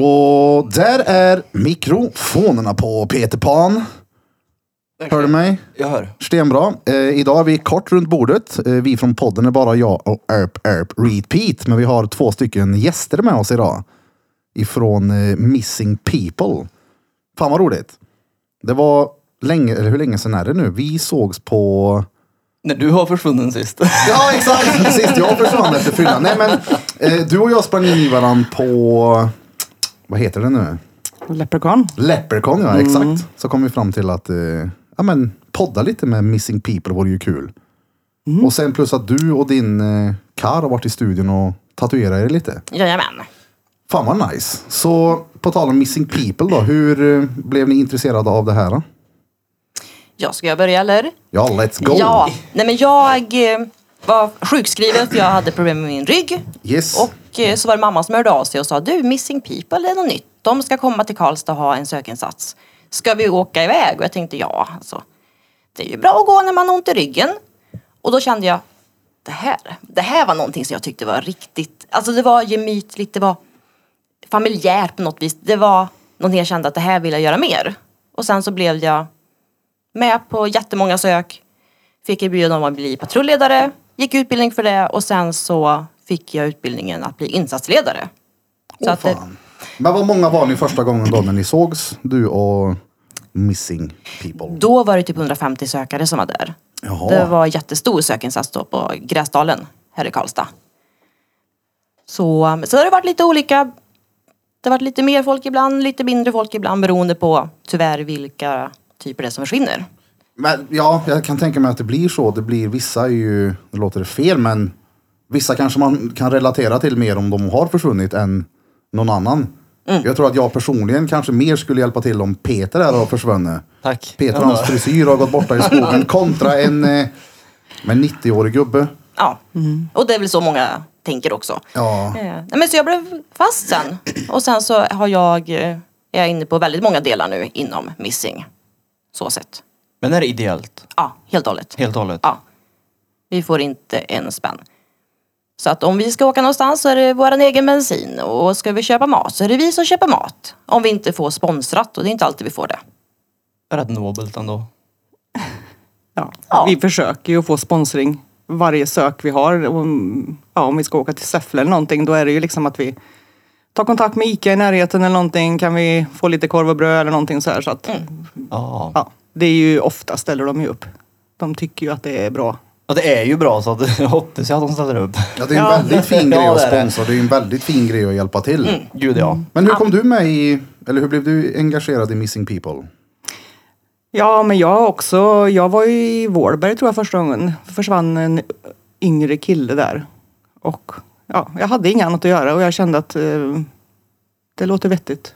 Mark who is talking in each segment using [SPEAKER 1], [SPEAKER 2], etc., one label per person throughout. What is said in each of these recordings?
[SPEAKER 1] Och där är mikrofonerna på Peter Pan. Hör du mig?
[SPEAKER 2] Jag hör.
[SPEAKER 1] Stenbra. Eh, idag är vi kort runt bordet. Eh, vi från podden är bara jag och Erp Erp Repeat. Men vi har två stycken gäster med oss idag. Ifrån eh, Missing People. Fan vad roligt. Det var länge, eller hur länge sedan är det nu? Vi sågs på...
[SPEAKER 2] När du har försvunnen sist.
[SPEAKER 1] Ja, exakt! Sist jag försvann efter fyllan. Nej, men eh, du och jag sprang in i varandra på... Vad heter det nu?
[SPEAKER 3] Leprechaun.
[SPEAKER 1] Leprechaun, ja.
[SPEAKER 4] Mm.
[SPEAKER 1] Exakt. Så kom vi fram till att eh, ja, men, podda lite med Missing People vore ju kul.
[SPEAKER 4] Mm.
[SPEAKER 1] Och sen plus att du och din eh, kar har varit i studion och tatuerat er lite.
[SPEAKER 3] Jajamän.
[SPEAKER 1] Fan vad nice. Så på tal om Missing People då. Hur eh, blev ni intresserade av det här? Då?
[SPEAKER 4] Ja, ska jag börja eller?
[SPEAKER 1] Ja, let's go.
[SPEAKER 4] Ja, nej men jag eh, var sjukskriven för jag hade problem med min rygg.
[SPEAKER 1] Yes.
[SPEAKER 4] Och eh, så var det mamma som hörde av sig och sa du, Missing People, det är något nytt. De ska komma till Karlstad och ha en sökinsats. Ska vi åka iväg? Och jag tänkte ja, alltså. Det är ju bra att gå när man har ont i ryggen. Och då kände jag, det här, det här var någonting som jag tyckte var riktigt, alltså det var gemytligt, det var familjärt på något vis. Det var någonting jag kände att det här vill jag göra mer. Och sen så blev jag med på jättemånga sök. Fick erbjudande om att bli patrulledare, gick utbildning för det och sen så fick jag utbildningen att bli insatsledare. Så
[SPEAKER 1] Åh,
[SPEAKER 4] att det,
[SPEAKER 1] fan. Men vad många var ni första gången då när ni sågs? Du och Missing People.
[SPEAKER 4] då var det typ 150 sökare som var där.
[SPEAKER 1] Jaha.
[SPEAKER 4] Det var jättestor sökinsats då på Gräsdalen här i Karlstad. Så, så det har det varit lite olika. Det har varit lite mer folk ibland, lite mindre folk ibland beroende på tyvärr vilka typer det är som försvinner.
[SPEAKER 1] Men, ja, jag kan tänka mig att det blir så. Det blir vissa är ju, nu låter det fel, men vissa kanske man kan relatera till mer om de har försvunnit än någon annan.
[SPEAKER 2] Mm.
[SPEAKER 1] Jag tror att jag personligen kanske mer skulle hjälpa till om Peter här har försvunnit.
[SPEAKER 2] Tack.
[SPEAKER 1] Peter och hans frisyr har gått borta i skogen kontra en eh, men 90-årig gubbe.
[SPEAKER 4] Ja, och det är väl så många tänker också.
[SPEAKER 1] Mm. Ja.
[SPEAKER 4] Eh, Nej, men så jag blev fast sen. Och sen så har jag, eh, är jag inne på väldigt många delar nu inom Missing. Så sett.
[SPEAKER 2] Men är det ideellt?
[SPEAKER 4] Ja, helt och hållet.
[SPEAKER 2] Helt och hållet?
[SPEAKER 4] Ja. Vi får inte en spänn. Så att om vi ska åka någonstans så är det vår egen bensin och ska vi köpa mat så är det vi som köper mat. Om vi inte får sponsrat och det är inte alltid vi får det.
[SPEAKER 2] Rätt nobelt ändå.
[SPEAKER 3] Ja.
[SPEAKER 4] Ja.
[SPEAKER 3] Vi försöker ju att få sponsring varje sök vi har. Och, Ja, om vi ska åka till Säffle eller någonting, då är det ju liksom att vi tar kontakt med ICA i närheten eller någonting. Kan vi få lite korv och bröd eller någonting så här. Så att,
[SPEAKER 2] Ja.
[SPEAKER 3] ja, det är ju ofta ställer de ju upp. De tycker ju att det är bra.
[SPEAKER 2] Och det är ju bra så att jag hoppas jag att de ställer upp.
[SPEAKER 1] ja, det är en
[SPEAKER 2] Ja.
[SPEAKER 1] väldigt fin grej
[SPEAKER 2] Ja,
[SPEAKER 1] att
[SPEAKER 2] det är det.
[SPEAKER 1] sponsra. Det är en väldigt fin grej att hjälpa till.
[SPEAKER 2] Gud ja.
[SPEAKER 4] Mm.
[SPEAKER 1] Men hur kom du med i, eller hur blev du engagerad i Missing People?
[SPEAKER 3] Ja, men jag också. Jag var ju i Vårberg tror jag första gången. Det försvann en yngre kille där. Och ja, jag hade inget annat att göra och jag kände att eh, det låter vettigt.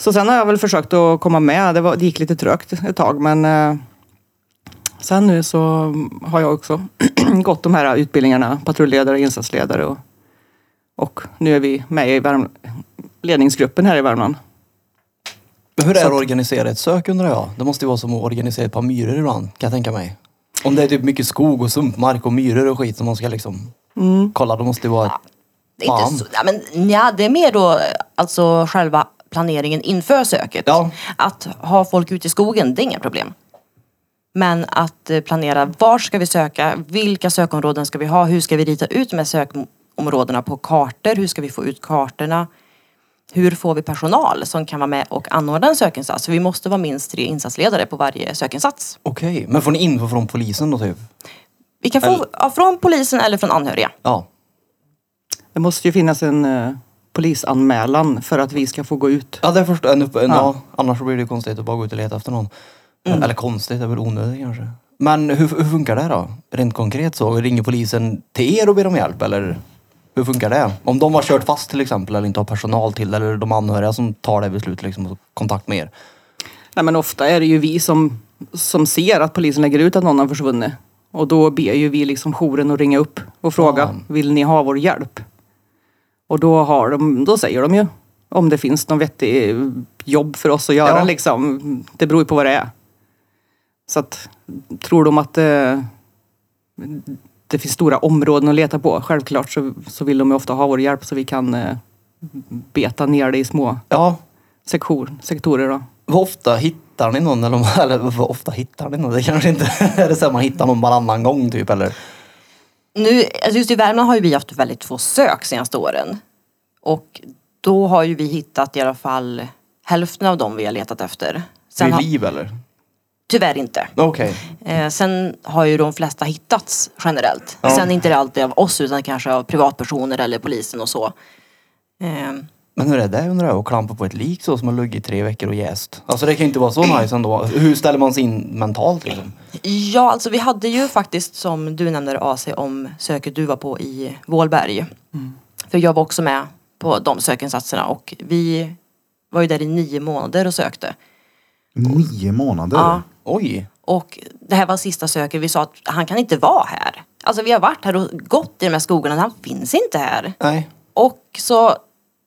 [SPEAKER 3] Så sen har jag väl försökt att komma med. Det, var, det gick lite trögt ett tag men eh, sen nu så har jag också gått de här utbildningarna, patrulledare, insatsledare och, och nu är vi med i Värm- ledningsgruppen här i Värmland.
[SPEAKER 2] Men hur är det att organisera ett sök undrar jag? Det måste ju vara som att organisera ett par myror ibland kan jag tänka mig. Om det är typ mycket skog och sumpmark och myror och skit som man ska liksom kolla. Då måste det vara... ett-
[SPEAKER 4] Mm. Det är
[SPEAKER 2] Fan.
[SPEAKER 4] inte så, ja, men, ja, det är mer då eh, alltså själva planeringen inför söket.
[SPEAKER 2] Ja.
[SPEAKER 4] Att ha folk ute i skogen, det är inga problem. Men att eh, planera var ska vi söka, vilka sökområden ska vi ha, hur ska vi rita ut de här sökområdena på kartor, hur ska vi få ut kartorna, hur får vi personal som kan vara med och anordna en sökinsats? För vi måste vara minst tre insatsledare på varje sökinsats.
[SPEAKER 2] Okej, men får ni info från polisen då typ?
[SPEAKER 4] Vi kan få
[SPEAKER 2] Eller-
[SPEAKER 4] ja, från polisen eller från anhöriga.
[SPEAKER 2] Ja.
[SPEAKER 3] Det måste ju finnas en eh, polisanmälan för att vi ska få gå ut.
[SPEAKER 2] Ja, det förstår jag. En, ja.
[SPEAKER 3] Ja.
[SPEAKER 2] annars blir det ju konstigt att bara gå ut och leta efter någon. Eller konstigt, det är väl onödigt kanske. Men hur, hur funkar det då? Rent konkret så, ringer polisen till er och ber om hjälp eller? Hur funkar det? Om de har kört fast till exempel eller inte har personal till eller de anhöriga som tar det beslutet liksom och kontakt med er.
[SPEAKER 3] Nej, men ofta är det ju vi som, som ser att polisen lägger ut att någon har försvunnit. Och då ber ju vi liksom jouren att ringa upp och fråga, vill ni ha vår hjälp? Och då, har de, då säger de ju om det finns någon vettig jobb för oss att göra.
[SPEAKER 2] Ja.
[SPEAKER 3] Liksom. Det beror ju på vad det är. Så att, tror de att eh, det finns stora områden att leta på, självklart så, så vill de ju ofta ha vår hjälp så vi kan eh, beta ner det i små
[SPEAKER 2] Ja,
[SPEAKER 3] sektor, sektorer. Då.
[SPEAKER 2] Hur ofta hittar ni någon? Eller, eller hur ofta hittar ni någon? Det kanske inte är det så att man hittar någon varannan gång typ eller?
[SPEAKER 4] Nu, alltså just i Värmland har ju vi haft väldigt få sök senaste åren. Och då har ju vi hittat i alla fall hälften av dem vi har letat efter. Sen har,
[SPEAKER 2] Vid liv eller?
[SPEAKER 4] tyvärr inte.
[SPEAKER 2] Okej.
[SPEAKER 4] Eh, sen har ju de flesta hittats generellt.
[SPEAKER 2] Ja.
[SPEAKER 4] Sen inte det alltid av oss utan kanske av privatpersoner eller polisen och så. Eh,
[SPEAKER 2] Men hur är det undrar jag? Att klampa på ett lik så som har luggit i tre veckor och jäst? Alltså det kan ju inte vara så nice ändå. Hur ställer man sig in mentalt liksom?
[SPEAKER 4] ja, alltså vi hade ju faktiskt som du nämnde AC om söket du var på i Vålberg. För jag var också med på de sökinsatserna och vi var ju där i nio månader och sökte.
[SPEAKER 2] Mm.
[SPEAKER 1] Nio månader?
[SPEAKER 4] Ja.
[SPEAKER 2] Oj!
[SPEAKER 4] Och det här var sista söket. Vi sa att han kan inte vara här. Alltså vi har varit här och gått i de här skogarna. Han finns inte här.
[SPEAKER 2] Nej.
[SPEAKER 4] Och så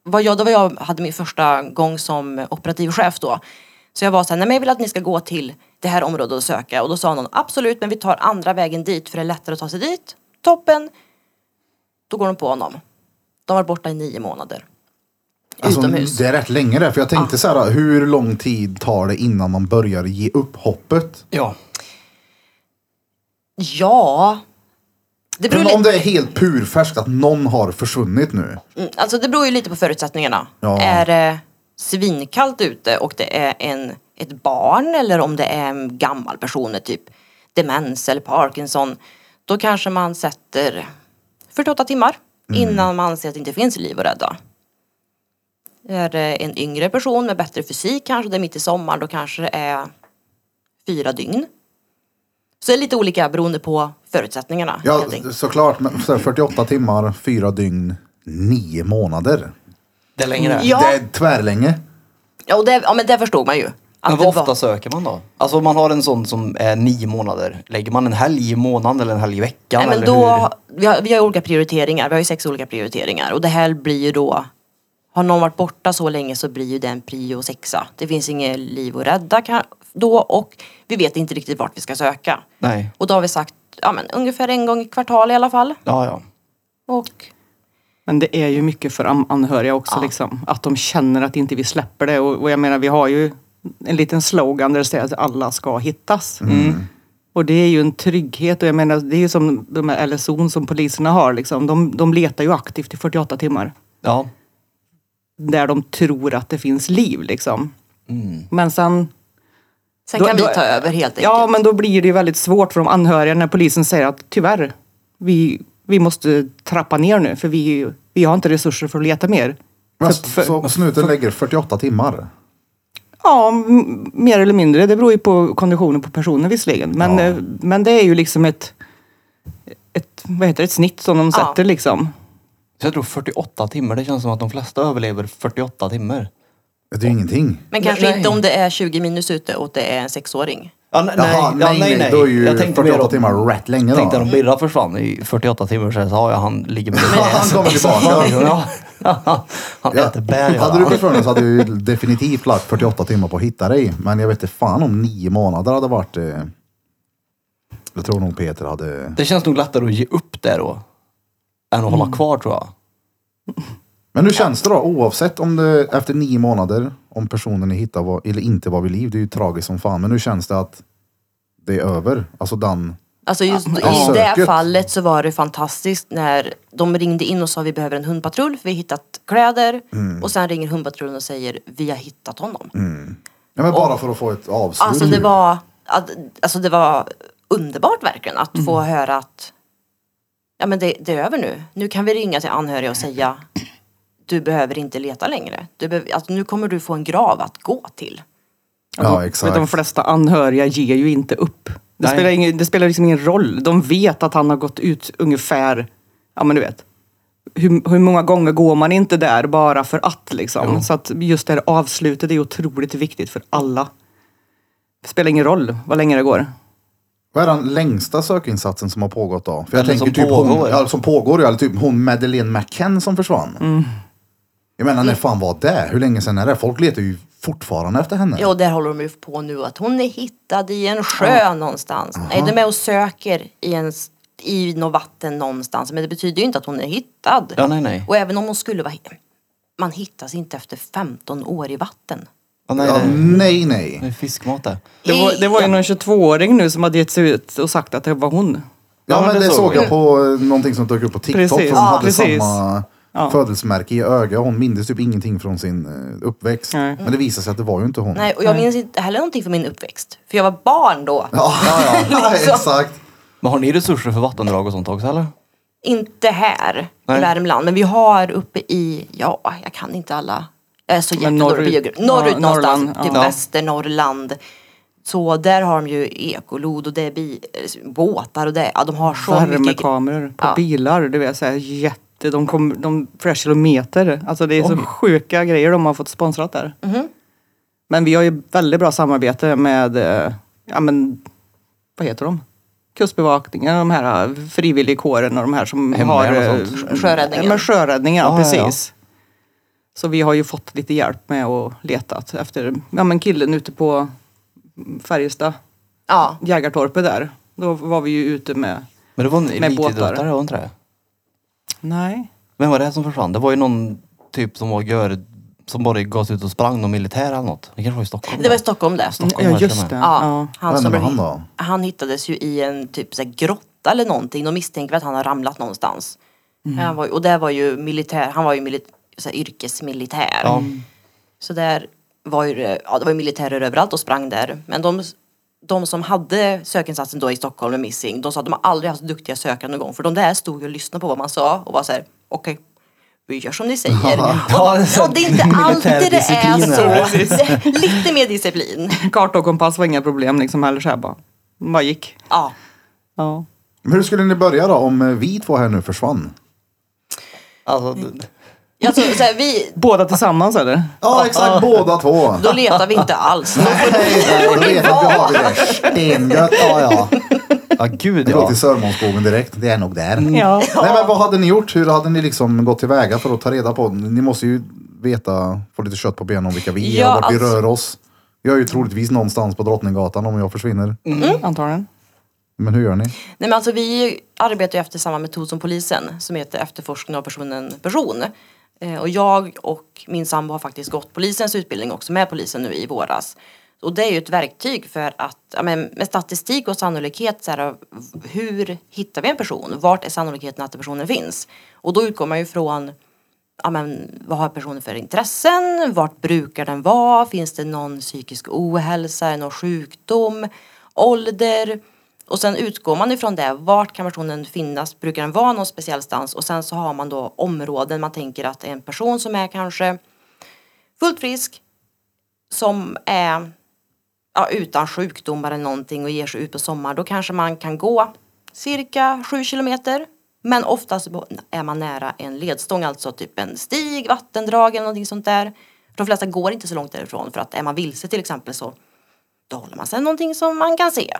[SPEAKER 4] var jag, då var jag, hade min första gång som operativ chef då. Så jag var så här, nej men jag vill att ni ska gå till det här området och söka. Och då sa någon, absolut men vi tar andra vägen dit för det är lättare att ta sig dit. Toppen! Då går de på honom. De var borta i nio månader.
[SPEAKER 1] Alltså,
[SPEAKER 4] Utomhus.
[SPEAKER 1] Det är rätt länge det, för jag tänkte så här, hur lång tid tar det innan man börjar ge upp hoppet?
[SPEAKER 2] Ja.
[SPEAKER 4] Ja. Det beror,
[SPEAKER 1] Men om
[SPEAKER 4] li-
[SPEAKER 1] det är helt purfärskt att någon har försvunnit nu.
[SPEAKER 4] Mm, alltså det beror ju lite på förutsättningarna.
[SPEAKER 1] Ja.
[SPEAKER 4] Är det svinkallt ute och det är en, ett barn eller om det är en gammal person med typ demens eller Parkinson. Då kanske man sätter 48 timmar
[SPEAKER 1] Mm.
[SPEAKER 4] innan man anser att det inte finns liv att rädda. Är det en yngre person med bättre fysik kanske det är mitt i sommaren då kanske det är fyra dygn. Så det är lite olika beroende på förutsättningarna.
[SPEAKER 1] Ja,
[SPEAKER 4] helt enkelt.
[SPEAKER 1] såklart. Men så här, 48 timmar, fyra dygn, nio månader.
[SPEAKER 2] Det är längre.
[SPEAKER 4] Mm. Ja.
[SPEAKER 1] Det är tvärlänge.
[SPEAKER 4] ja, och det, ja men det förstod man ju. Att
[SPEAKER 2] Men
[SPEAKER 4] det
[SPEAKER 2] vad
[SPEAKER 4] var-
[SPEAKER 2] ofta söker man då? Alltså om man har en sån som är nio månader, lägger man en helg i månaden eller en helg i veckan?
[SPEAKER 4] Nej, men
[SPEAKER 2] eller
[SPEAKER 4] då, vi, har, vi har olika prioriteringar, vi har ju sex olika prioriteringar och det här blir ju då har någon varit borta så länge så blir ju den prio sexa. Det finns inget liv att rädda ka- då och vi vet inte riktigt vart vi ska söka.
[SPEAKER 2] hur? Nej.
[SPEAKER 4] Och då har vi sagt ja, men, ungefär en gång i kvartal i alla fall.
[SPEAKER 2] Ja, ja.
[SPEAKER 4] Och
[SPEAKER 3] Men det är ju mycket för an- anhöriga också.
[SPEAKER 4] Ja.
[SPEAKER 3] Liksom. Att de känner att inte vi släpper det. Och, och jag menar, vi har ju en liten slogan där det säger att alla ska hittas. Och det är ju en trygghet. Och jag menar, det är ju som de här LSO som poliserna har. Liksom. De, de letar ju aktivt i 48 timmar.
[SPEAKER 2] Ja.
[SPEAKER 3] Där de tror att det finns liv. Liksom.
[SPEAKER 2] Mm.
[SPEAKER 3] Men sen
[SPEAKER 4] sen
[SPEAKER 3] Då-
[SPEAKER 4] kan vi
[SPEAKER 3] då-
[SPEAKER 4] ta över helt enkelt.
[SPEAKER 3] Ja, men då blir det ju väldigt svårt för de anhöriga när polisen säger att tyvärr, vi, vi måste trappa ner nu för vi, vi har inte resurser för att leta mer.
[SPEAKER 1] Fast- så snuten lägger 48 timmar.
[SPEAKER 3] Ja, m- mer eller mindre. Det beror ju på konditionen på personen visserligen. Men,
[SPEAKER 1] Ja.
[SPEAKER 3] eh, men det är ju liksom ett, ett, vad heter det, ett snitt som de
[SPEAKER 4] Ja.
[SPEAKER 3] sätter liksom.
[SPEAKER 2] Så jag tror 48 timmar, det känns som att de flesta överlever 48 timmar.
[SPEAKER 1] Det är ju ingenting.
[SPEAKER 4] men kanske
[SPEAKER 2] Nej.
[SPEAKER 4] inte om det är 20 minus ute och det är en sexåring.
[SPEAKER 2] Ja, nej,
[SPEAKER 1] Jaha, nej, nej, Då är ju 48 timmar rätt länge
[SPEAKER 2] Jag tänkte att
[SPEAKER 1] då.
[SPEAKER 2] om Birra försvann i 48 timmar så sa jag han ligger med
[SPEAKER 1] Ja, han kommer tillbaka.
[SPEAKER 2] ja. Han
[SPEAKER 1] Ja.
[SPEAKER 2] äter bär.
[SPEAKER 1] Hade du
[SPEAKER 2] Ja.
[SPEAKER 1] försvunnit så hade jag ju definitivt lagt 48 timmar på att hitta dig. Men jag vet inte fan om nio månader hade varit... Eh, jag tror nog Peter hade...
[SPEAKER 2] Det känns nog lättare att ge upp det då. Än att
[SPEAKER 1] Mm.
[SPEAKER 2] hålla kvar tror jag.
[SPEAKER 1] Men hur känns det då? Oavsett om det efter nio månader, om personen ni hittar var, eller inte var vid liv. Det är ju tragiskt som fan. Men hur känns det att det är över? Alltså den...
[SPEAKER 4] Alltså just
[SPEAKER 1] Ja.
[SPEAKER 4] i det
[SPEAKER 1] Söket.
[SPEAKER 4] fallet så var det fantastiskt när de ringde in och sa vi behöver en hundpatrull för vi har hittat kläder. Och sen ringer hundpatrullen och säger vi har hittat honom.
[SPEAKER 1] Ja, men bara för att få ett avslut.
[SPEAKER 4] Alltså det var, att- alltså det var underbart verkligen att få höra att ja men det, det är över nu. Nu kan vi ringa till anhöriga och säga du behöver inte leta längre. Du behöver, alltså, nu kommer du få en grav att gå till.
[SPEAKER 1] Ja,
[SPEAKER 3] de,
[SPEAKER 1] exakt.
[SPEAKER 3] De flesta anhöriga ger ju inte upp. Det
[SPEAKER 2] Nej.
[SPEAKER 3] spelar, ingen, det spelar liksom ingen roll. De vet att han har gått ut ungefär, ja men du vet. Hur, hur många gånger går man inte där bara för att liksom? Så att just det här avslutet är otroligt viktigt för alla. Det spelar ingen roll vad länge det går.
[SPEAKER 1] Vad är den längsta sökinsatsen som har pågått då? För jag
[SPEAKER 2] Eller
[SPEAKER 1] tänker
[SPEAKER 2] som
[SPEAKER 1] typ
[SPEAKER 2] pågår.
[SPEAKER 1] Hon, ja, som pågår ja, eller typ hon Madeleine McCann som försvann. Jag menar, när fan var det? Hur länge sedan är det? Folk letar ju fortfarande efter henne.
[SPEAKER 4] Ja, och där håller de ju på nu att hon är hittad i en sjö någonstans. Nej, de är och söker i, en, s- i något vatten någonstans. Men det betyder ju inte att hon är hittad.
[SPEAKER 2] Ja, nej, nej.
[SPEAKER 4] Och även om hon skulle vara... hi- man hittas inte efter 15 år i vatten.
[SPEAKER 2] Ah, nej,
[SPEAKER 1] Ja,
[SPEAKER 2] det,
[SPEAKER 1] nej, nej.
[SPEAKER 2] det är fiskmat det.
[SPEAKER 3] Det var, det var ju
[SPEAKER 4] Ja.
[SPEAKER 3] någon 22-åring nu som hade gett sig ut och sagt att det var hon.
[SPEAKER 1] Ja, men det såg jag
[SPEAKER 2] vi.
[SPEAKER 1] på eh, någonting som dök upp på TikTok.
[SPEAKER 3] Precis.
[SPEAKER 1] För hon
[SPEAKER 3] Ja,
[SPEAKER 1] hade
[SPEAKER 3] precis.
[SPEAKER 1] samma
[SPEAKER 3] Ja.
[SPEAKER 1] födelsemärke i ögat. Hon mindes typ ingenting från sin eh, uppväxt.
[SPEAKER 3] Nej.
[SPEAKER 1] Men det visade sig att det var ju inte hon.
[SPEAKER 4] Nej, och jag minns inte heller någonting från min uppväxt. För jag var barn då. Alltså,
[SPEAKER 1] Ja, ja, exakt.
[SPEAKER 2] Men har ni resurser för vattendrag och sånt också eller?
[SPEAKER 4] Inte här
[SPEAKER 2] Nej.
[SPEAKER 4] i Värmland, men vi har uppe i, ja, jag kan inte alla. Jag är så
[SPEAKER 3] Men
[SPEAKER 4] jäkla dålig på
[SPEAKER 3] norrut.
[SPEAKER 4] geografi. Norrut
[SPEAKER 3] Ja,
[SPEAKER 4] någonstans,
[SPEAKER 3] Norrland,
[SPEAKER 4] typ
[SPEAKER 2] ja.
[SPEAKER 4] Västernorrland. Så där har de ju ekolod och det är bi, eh, båtar och det, ja de har så mycket. gre-
[SPEAKER 3] Värmekameror på
[SPEAKER 4] Ja.
[SPEAKER 3] bilar. Det vill säga jätte... De, kom, de flera kilometer. Alltså det är så
[SPEAKER 2] Oj. Mhm.
[SPEAKER 3] sjuka grejer de har fått sponsrat där. Men vi har ju väldigt bra samarbete med, eh, ja men, vad heter de? Kustbevakningen, de här eh, frivilligkåren och de här som
[SPEAKER 2] Hemvärn och
[SPEAKER 3] har... eh,
[SPEAKER 2] sånt.
[SPEAKER 4] Sjö- Sjöräddningen.
[SPEAKER 3] Men sjöräddningen, ja,
[SPEAKER 2] Ja, ja, ja.
[SPEAKER 3] precis. Så vi har ju fått lite hjälp med att leta efter, ja men killen ute på Färjestad,
[SPEAKER 4] Ja,
[SPEAKER 3] Jägartorpet där. Då var vi ju ute med,
[SPEAKER 2] Men det var en
[SPEAKER 3] båtar.
[SPEAKER 2] elitidrottare, var det inte det?
[SPEAKER 3] nej,
[SPEAKER 2] Vem var det som försvann? Det var ju någon typ som var gör, som bara gav sig ut och sprang, någon militär eller något. Det kanske var i Stockholm.
[SPEAKER 4] det var i Stockholm det.
[SPEAKER 2] Stockholm
[SPEAKER 3] ja
[SPEAKER 2] här till
[SPEAKER 3] just
[SPEAKER 2] och
[SPEAKER 3] det.
[SPEAKER 2] med.
[SPEAKER 4] Ja,
[SPEAKER 3] Ja.
[SPEAKER 1] Vad
[SPEAKER 4] Han, som
[SPEAKER 1] hände
[SPEAKER 4] blev,
[SPEAKER 1] med
[SPEAKER 4] han,
[SPEAKER 1] han då?
[SPEAKER 4] hittades ju i en typ så här, grotta eller någonting. De misstänker att han har ramlat någonstans. Han var, ju- och det var ju militär, han var ju milit, så här, yrkesmilitär.
[SPEAKER 2] Ja.
[SPEAKER 4] Så där var ju, det- ja, det var ju militärer överallt och sprang där. Men de, de som hade sökinsatsen då i Stockholm med Missing, de sa att de har aldrig haft så duktiga sökare någon gång. För de där stod ju och lyssnade på vad man sa och var så här, okej. Vi gör som ni säger. Och,
[SPEAKER 2] Ja, det är så
[SPEAKER 4] och det är inte alltid det är
[SPEAKER 2] militärdisciplin
[SPEAKER 4] så.
[SPEAKER 2] här.
[SPEAKER 4] Det- Lite mer disciplin.
[SPEAKER 3] Karta och kompass var inga problem liksom heller så här bara, bara gick.
[SPEAKER 4] Ja.
[SPEAKER 3] Ja.
[SPEAKER 1] Men hur skulle ni börja då om eh, vi två här nu försvann?
[SPEAKER 2] Alltså, det-
[SPEAKER 4] Alltså, så här, vi,
[SPEAKER 3] Båda tillsammans eller?
[SPEAKER 1] Ja, exakt. Båda två.
[SPEAKER 4] Då letar vi inte alls.
[SPEAKER 1] Nej, nej, då vet jag att vi har det. Stengött, ja, ja.
[SPEAKER 2] ja gud
[SPEAKER 1] Det går
[SPEAKER 2] ja.
[SPEAKER 1] till Sörmånsskogen direkt. Det är nog där.
[SPEAKER 3] Ja.
[SPEAKER 1] Nej, men vad hade ni gjort? Hur hade ni liksom gått tillväga för att ta reda på? Ni måste ju veta, få lite kött på benen om vilka vi är
[SPEAKER 4] Ja,
[SPEAKER 1] och vart vi
[SPEAKER 4] alltså-
[SPEAKER 1] rör oss. Jag är ju troligtvis någonstans på Drottninggatan om jag försvinner.
[SPEAKER 3] Mm. Antagligen.
[SPEAKER 1] Men hur gör ni?
[SPEAKER 4] Nej, men alltså, vi arbetar ju efter samma metod som polisen som heter efterforskning av personen person. Eh, och jag och min sambo har faktiskt gått polisens utbildning också med polisen nu i våras. Och det är ju ett verktyg för att ja, men, med statistik och sannolikhet så här, v- hur hittar vi en person? Vart är sannolikheten att personen finns? Och då utgår man ju från ja, men, vad har personen för intressen? Vart brukar den vara? Finns det någon psykisk ohälsa, är det någon sjukdom, ålder? Och sen utgår man ifrån det. Vart kan personen finnas? Brukar den vara någon speciell stans? Och sen så har man då områden man tänker att det är en person som är kanske fullt frisk, som är ja, utan sjukdomar eller någonting och ger sig ut på sommar, då kanske man kan gå cirka 7 kilometer. Men oftast är man nära en ledstång, alltså typ en stig, vattendrag eller någonting sånt där. De flesta går inte så långt därifrån för att är man vilse till exempel så då håller man sig någonting som man kan se.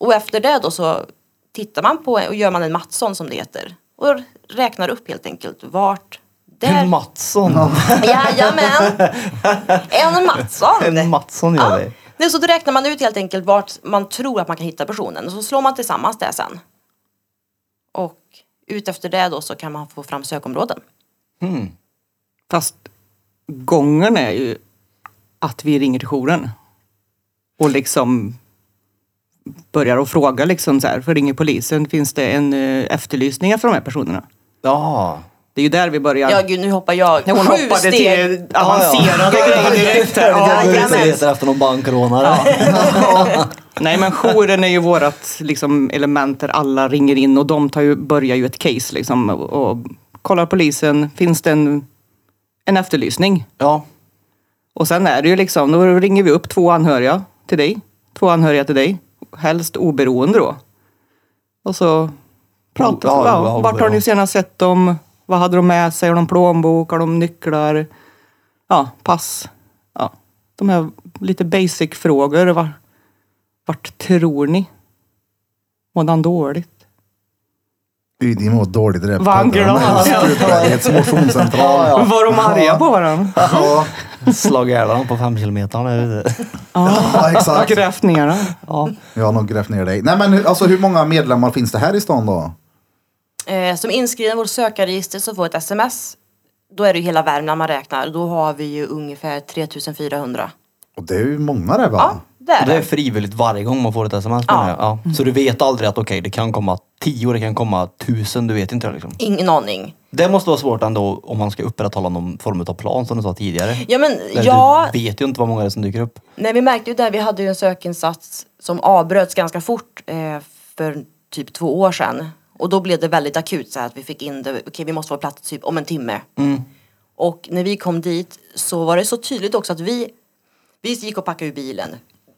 [SPEAKER 4] Och efter det då så tittar man på och gör man en Mattsson som det heter och räknar upp helt enkelt vart där...
[SPEAKER 2] En Mattsson.
[SPEAKER 4] Jajamän! En Mattsson!
[SPEAKER 2] En Mattsson gör det.
[SPEAKER 4] Nej, så då räknar man ut helt enkelt vart man tror att man kan hitta personen och så slår man tillsammans det sen. Och utefter det då så kan man få fram sökområden.
[SPEAKER 2] Mm.
[SPEAKER 3] Fast gången är ju att vi ringer till jouren. Och liksom börjar att fråga liksom så här, för ringer polisen, finns det en eh, efterlysning efter de här personerna?
[SPEAKER 2] Ja.
[SPEAKER 3] Det är ju där vi börjar.
[SPEAKER 4] Ja, gud, nu hoppar jag
[SPEAKER 3] Hon
[SPEAKER 4] sju
[SPEAKER 3] hoppade
[SPEAKER 4] steg.
[SPEAKER 3] till avancerade grejer direkt här.
[SPEAKER 2] Jag går ut och
[SPEAKER 4] jajamän.
[SPEAKER 2] letar efter någon bankrånare.
[SPEAKER 3] Nej men jouren är ju vårat liksom, element där alla ringer in och de tar ju, börjar ju ett case liksom och, och kollar polisen, finns det en, en efterlysning?
[SPEAKER 2] Ja.
[SPEAKER 3] Och sen är det ju liksom, då ringer vi upp två anhöriga till dig. Två anhöriga till dig. Helst oberoende då. Och så pratar
[SPEAKER 2] Ja,
[SPEAKER 3] ja,
[SPEAKER 2] ja,
[SPEAKER 3] Vart har
[SPEAKER 2] ja.
[SPEAKER 3] ni senast sett dem? Vad hade de med sig? Har de plånbok? Har de nycklar? Ja, pass. Ja. De här lite basic frågor. Vart, vart tror ni? Mådde han dåligt?
[SPEAKER 1] Gud, ni mår dåligt i det. här
[SPEAKER 3] Vad
[SPEAKER 1] podden.
[SPEAKER 3] glad.
[SPEAKER 1] Den här Sprutbergets
[SPEAKER 2] Ja.
[SPEAKER 3] Var de arga på varandra?
[SPEAKER 1] Ja,
[SPEAKER 2] Slagit ihjäl honom på femkilometern. är det-
[SPEAKER 1] ja, exakt.
[SPEAKER 3] Grävt ner den.
[SPEAKER 2] Ja.
[SPEAKER 1] Jag har nog grävt ner dig. Nej, men hur- alltså, hur många medlemmar finns det här i stan då?
[SPEAKER 4] Eh, som inskriven i vårt sökarregister så får ett sms då är det ju hela Värmland man räknar. Då har vi ju ungefär 3400.
[SPEAKER 1] Och det är ju många det va?
[SPEAKER 4] Ja, det är
[SPEAKER 2] Och det är
[SPEAKER 4] det.
[SPEAKER 2] frivilligt varje gång man får ett sms menar jag. ja. Så du vet aldrig att okej, det kan komma tio, det kan komma tusen, du vet inte det liksom.
[SPEAKER 4] Ingen aning.
[SPEAKER 2] Det måste vara svårt ändå om man ska upprätthålla någon form av plan som du sa tidigare.
[SPEAKER 4] Ja, men
[SPEAKER 2] Där
[SPEAKER 4] ja,
[SPEAKER 2] Du vet ju inte vad många det är som dyker upp.
[SPEAKER 4] Nej, vi märkte ju där, vi hade ju en sökinsats som avbröts ganska fort eh, för typ två år sedan. Och då blev det väldigt akut så här att vi fick in det, okej vi måste vara på plats typ om en timme. Och när vi kom dit så var det så tydligt också att vi, vi gick och packade ur bilen.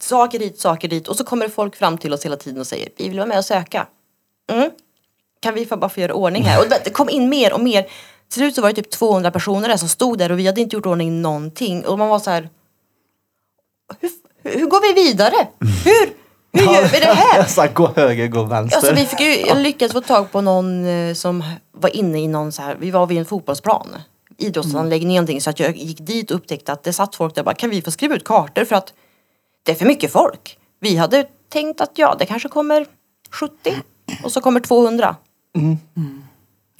[SPEAKER 4] Saker dit, saker dit och så kommer det folk fram till oss hela tiden och säger vi vill vara med och söka. Mm. Kan vi få bara få göra ordning här? Och det kom in mer och mer. Till slut så var det typ 200 personer där som stod där och vi hade inte gjort ordning någonting. Och man var så här, hur, hur går vi vidare? Hur, hur gör vi det här?
[SPEAKER 2] Jag sa gå höger, gå vänster.
[SPEAKER 4] Alltså, vi fick ju, jag lyckades få tag på någon eh, som var inne i någon så här, vi var vid en fotbollsplan, idrottsanläggning eller någonting, så att jag gick dit och upptäckte att det satt folk där bara, kan vi få skriva ut kartor för att det är för mycket folk. Vi hade tänkt att ja, det kanske kommer 70 och så kommer 200.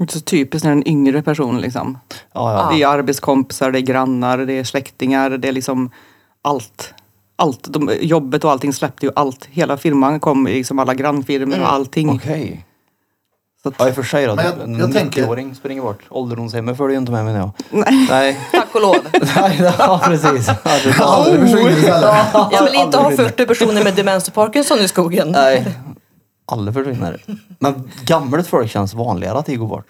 [SPEAKER 3] Inte så typiskt när en yngre person liksom.
[SPEAKER 2] ja, ja.
[SPEAKER 3] Det är arbetskompisar, det är grannar, det är släktingar, det är liksom allt. Allt, de, jobbet och allting släppte ju allt. Hela firman kom, liksom alla grannfirmor och allting.
[SPEAKER 2] Okej.
[SPEAKER 3] Så att-
[SPEAKER 2] Ja i och för sig då.
[SPEAKER 1] Men jag-
[SPEAKER 2] en
[SPEAKER 1] jag tänker-
[SPEAKER 2] 90-åring springer bort. Ålderdomshemmet följer ju inte med menar jag. Nej. Nej,
[SPEAKER 4] Tack och lov.
[SPEAKER 2] ja precis. Ja, det-
[SPEAKER 1] Ja, Alltså, det försvinner istället.
[SPEAKER 4] Jag vill inte ha 40 personer med demens och Parkinson i skogen.
[SPEAKER 2] Nej. Alla försvinner. Men gammalt folk känns vanligare att det går bort.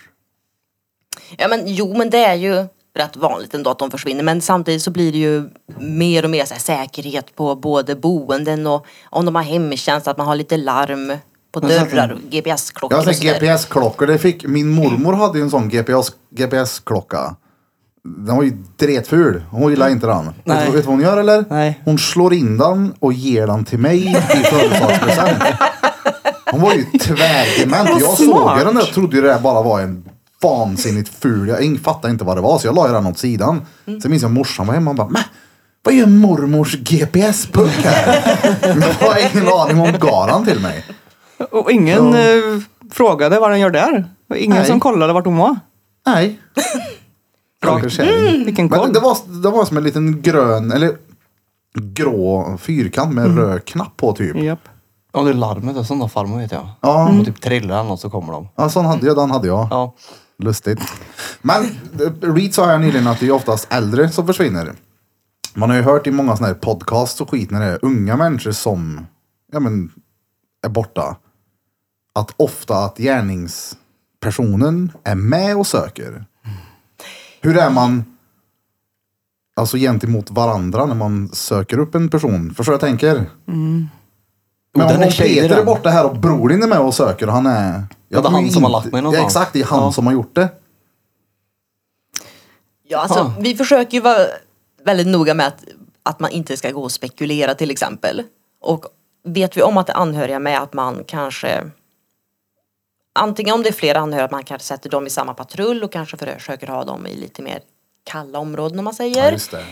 [SPEAKER 4] Ja men jo men det är ju rätt vanligt ändå att de försvinner men samtidigt så blir det ju mer och mer så här, säkerhet på både boenden och om de har hemtjänst att man har lite larm på
[SPEAKER 2] Men sen-
[SPEAKER 4] dörrar och GPS-klockor
[SPEAKER 1] Jag
[SPEAKER 4] och
[SPEAKER 1] har sett
[SPEAKER 4] sådär.
[SPEAKER 1] GPS-klockor. Det fick, min mormor hade ju en sån GPS, GPS-klocka. Den var ju dretful. Hon gillar inte den. Vet du-
[SPEAKER 2] Nej.
[SPEAKER 1] Vet du vad hon gör eller?
[SPEAKER 2] Nej.
[SPEAKER 1] Hon slår in den och ger den till mig i födelsedagspresent. Hon var ju tvärdement. Jag såg ju den och trodde ju det där bara var en vansinnigt ful. Jag ing- fattade inte vad det var så jag la ju den åt sidan. Sen minns jag morsan var hemma och bara "Mä, vad gör mormors GPS-puck här? Jag har ingen aning om hon gav den till mig.
[SPEAKER 3] Och ingen eh, frågade vad den gör där. Och ingen
[SPEAKER 1] Nej.
[SPEAKER 3] som kollade vart hon var.
[SPEAKER 1] Nej. Rakt
[SPEAKER 3] Vilken
[SPEAKER 1] Men
[SPEAKER 3] koll.
[SPEAKER 1] det var, det var som en liten grön, eller grå fyrkant med röd knapp på typ.
[SPEAKER 3] Japp.
[SPEAKER 2] Ja det är larmet, det är sådana farmor vet jag.
[SPEAKER 1] Ja.
[SPEAKER 2] Om de typ trillar eller något så kommer de.
[SPEAKER 1] Ja, sån hade jag, den hade jag.
[SPEAKER 2] Ja.
[SPEAKER 1] Lustigt. Men eh, Reed sa här nyligen att det är oftast äldre som försvinner. Man har ju hört i många sådana här podcasts och skit när det är unga människor som ja, men, är borta. Att ofta att gärningspersonen är med och söker. Hur är man alltså gentemot varandra när man söker upp en person? Förstår du vad jag tänker? Men
[SPEAKER 2] Mm. den
[SPEAKER 1] om,
[SPEAKER 2] är
[SPEAKER 1] om
[SPEAKER 2] tjej,
[SPEAKER 1] Peter är
[SPEAKER 2] den.
[SPEAKER 1] borta här och bror din är med och söker och han är...
[SPEAKER 2] Ja, det är
[SPEAKER 1] kommer
[SPEAKER 2] han
[SPEAKER 1] ju
[SPEAKER 2] som har
[SPEAKER 1] inte-
[SPEAKER 2] lagt mig någonstans.
[SPEAKER 1] Ja, exakt, det är han
[SPEAKER 2] Ja.
[SPEAKER 1] som har gjort det.
[SPEAKER 4] Ja, alltså,
[SPEAKER 2] Ah.
[SPEAKER 4] Vi försöker ju vara väldigt noga med att, att man inte ska gå och spekulera till exempel. Och vet vi om att det är anhöriga med att man kanske Antingen om det är flera anhöriga att man kanske sätter dem i samma patrull och kanske försöker ha dem i lite mer kalla områden om man säger.
[SPEAKER 1] Ja, just det.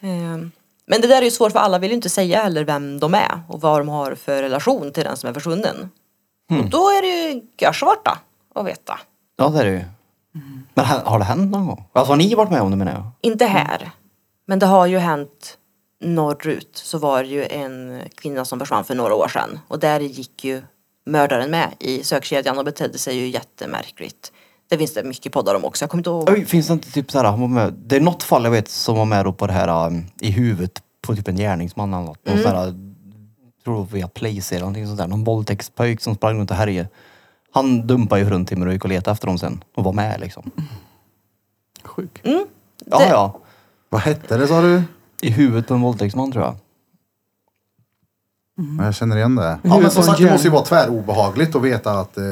[SPEAKER 4] Ehm, Men det där är ju svårt för alla vill ju inte säga heller vem de är och vad de har för relation till den som är försvunnen. Och då är det ju görsvarta att veta.
[SPEAKER 2] Ja det är det ju. Men ha- har det hänt någon gång? Alltså har ni varit med om det menar jag?
[SPEAKER 4] Inte här. Men det har ju hänt norrut så var det ju en kvinna som försvann för några år sedan och där gick ju mördaren med i sökkedjan och betedde sig ju jättemärkligt. Det finns det mycket poddar om också. Jag kommer inte ihåg.
[SPEAKER 2] Oj, finns det inte typ såhär, han var med, det är något fall jag vet som var med då på det här um, i huvudet på typ en gärningsman eller något.
[SPEAKER 4] Mm.
[SPEAKER 2] Någon sån här, tror det var via Place eller någonting sånt där. Någon våldtäktspöjk som sprang runt och härjade. Han dumpade ju runt Timmer och gick och letade efter dem sen och var med liksom.
[SPEAKER 3] Sjuk.
[SPEAKER 2] Ja,
[SPEAKER 4] Mm. Det-
[SPEAKER 2] ja.
[SPEAKER 1] Vad hette det sa du?
[SPEAKER 2] I huvudet på en våldtäktsman tror jag. Mm.
[SPEAKER 1] Ja, Jag känner igen det. Ja, men som sagt, det måste ju vara tvärobehagligt att veta att... Eh...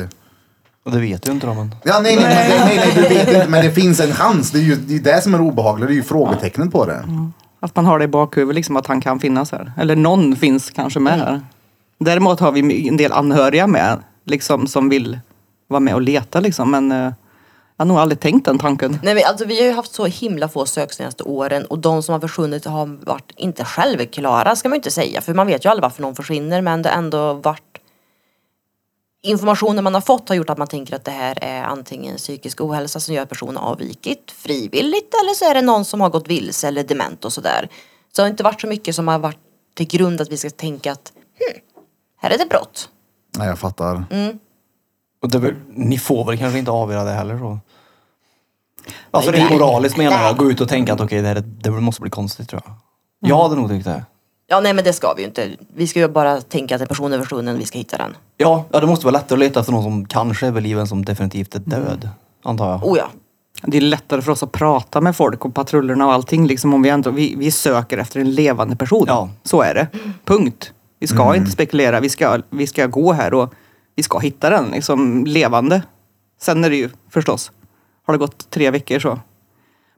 [SPEAKER 2] Och det vet ju inte de än.
[SPEAKER 1] Ja, nej, nej, nej, nej, nej, du vet inte, men det finns en chans. Det är ju det, är det som är obehagligt. Det är ju frågetecknet på det.
[SPEAKER 2] Mm.
[SPEAKER 3] Att man har det i bakhuvudet, liksom, att han kan finnas här. Eller någon finns kanske med här. Däremot har vi my- en del anhöriga med, liksom, som vill vara med och leta. Liksom. Men eh, jag har nog aldrig tänkt den tanken.
[SPEAKER 4] Nej, men alltså, vi har ju haft så himla få sök senaste åren och de som har försvunnit har varit inte självklara ska man ju inte säga för man vet ju aldrig varför någon försvinner men det har ändå varit informationen man har fått har gjort att man tänker att det här är antingen psykisk ohälsa som gör att personen har avvikit frivilligt eller så är det någon som har gått vilse eller dement och sådär. Så det har inte varit så mycket som har varit till grund att vi ska tänka att hm, här är det brott.
[SPEAKER 1] Nej, jag fattar.
[SPEAKER 2] Mm. Och det, är väl- ni får väl kanske inte avgöra det heller så? Alltså
[SPEAKER 4] Nej,
[SPEAKER 2] rent
[SPEAKER 4] nej.
[SPEAKER 2] moraliskt menar
[SPEAKER 4] Nej.
[SPEAKER 2] jag. Gå ut och tänka att okej, det, här är- det måste bli konstigt tror jag. Jag
[SPEAKER 4] Mm.
[SPEAKER 2] hade nog tyckt det.
[SPEAKER 4] Ja, nej men det ska vi ju inte. Vi ska ju bara tänka att en person är försvunnen, vi ska hitta den.
[SPEAKER 2] Ja, ja, det måste vara lättare att leta efter någon som kanske är vid liv än som definitivt är död. Antar jag.
[SPEAKER 4] Oh ja.
[SPEAKER 3] Det är lättare för oss att prata med folk och patrullerna och allting. Liksom om vi, ändå, vi, vi söker efter en levande person.
[SPEAKER 2] Ja. Mm.
[SPEAKER 3] Så är det. Punkt. Vi ska inte spekulera. Vi ska, vi ska gå här och vi ska hitta den liksom, levande. Sen är det ju förstås, har det gått tre veckor så.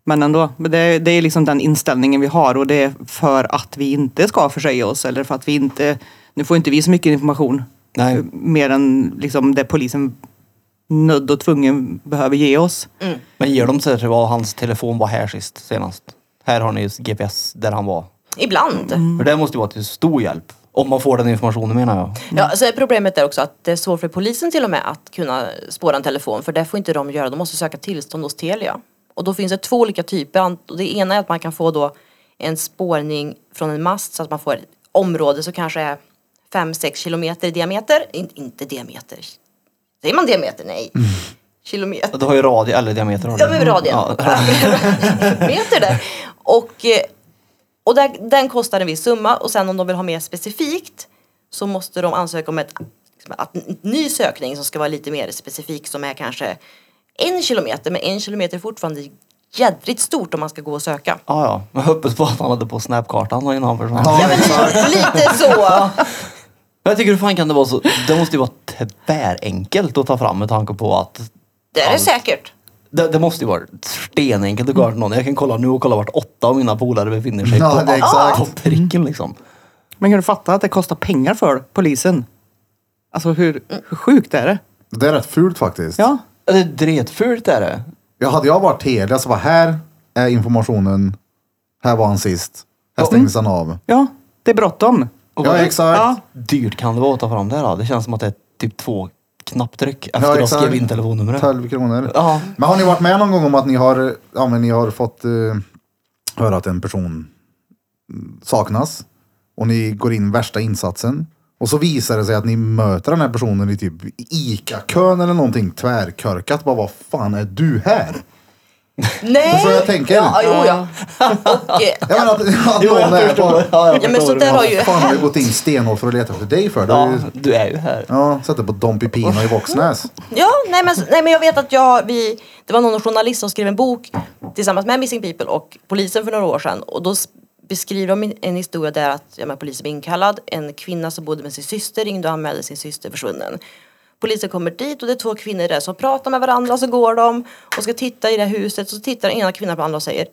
[SPEAKER 3] Men ändå, men det, det är liksom den inställningen vi har och det är för att vi inte ska försäga oss eller för att vi inte, nu får inte vi så mycket information.
[SPEAKER 2] Nej.
[SPEAKER 3] Mer än liksom, det polisen nödd och tvungen behöver ge oss.
[SPEAKER 4] Mm.
[SPEAKER 2] Men ger de sig till vad hans telefon var här sist, senast? Här har ni GPS där han var.
[SPEAKER 4] Ibland.
[SPEAKER 2] För det måste ju vara till stor hjälp. Om man får den informationen menar jag.
[SPEAKER 4] Ja, så är problemet är också att det är svårt för polisen till och med att kunna spåra en telefon för det får inte de göra. De måste söka tillstånd hos Telia. Och då finns det två olika typer. Ant- och Det ena är att man kan få då en spårning från en mast så att man får ett område som kanske är 5-6 kilometer i diameter. In, inte diameter. Säger man diameter? Nej. Kilometer.
[SPEAKER 2] Du har ju radie, eller diameter har du.
[SPEAKER 4] Ja, men radien. Meter där. Och, eh, och där, den kostar en viss summa och sen om de vill ha mer specifikt så måste de ansöka om ett, liksom, att, en ny sökning som ska vara lite mer specifik som är kanske en kilometer. Men en kilometer är fortfarande jädrigt stort om man ska gå och söka.
[SPEAKER 2] Ja, ja. Men jag hoppas på att han hade på snapkartan då innan han försvann.
[SPEAKER 1] Ja.
[SPEAKER 4] Ja, men li- lite så.
[SPEAKER 2] Men Jag tycker hur fan kan det vara så? Det måste ju vara tvärenkelt att ta fram med tanke på att
[SPEAKER 4] Det är det säkert.
[SPEAKER 2] det, det måste ju vara stenenkelt att gå till någon. Jag kan kolla nu och kolla vart åtta av mina polare befinner sig
[SPEAKER 1] Ja,
[SPEAKER 2] på,
[SPEAKER 1] det är exakt.
[SPEAKER 2] på pricken liksom.
[SPEAKER 3] Men kan du fatta att det kostar pengar för polisen? Alltså hur, hur sjukt är det?
[SPEAKER 1] Det är rätt fult faktiskt.
[SPEAKER 3] Ja.
[SPEAKER 2] Ja, Det är dretfult är det.
[SPEAKER 1] Ja, hade jag varit Telia så var här är informationen. Här var han sist. Här stängdes han av.
[SPEAKER 3] Ja, det är bråttom.
[SPEAKER 2] Och
[SPEAKER 1] Ja,
[SPEAKER 2] vad
[SPEAKER 1] exakt.
[SPEAKER 3] Ja.
[SPEAKER 2] dyrt kan det vara att ta fram det här då? Det känns som att det är typ två knapptryck efter
[SPEAKER 1] Ja,
[SPEAKER 2] att jag
[SPEAKER 1] exakt.
[SPEAKER 2] skrev in telefonnumret.
[SPEAKER 1] 12 kronor.
[SPEAKER 2] Ja.
[SPEAKER 1] Men har ni varit med någon gång om att ni har, ja, men ni har fått eh, höra att en person saknas och ni går in värsta insatsen och så visar det sig att ni möter den här personen i typ ICA-kön eller någonting tvärkörkat. Bara, vad fan är du här?
[SPEAKER 4] Nej.
[SPEAKER 1] Förstår du vad jag tänker?
[SPEAKER 4] Ja, jo, ja. Och, eh,
[SPEAKER 1] Jag menar att, att
[SPEAKER 2] Jo,
[SPEAKER 1] någon
[SPEAKER 2] jag
[SPEAKER 1] är
[SPEAKER 2] förstår.
[SPEAKER 1] bara,
[SPEAKER 2] Ja, jag
[SPEAKER 4] Ja, men
[SPEAKER 2] förstår.
[SPEAKER 4] sånt där har ju-
[SPEAKER 1] vad fan har vi gått in stenhårt för att leta efter dig för? Det har
[SPEAKER 2] Ja,
[SPEAKER 1] ju-
[SPEAKER 2] du är ju här.
[SPEAKER 1] Ja, sätter på Don Pepino i Våxnäs.
[SPEAKER 4] Ja, nej men, nej men jag vet att jag, vi, det var någon journalist som skrev en bok tillsammans med Missing People och polisen för några år sedan. Och då s- beskriver de en- en historia där att ja, men polisen blir inkallad. En kvinna som bodde med sin syster ringde och anmälde sin syster försvunnen. Polisen kommer dit och det är två kvinnor där som pratar med varandra så går de och ska titta i det här huset. Så tittar den ena kvinnan på den andra och säger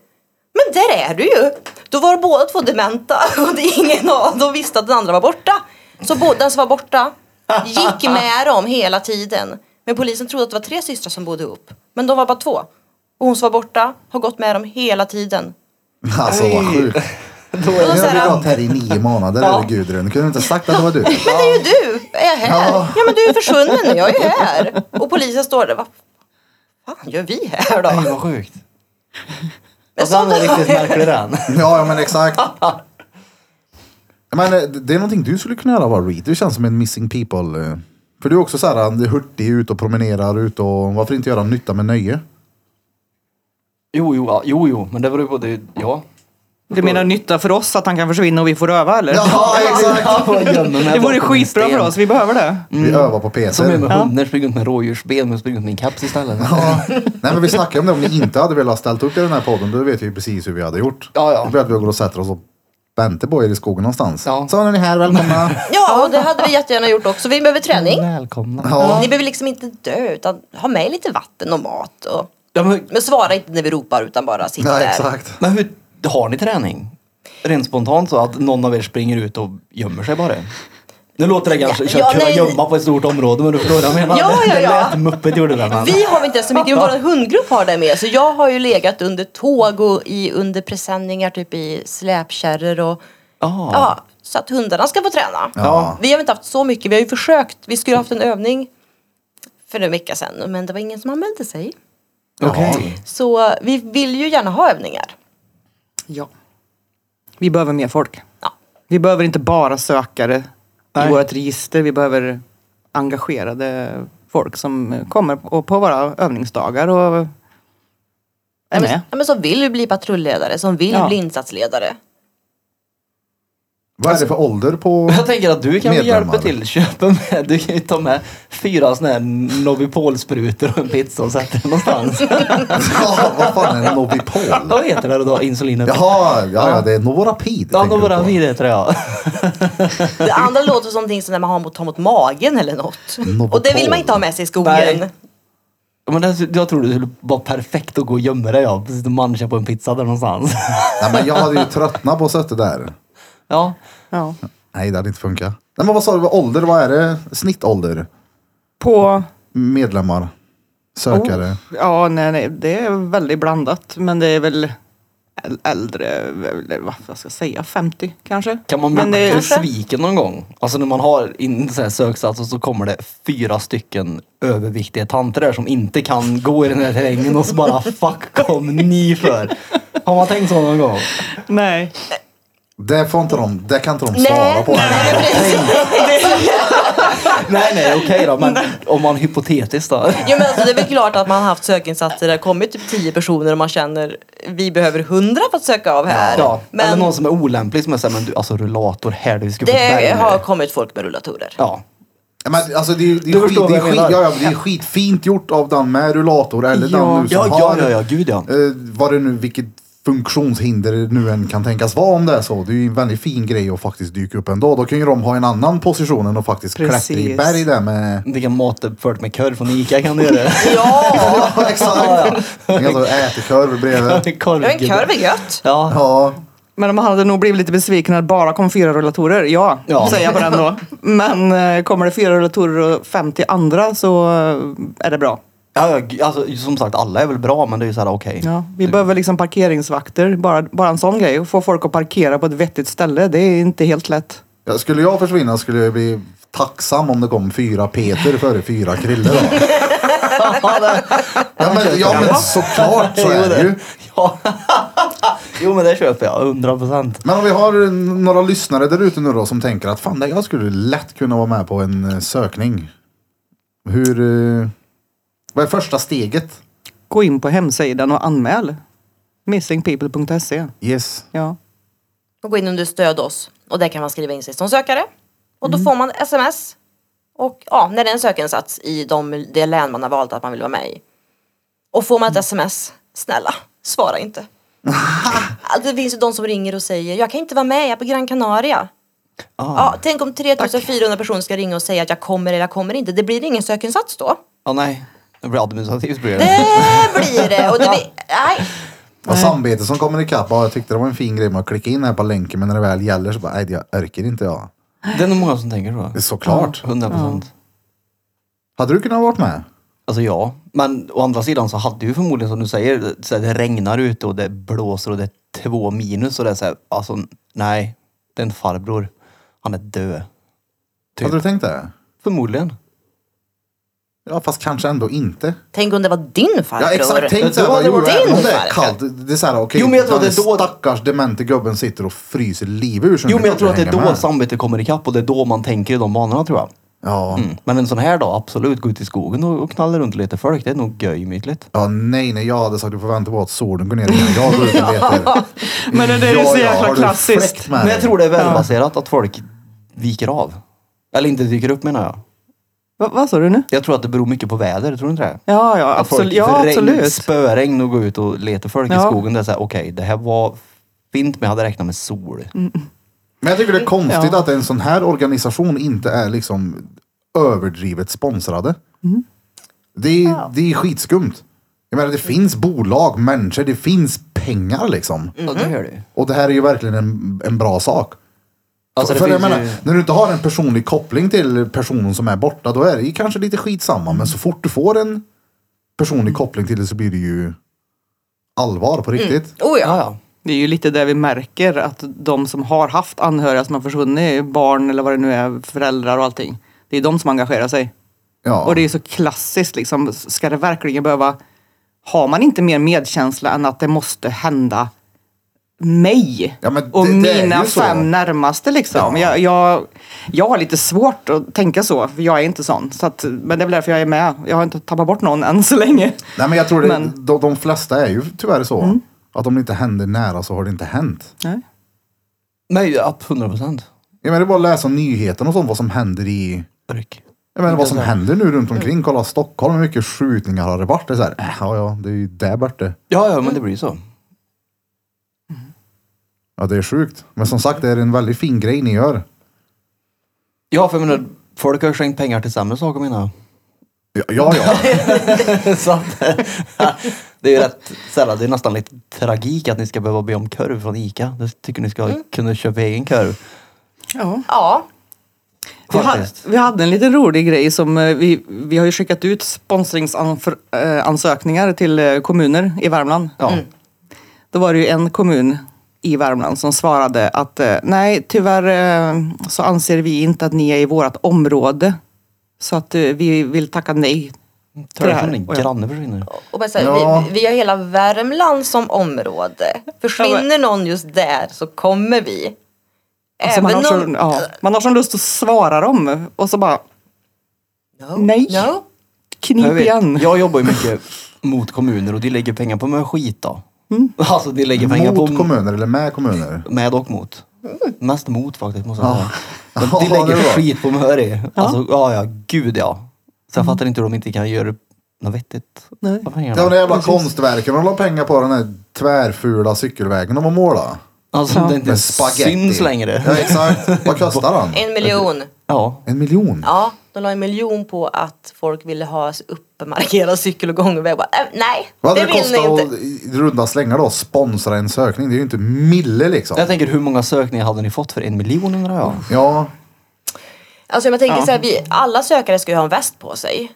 [SPEAKER 4] Men där är du ju! Då var båda två dementa och det är ingen av dem visste att den andra var borta. Så båda den som var borta gick med dem hela tiden. Men polisen trodde att det var tre systrar som bodde ihop. Men de var bara två. Och hon som var borta har gått med dem hela tiden.
[SPEAKER 1] Alltså vad sjukt.
[SPEAKER 4] Och
[SPEAKER 1] Nu
[SPEAKER 4] de
[SPEAKER 1] har
[SPEAKER 4] såhär,
[SPEAKER 1] vi gått här i nio månader, eller Gudrun. Kunde du inte sagt att det var du?
[SPEAKER 4] men det är ju du! Är jag här?
[SPEAKER 1] Ja.
[SPEAKER 4] Ja. men du är försvunnen nu, jag är ju här! Och polisen står där, vad fan gör vi här då?
[SPEAKER 2] Nej, vad sjukt.
[SPEAKER 4] Men
[SPEAKER 2] Och den
[SPEAKER 4] sånt
[SPEAKER 2] är riktigt
[SPEAKER 4] där-
[SPEAKER 2] märklig den.
[SPEAKER 1] Ja, ja men exakt. Men eh, det är någonting du skulle kunna göra bara Reed. Du känns som en missing people. eh. För du är också så här eh, hurtig, ut och promenerar, ut och varför inte göra nytta med nöje?
[SPEAKER 2] Jo, jo, ja, jo, jo, men det beror ju på det. Ja.
[SPEAKER 3] Du menar nytta för oss att han kan försvinna och vi får öva eller?
[SPEAKER 1] Ja, exakt.
[SPEAKER 3] det vore skitbra för oss, vi behöver det.
[SPEAKER 1] Vi övar på
[SPEAKER 2] Som är
[SPEAKER 1] Peter.
[SPEAKER 2] med hundar, springer runt med rådjursben, men springer runt med en keps istället.
[SPEAKER 1] Ja. Nej men vi snackade om det, om ni inte hade velat ställt upp i den här podden, då vet vi ju precis hur vi hade gjort.
[SPEAKER 2] Ja, ja.
[SPEAKER 1] Då började vi gå och sätta oss och vänta på er i skogen någonstans.
[SPEAKER 2] Ja. Mm.
[SPEAKER 1] Så nu är ni här, välkomna.
[SPEAKER 4] Ja, och det hade vi jättegärna gjort också. Vi behöver träning.
[SPEAKER 2] Välkomna.
[SPEAKER 1] Ja.
[SPEAKER 4] Ni behöver liksom inte dö, utan ha med lite vatten och mat. Och...
[SPEAKER 2] Ja, men,
[SPEAKER 4] Men svara inte när vi ropar, utan bara sitt
[SPEAKER 1] Ja,
[SPEAKER 4] där.
[SPEAKER 1] exakt.
[SPEAKER 2] men hur, har ni träning? Rent spontant så att någon av er springer ut och gömmer sig bara? Nu låter det kanske
[SPEAKER 4] Ja,
[SPEAKER 2] som
[SPEAKER 4] ja,
[SPEAKER 2] att kunna
[SPEAKER 4] nej.
[SPEAKER 2] gömma på ett stort område, men du förstår vad jag menar.
[SPEAKER 4] Ja, ja,
[SPEAKER 2] Det
[SPEAKER 4] ja.
[SPEAKER 2] lät muppet gjorde det. men-
[SPEAKER 4] Vi har väl inte så mycket, vår hundgrupp har det med. Så jag har ju legat under tåg och i, under presenningar, typ i släpkärror och
[SPEAKER 3] Ah.
[SPEAKER 2] Ja.
[SPEAKER 4] ja, så att hundarna ska få träna.
[SPEAKER 1] Ja.
[SPEAKER 4] Vi har väl inte haft så mycket, vi har ju försökt. Vi skulle ha haft en övning för en vecka sedan. Men det var ingen som anmälde sig.
[SPEAKER 2] Okej.
[SPEAKER 4] Så vi vill ju gärna ha övningar.
[SPEAKER 3] Ja. Vi behöver mer folk.
[SPEAKER 4] Ja.
[SPEAKER 3] Vi behöver inte bara sökare
[SPEAKER 2] Nej.
[SPEAKER 3] i vårt register. Vi behöver engagerade folk som kommer och- på våra övningsdagar och är med.
[SPEAKER 4] Ja, men som vill bli patrulledare, som vill
[SPEAKER 3] Ja.
[SPEAKER 4] bli insatsledare.
[SPEAKER 1] Vad är det för ålder på...
[SPEAKER 2] Jag tänker att du kan väl
[SPEAKER 1] Medlemmar.
[SPEAKER 2] hjälpa till. Köpa med. Du kan ju ta med fyra sådana här Novipol-sprutor och en pizza och sätta den någonstans.
[SPEAKER 1] ja, vad fan är en Nobipol?
[SPEAKER 2] Vad heter det då? Insulinet?
[SPEAKER 1] Jaha, ja, ja, det är Novorapid.
[SPEAKER 2] Ja,
[SPEAKER 1] tänker du på.
[SPEAKER 2] några vid det tror jag.
[SPEAKER 4] Det andra låter som någonting som när man har mot, har mot magen eller något.
[SPEAKER 1] Något
[SPEAKER 4] Och det vill
[SPEAKER 1] på.
[SPEAKER 4] man inte ha med sig i skogen.
[SPEAKER 2] Nej. Men det, jag tror det skulle vara perfekt att gå och gömma dig ja. Precis och mancha på en pizza där någonstans.
[SPEAKER 1] Nej, men jag hade ju tröttnat på att sätta där.
[SPEAKER 2] Ja.
[SPEAKER 3] Ja.
[SPEAKER 1] Nej, det hade inte funkat. Nej, men vad sa du, vad ålder, vad är det? Snittålder?
[SPEAKER 3] På...
[SPEAKER 1] Medlemmar? Sökare?
[SPEAKER 2] Oh.
[SPEAKER 3] Oh, Ja, nej, nej, det är väldigt blandat. Men det är väl äl- äldre, eller vad vad ska jag säga, 50 kanske.
[SPEAKER 2] Kan man
[SPEAKER 3] men
[SPEAKER 2] bli
[SPEAKER 3] det,
[SPEAKER 2] besviken någon gång? Alltså när man har en sån här söksats och så kommer det fyra stycken överviktiga tanter där som inte kan gå i den här terrängen och så bara fuck kom ni för? Har man tänkt så någon gång?
[SPEAKER 3] Nej.
[SPEAKER 1] Det får inte de, det kan inte de svara
[SPEAKER 4] Nej,
[SPEAKER 1] på.
[SPEAKER 4] nej, precis.
[SPEAKER 2] Nej nej okej då men om man hypotetiskt då.
[SPEAKER 4] Jo, men alltså, det är väl klart att man har haft sökinsatser där det kommit typ 10 personer och man känner vi behöver 100 för att söka av här.
[SPEAKER 2] Ja, Eller
[SPEAKER 4] men
[SPEAKER 2] någon som är olämplig som är såhär, men du alltså rullator här du ska få
[SPEAKER 4] det
[SPEAKER 2] berg nu."
[SPEAKER 4] har kommit folk med rullatorer.
[SPEAKER 2] Ja.
[SPEAKER 1] Ja, Men, alltså, det är, ju- det är,
[SPEAKER 2] Du
[SPEAKER 1] skit,
[SPEAKER 2] förstår
[SPEAKER 1] det är,
[SPEAKER 2] vad jag
[SPEAKER 1] skit,
[SPEAKER 2] menar.
[SPEAKER 1] ja, ja, det är skitfint gjort av den med rullator eller
[SPEAKER 3] Ja.
[SPEAKER 1] den nu som
[SPEAKER 2] Ja, ja,
[SPEAKER 1] har
[SPEAKER 2] ja, ja, gud ja.
[SPEAKER 1] eh, vad det nu, vilket funktionshinder det nu än kan tänkas vara om det är så. Det är ju en väldigt fin grej att faktiskt dyka upp ändå. Då kan ju de ha en annan position än att faktiskt klättra i
[SPEAKER 3] Precis.
[SPEAKER 1] berg där med...
[SPEAKER 2] Du kan mata fört med korv från Ica kan du göra det.
[SPEAKER 4] Ja,
[SPEAKER 1] Ja, exakt! De kan alltså äta korv bredvid.
[SPEAKER 4] ja men korv är gött.
[SPEAKER 2] Ja.
[SPEAKER 1] Ja,
[SPEAKER 3] Men man hade nog blivit lite besviken när det bara kom fyra rullatorer. Ja,
[SPEAKER 2] Ja.
[SPEAKER 3] säger jag på den då. Men eh, kommer det fyra rullatorer och 50 andra så eh, är det bra.
[SPEAKER 2] Ja, ja, alltså, som sagt, alla är väl bra men det är ju såhär okej.
[SPEAKER 3] Ja, vi behöver liksom parkeringsvakter. Bara, bara en sån grej. Få folk att parkera på ett vettigt ställe. Det är inte helt lätt.
[SPEAKER 1] Ja, skulle jag försvinna skulle jag bli tacksam om det kom fyra Peter före fyra Krille då. ja, men, ja men såklart så är det ju.
[SPEAKER 2] Ja. jo men det köper jag, 100 procent.
[SPEAKER 1] Men om vi har eh, några lyssnare där ute nu då som tänker att fan, jag skulle lätt kunna vara med på en eh, sökning. Hur... eh, Vad är första steget?
[SPEAKER 3] Gå in på hemsidan och anmäl. Missingpeople.se.
[SPEAKER 1] Yes.
[SPEAKER 3] E. Ja.
[SPEAKER 4] Och gå in under stöd oss. Och där kan man skriva in sig som sökare. Och
[SPEAKER 1] Mm.
[SPEAKER 4] då får man sms. Och ja, när det är en sökinsats i de, det län man har valt att man vill vara med i. Och får man
[SPEAKER 1] Mm.
[SPEAKER 4] ett sms, snälla, svara inte. Alltså, det finns ju de som ringer och säger, jag kan inte vara med, jag är på Gran Canaria.
[SPEAKER 2] Ah.
[SPEAKER 4] Ja, tänk om 3400 personer ska ringa och säga att jag kommer eller jag kommer inte. Det blir ingen sökinsats då.
[SPEAKER 2] Ja nej, det blir administrativt blir det.
[SPEAKER 4] Det blir det! Och det blir, nej.
[SPEAKER 1] Och samvetet som kommer ikapp. Ja, jag tyckte det var en fin grej med att klicka in här på länken men när det väl gäller så bara, nej jag orkar inte jag.
[SPEAKER 2] Det är nog många som tänker så.
[SPEAKER 1] Såklart.
[SPEAKER 2] 100 procent.
[SPEAKER 1] Hade du kunnat varit med?
[SPEAKER 2] Alltså ja, men å andra sidan så hade ju förmodligen som du säger, så här, det regnar ute och det blåser och det är två minus och det är så här, alltså nej, det är en farbror. Han är död. Typ.
[SPEAKER 1] Hade du tänkt det?
[SPEAKER 2] Förmodligen.
[SPEAKER 1] Mm. Ja, fast kanske ändå inte.
[SPEAKER 4] Tänk om det var din farbror.
[SPEAKER 1] Ja exakt, tänk såhär,
[SPEAKER 2] Då
[SPEAKER 1] vad
[SPEAKER 2] hade
[SPEAKER 1] gjorde
[SPEAKER 4] det
[SPEAKER 1] jag?
[SPEAKER 4] varit
[SPEAKER 1] Om det
[SPEAKER 4] din
[SPEAKER 1] är kallt, det är såhär okej,
[SPEAKER 2] Jo, men jag tror
[SPEAKER 1] den
[SPEAKER 2] att det är då-
[SPEAKER 1] stackars demente gubben sitter och fryser livet ur sig.
[SPEAKER 2] Jo
[SPEAKER 1] nu,
[SPEAKER 2] men jag tror att det är
[SPEAKER 1] hänga
[SPEAKER 2] då
[SPEAKER 1] med.
[SPEAKER 2] samvetet kommer ikapp och det är då man tänker i de banorna tror jag.
[SPEAKER 1] Ja.
[SPEAKER 2] Mm. Men en sån här dag, absolut, gå ut i skogen och, och knalla runt lite folk. Det är nog göjmytligt.
[SPEAKER 1] ja, nej nej, jag hade sagt du får vänta på att solen går ner innan jag går ut och letar.
[SPEAKER 3] Men det där är ju så jäkla klassiskt.
[SPEAKER 2] Men jag tror
[SPEAKER 1] det.
[SPEAKER 2] det är välbaserat att folk viker av. Eller inte dyker upp menar jag.
[SPEAKER 3] Va, vad sa du nu?
[SPEAKER 2] Jag tror att det beror mycket på väder, tror du inte det?
[SPEAKER 3] Ja, ja,
[SPEAKER 2] Att folk-
[SPEAKER 3] absolut. Ja,
[SPEAKER 2] för regn-
[SPEAKER 3] absolut.
[SPEAKER 2] Spöregn och gå ut och leta folk i
[SPEAKER 3] Ja.
[SPEAKER 2] skogen. Det är såhär, okej, det här var fint men jag hade räknat med sol.
[SPEAKER 1] Men jag tycker det är konstigt
[SPEAKER 3] Ja.
[SPEAKER 1] att en sån här organisation inte är liksom överdrivet sponsrade.
[SPEAKER 3] Mm.
[SPEAKER 1] Det, är, det är skitskumt. Jag menar det finns bolag, människor, det finns pengar liksom.
[SPEAKER 2] Ja, det gör det ju.
[SPEAKER 1] Och det här är ju verkligen en, en bra sak.
[SPEAKER 2] Alltså, det
[SPEAKER 1] för jag
[SPEAKER 2] finns
[SPEAKER 1] menar,
[SPEAKER 2] ju-
[SPEAKER 1] när du inte har en personlig koppling till personen som är borta, då är det ju kanske lite skitsamma. Men så fort du får en personlig koppling till det så blir det ju allvar
[SPEAKER 2] Mm.
[SPEAKER 1] på riktigt.
[SPEAKER 4] Oh ja.
[SPEAKER 2] Ja, ja.
[SPEAKER 3] Det är ju lite där vi märker att de som har haft anhöriga som har försvunnit, barn eller vad det nu är, föräldrar och allting. Det är de som engagerar sig.
[SPEAKER 1] Ja.
[SPEAKER 3] Och det är så klassiskt liksom. Ska det verkligen behöva... Har man inte mer medkänsla än att det måste hända mig
[SPEAKER 1] Ja, men
[SPEAKER 3] och
[SPEAKER 1] det- det är
[SPEAKER 3] mina
[SPEAKER 1] ju så.
[SPEAKER 3] fem närmaste liksom. Jag, jag, jag har lite svårt att tänka så, för jag är inte sån. Så att, men det är väl därför jag är med. Jag har inte tappat bort någon än så länge.
[SPEAKER 1] Nej, men jag tror det,
[SPEAKER 3] Men-
[SPEAKER 1] de, de flesta är ju tyvärr så.
[SPEAKER 2] Mm.
[SPEAKER 1] Att om det inte händer nära så har det inte hänt.
[SPEAKER 3] Nej.
[SPEAKER 2] Nej, upp 100 procent.
[SPEAKER 1] Jag menar, det är bara att läsa nyheterna och sånt, vad som händer i... Jag menar vad som händer nu runt
[SPEAKER 2] Mm.
[SPEAKER 1] omkring. Kolla Stockholm, hur mycket skjutningar har det varit? Det är så här, äh, ja, ja, det är ju där borta.
[SPEAKER 2] Ja, ja, men det blir ju så.
[SPEAKER 1] Ja, det är sjukt. Men som sagt, det är en väldigt fin grej ni gör.
[SPEAKER 2] Ja, för jag menar, folk har ju skänkt pengar till sämre saker menar
[SPEAKER 1] Ja, ja. ja.
[SPEAKER 2] jag. så att, det är ju rätt sällan, det är nästan lite tragik att ni ska behöva be om korv från Ica. Det tycker ni ska kunna köpa egen korv.
[SPEAKER 3] Ja.
[SPEAKER 4] Ja,
[SPEAKER 3] Vi hade,
[SPEAKER 2] Faktiskt.
[SPEAKER 3] vi hade en liten rolig grej som eh, vi, vi har ju skickat ut sponsringsansökningar till eh, kommuner i Värmland. Mm.
[SPEAKER 2] Ja.
[SPEAKER 3] Då var det ju en kommun i Värmland som svarade att eh, nej, tyvärr eh, så anser vi inte att ni är i vårt område. Så att eh, vi vill tacka nej.
[SPEAKER 2] Tror
[SPEAKER 3] det
[SPEAKER 2] jag
[SPEAKER 3] här.
[SPEAKER 2] från din
[SPEAKER 3] Och jag-
[SPEAKER 2] granne försvinner.
[SPEAKER 4] och bara så här,
[SPEAKER 1] Ja.
[SPEAKER 4] vi, vi har hela Värmland som område.
[SPEAKER 3] Ja,
[SPEAKER 4] Försvinner någon just där så kommer vi.
[SPEAKER 3] Alltså man, har sån, ja, man har sån lust att svara dem och så bara
[SPEAKER 4] No,
[SPEAKER 3] Nej.
[SPEAKER 4] No.
[SPEAKER 3] knip
[SPEAKER 2] Jag vet,
[SPEAKER 3] igen.
[SPEAKER 2] Jag jobbar ju mycket mot kommuner och de lägger pengar på mig skit då. Alltså de lägger pengar
[SPEAKER 1] Mot
[SPEAKER 2] på
[SPEAKER 1] kommuner eller med kommuner.
[SPEAKER 2] Med och mot. Mest mot faktiskt måste jag
[SPEAKER 1] Ja.
[SPEAKER 2] säga. Men
[SPEAKER 1] Ja,
[SPEAKER 2] De
[SPEAKER 1] det
[SPEAKER 2] lägger
[SPEAKER 1] är bra.
[SPEAKER 2] skit på Möri. Alltså, ja, ja, gud ja. Så jag fattar inte hur de inte kan göra något vettigt
[SPEAKER 3] Nej.
[SPEAKER 2] av
[SPEAKER 1] Det var
[SPEAKER 2] pengarna.
[SPEAKER 1] de jävla konstverken de la pengar på, den här tvärfula cykelvägen de har målat.
[SPEAKER 2] Alltså det är inte
[SPEAKER 1] Med spaghetti.
[SPEAKER 2] syns
[SPEAKER 1] Ja,
[SPEAKER 2] längre.
[SPEAKER 1] exakt. Vad kostar den?
[SPEAKER 4] En miljon.
[SPEAKER 2] Ja,
[SPEAKER 1] En miljon?
[SPEAKER 4] Ja, de la en miljon på att folk ville ha uppmarkerad cykel och gångväg. Jag Bara, "Äh, nej,
[SPEAKER 1] Vad
[SPEAKER 4] det
[SPEAKER 1] hade det
[SPEAKER 4] vill ni
[SPEAKER 1] kostat
[SPEAKER 4] inte.
[SPEAKER 1] att i runda slängar då sponsra en sökning? Det är ju inte mille liksom.
[SPEAKER 2] jag tänker hur många sökningar hade ni fått för en miljon undrar jag?
[SPEAKER 1] Ja,
[SPEAKER 4] Alltså jag tänker
[SPEAKER 3] Ja.
[SPEAKER 4] så här, vi, alla sökare ska ju ha en väst på sig.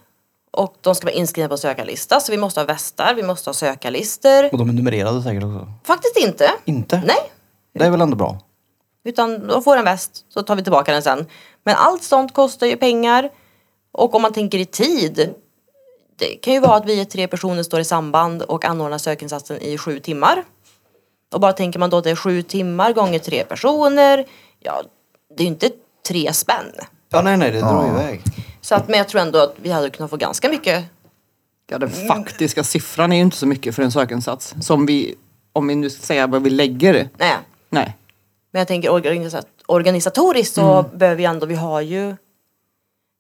[SPEAKER 4] Och de ska vara inskrivna på en sökarlista. Så vi måste ha västar, vi måste ha sökarlistor.
[SPEAKER 2] Och de är numrerade säkert också.
[SPEAKER 4] Faktiskt inte.
[SPEAKER 2] Inte?
[SPEAKER 4] Nej.
[SPEAKER 2] Det är väl ändå bra?
[SPEAKER 4] Utan de får en väst så tar vi tillbaka den sen. Men allt sånt kostar ju pengar. Och om man tänker i tid. Det kan ju vara att vi är tre personer står i samband och anordnar sökinsatsen i sju timmar. Och bara tänker man då att det är sju timmar gånger tre personer. Ja, det är ju inte tre spänn.
[SPEAKER 2] Ja, nej, nej, det drar iväg.
[SPEAKER 4] Så att, men jag tror ändå att vi hade kunnat få ganska mycket.
[SPEAKER 3] Ja, den faktiska siffran är ju inte så mycket för en sökinsats. Som vi, om vi nu ska säga vad vi lägger.
[SPEAKER 4] Nej.
[SPEAKER 3] Nej.
[SPEAKER 4] Men jag tänker organisa- organisatoriskt så
[SPEAKER 1] Mm.
[SPEAKER 4] behöver vi ändå, vi har ju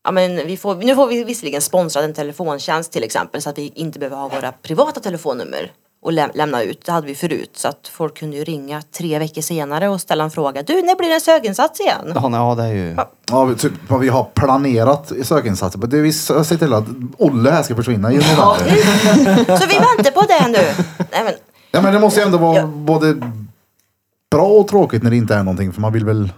[SPEAKER 4] Ja, men vi får, nu får vi visserligen sponsrad en telefontjänst till exempel så att vi inte behöver ha våra privata telefonnummer och läm- lämna ut. Det hade vi förut så att folk kunde ju ringa tre veckor senare och ställa en fråga. Du, när blir det en sökinsats igen?
[SPEAKER 2] Ja, nej, ja, det är ju...
[SPEAKER 1] ja vi- typ vad vi har planerat i sökinsatser. Men Det vi s- ser till att Olle här ska försvinna i november.
[SPEAKER 4] Så vi väntar på det nu. Nej, men,
[SPEAKER 1] Ja, men det måste ju ändå vara
[SPEAKER 4] Ja.
[SPEAKER 1] både bra och tråkigt när det inte är någonting. För man vill väl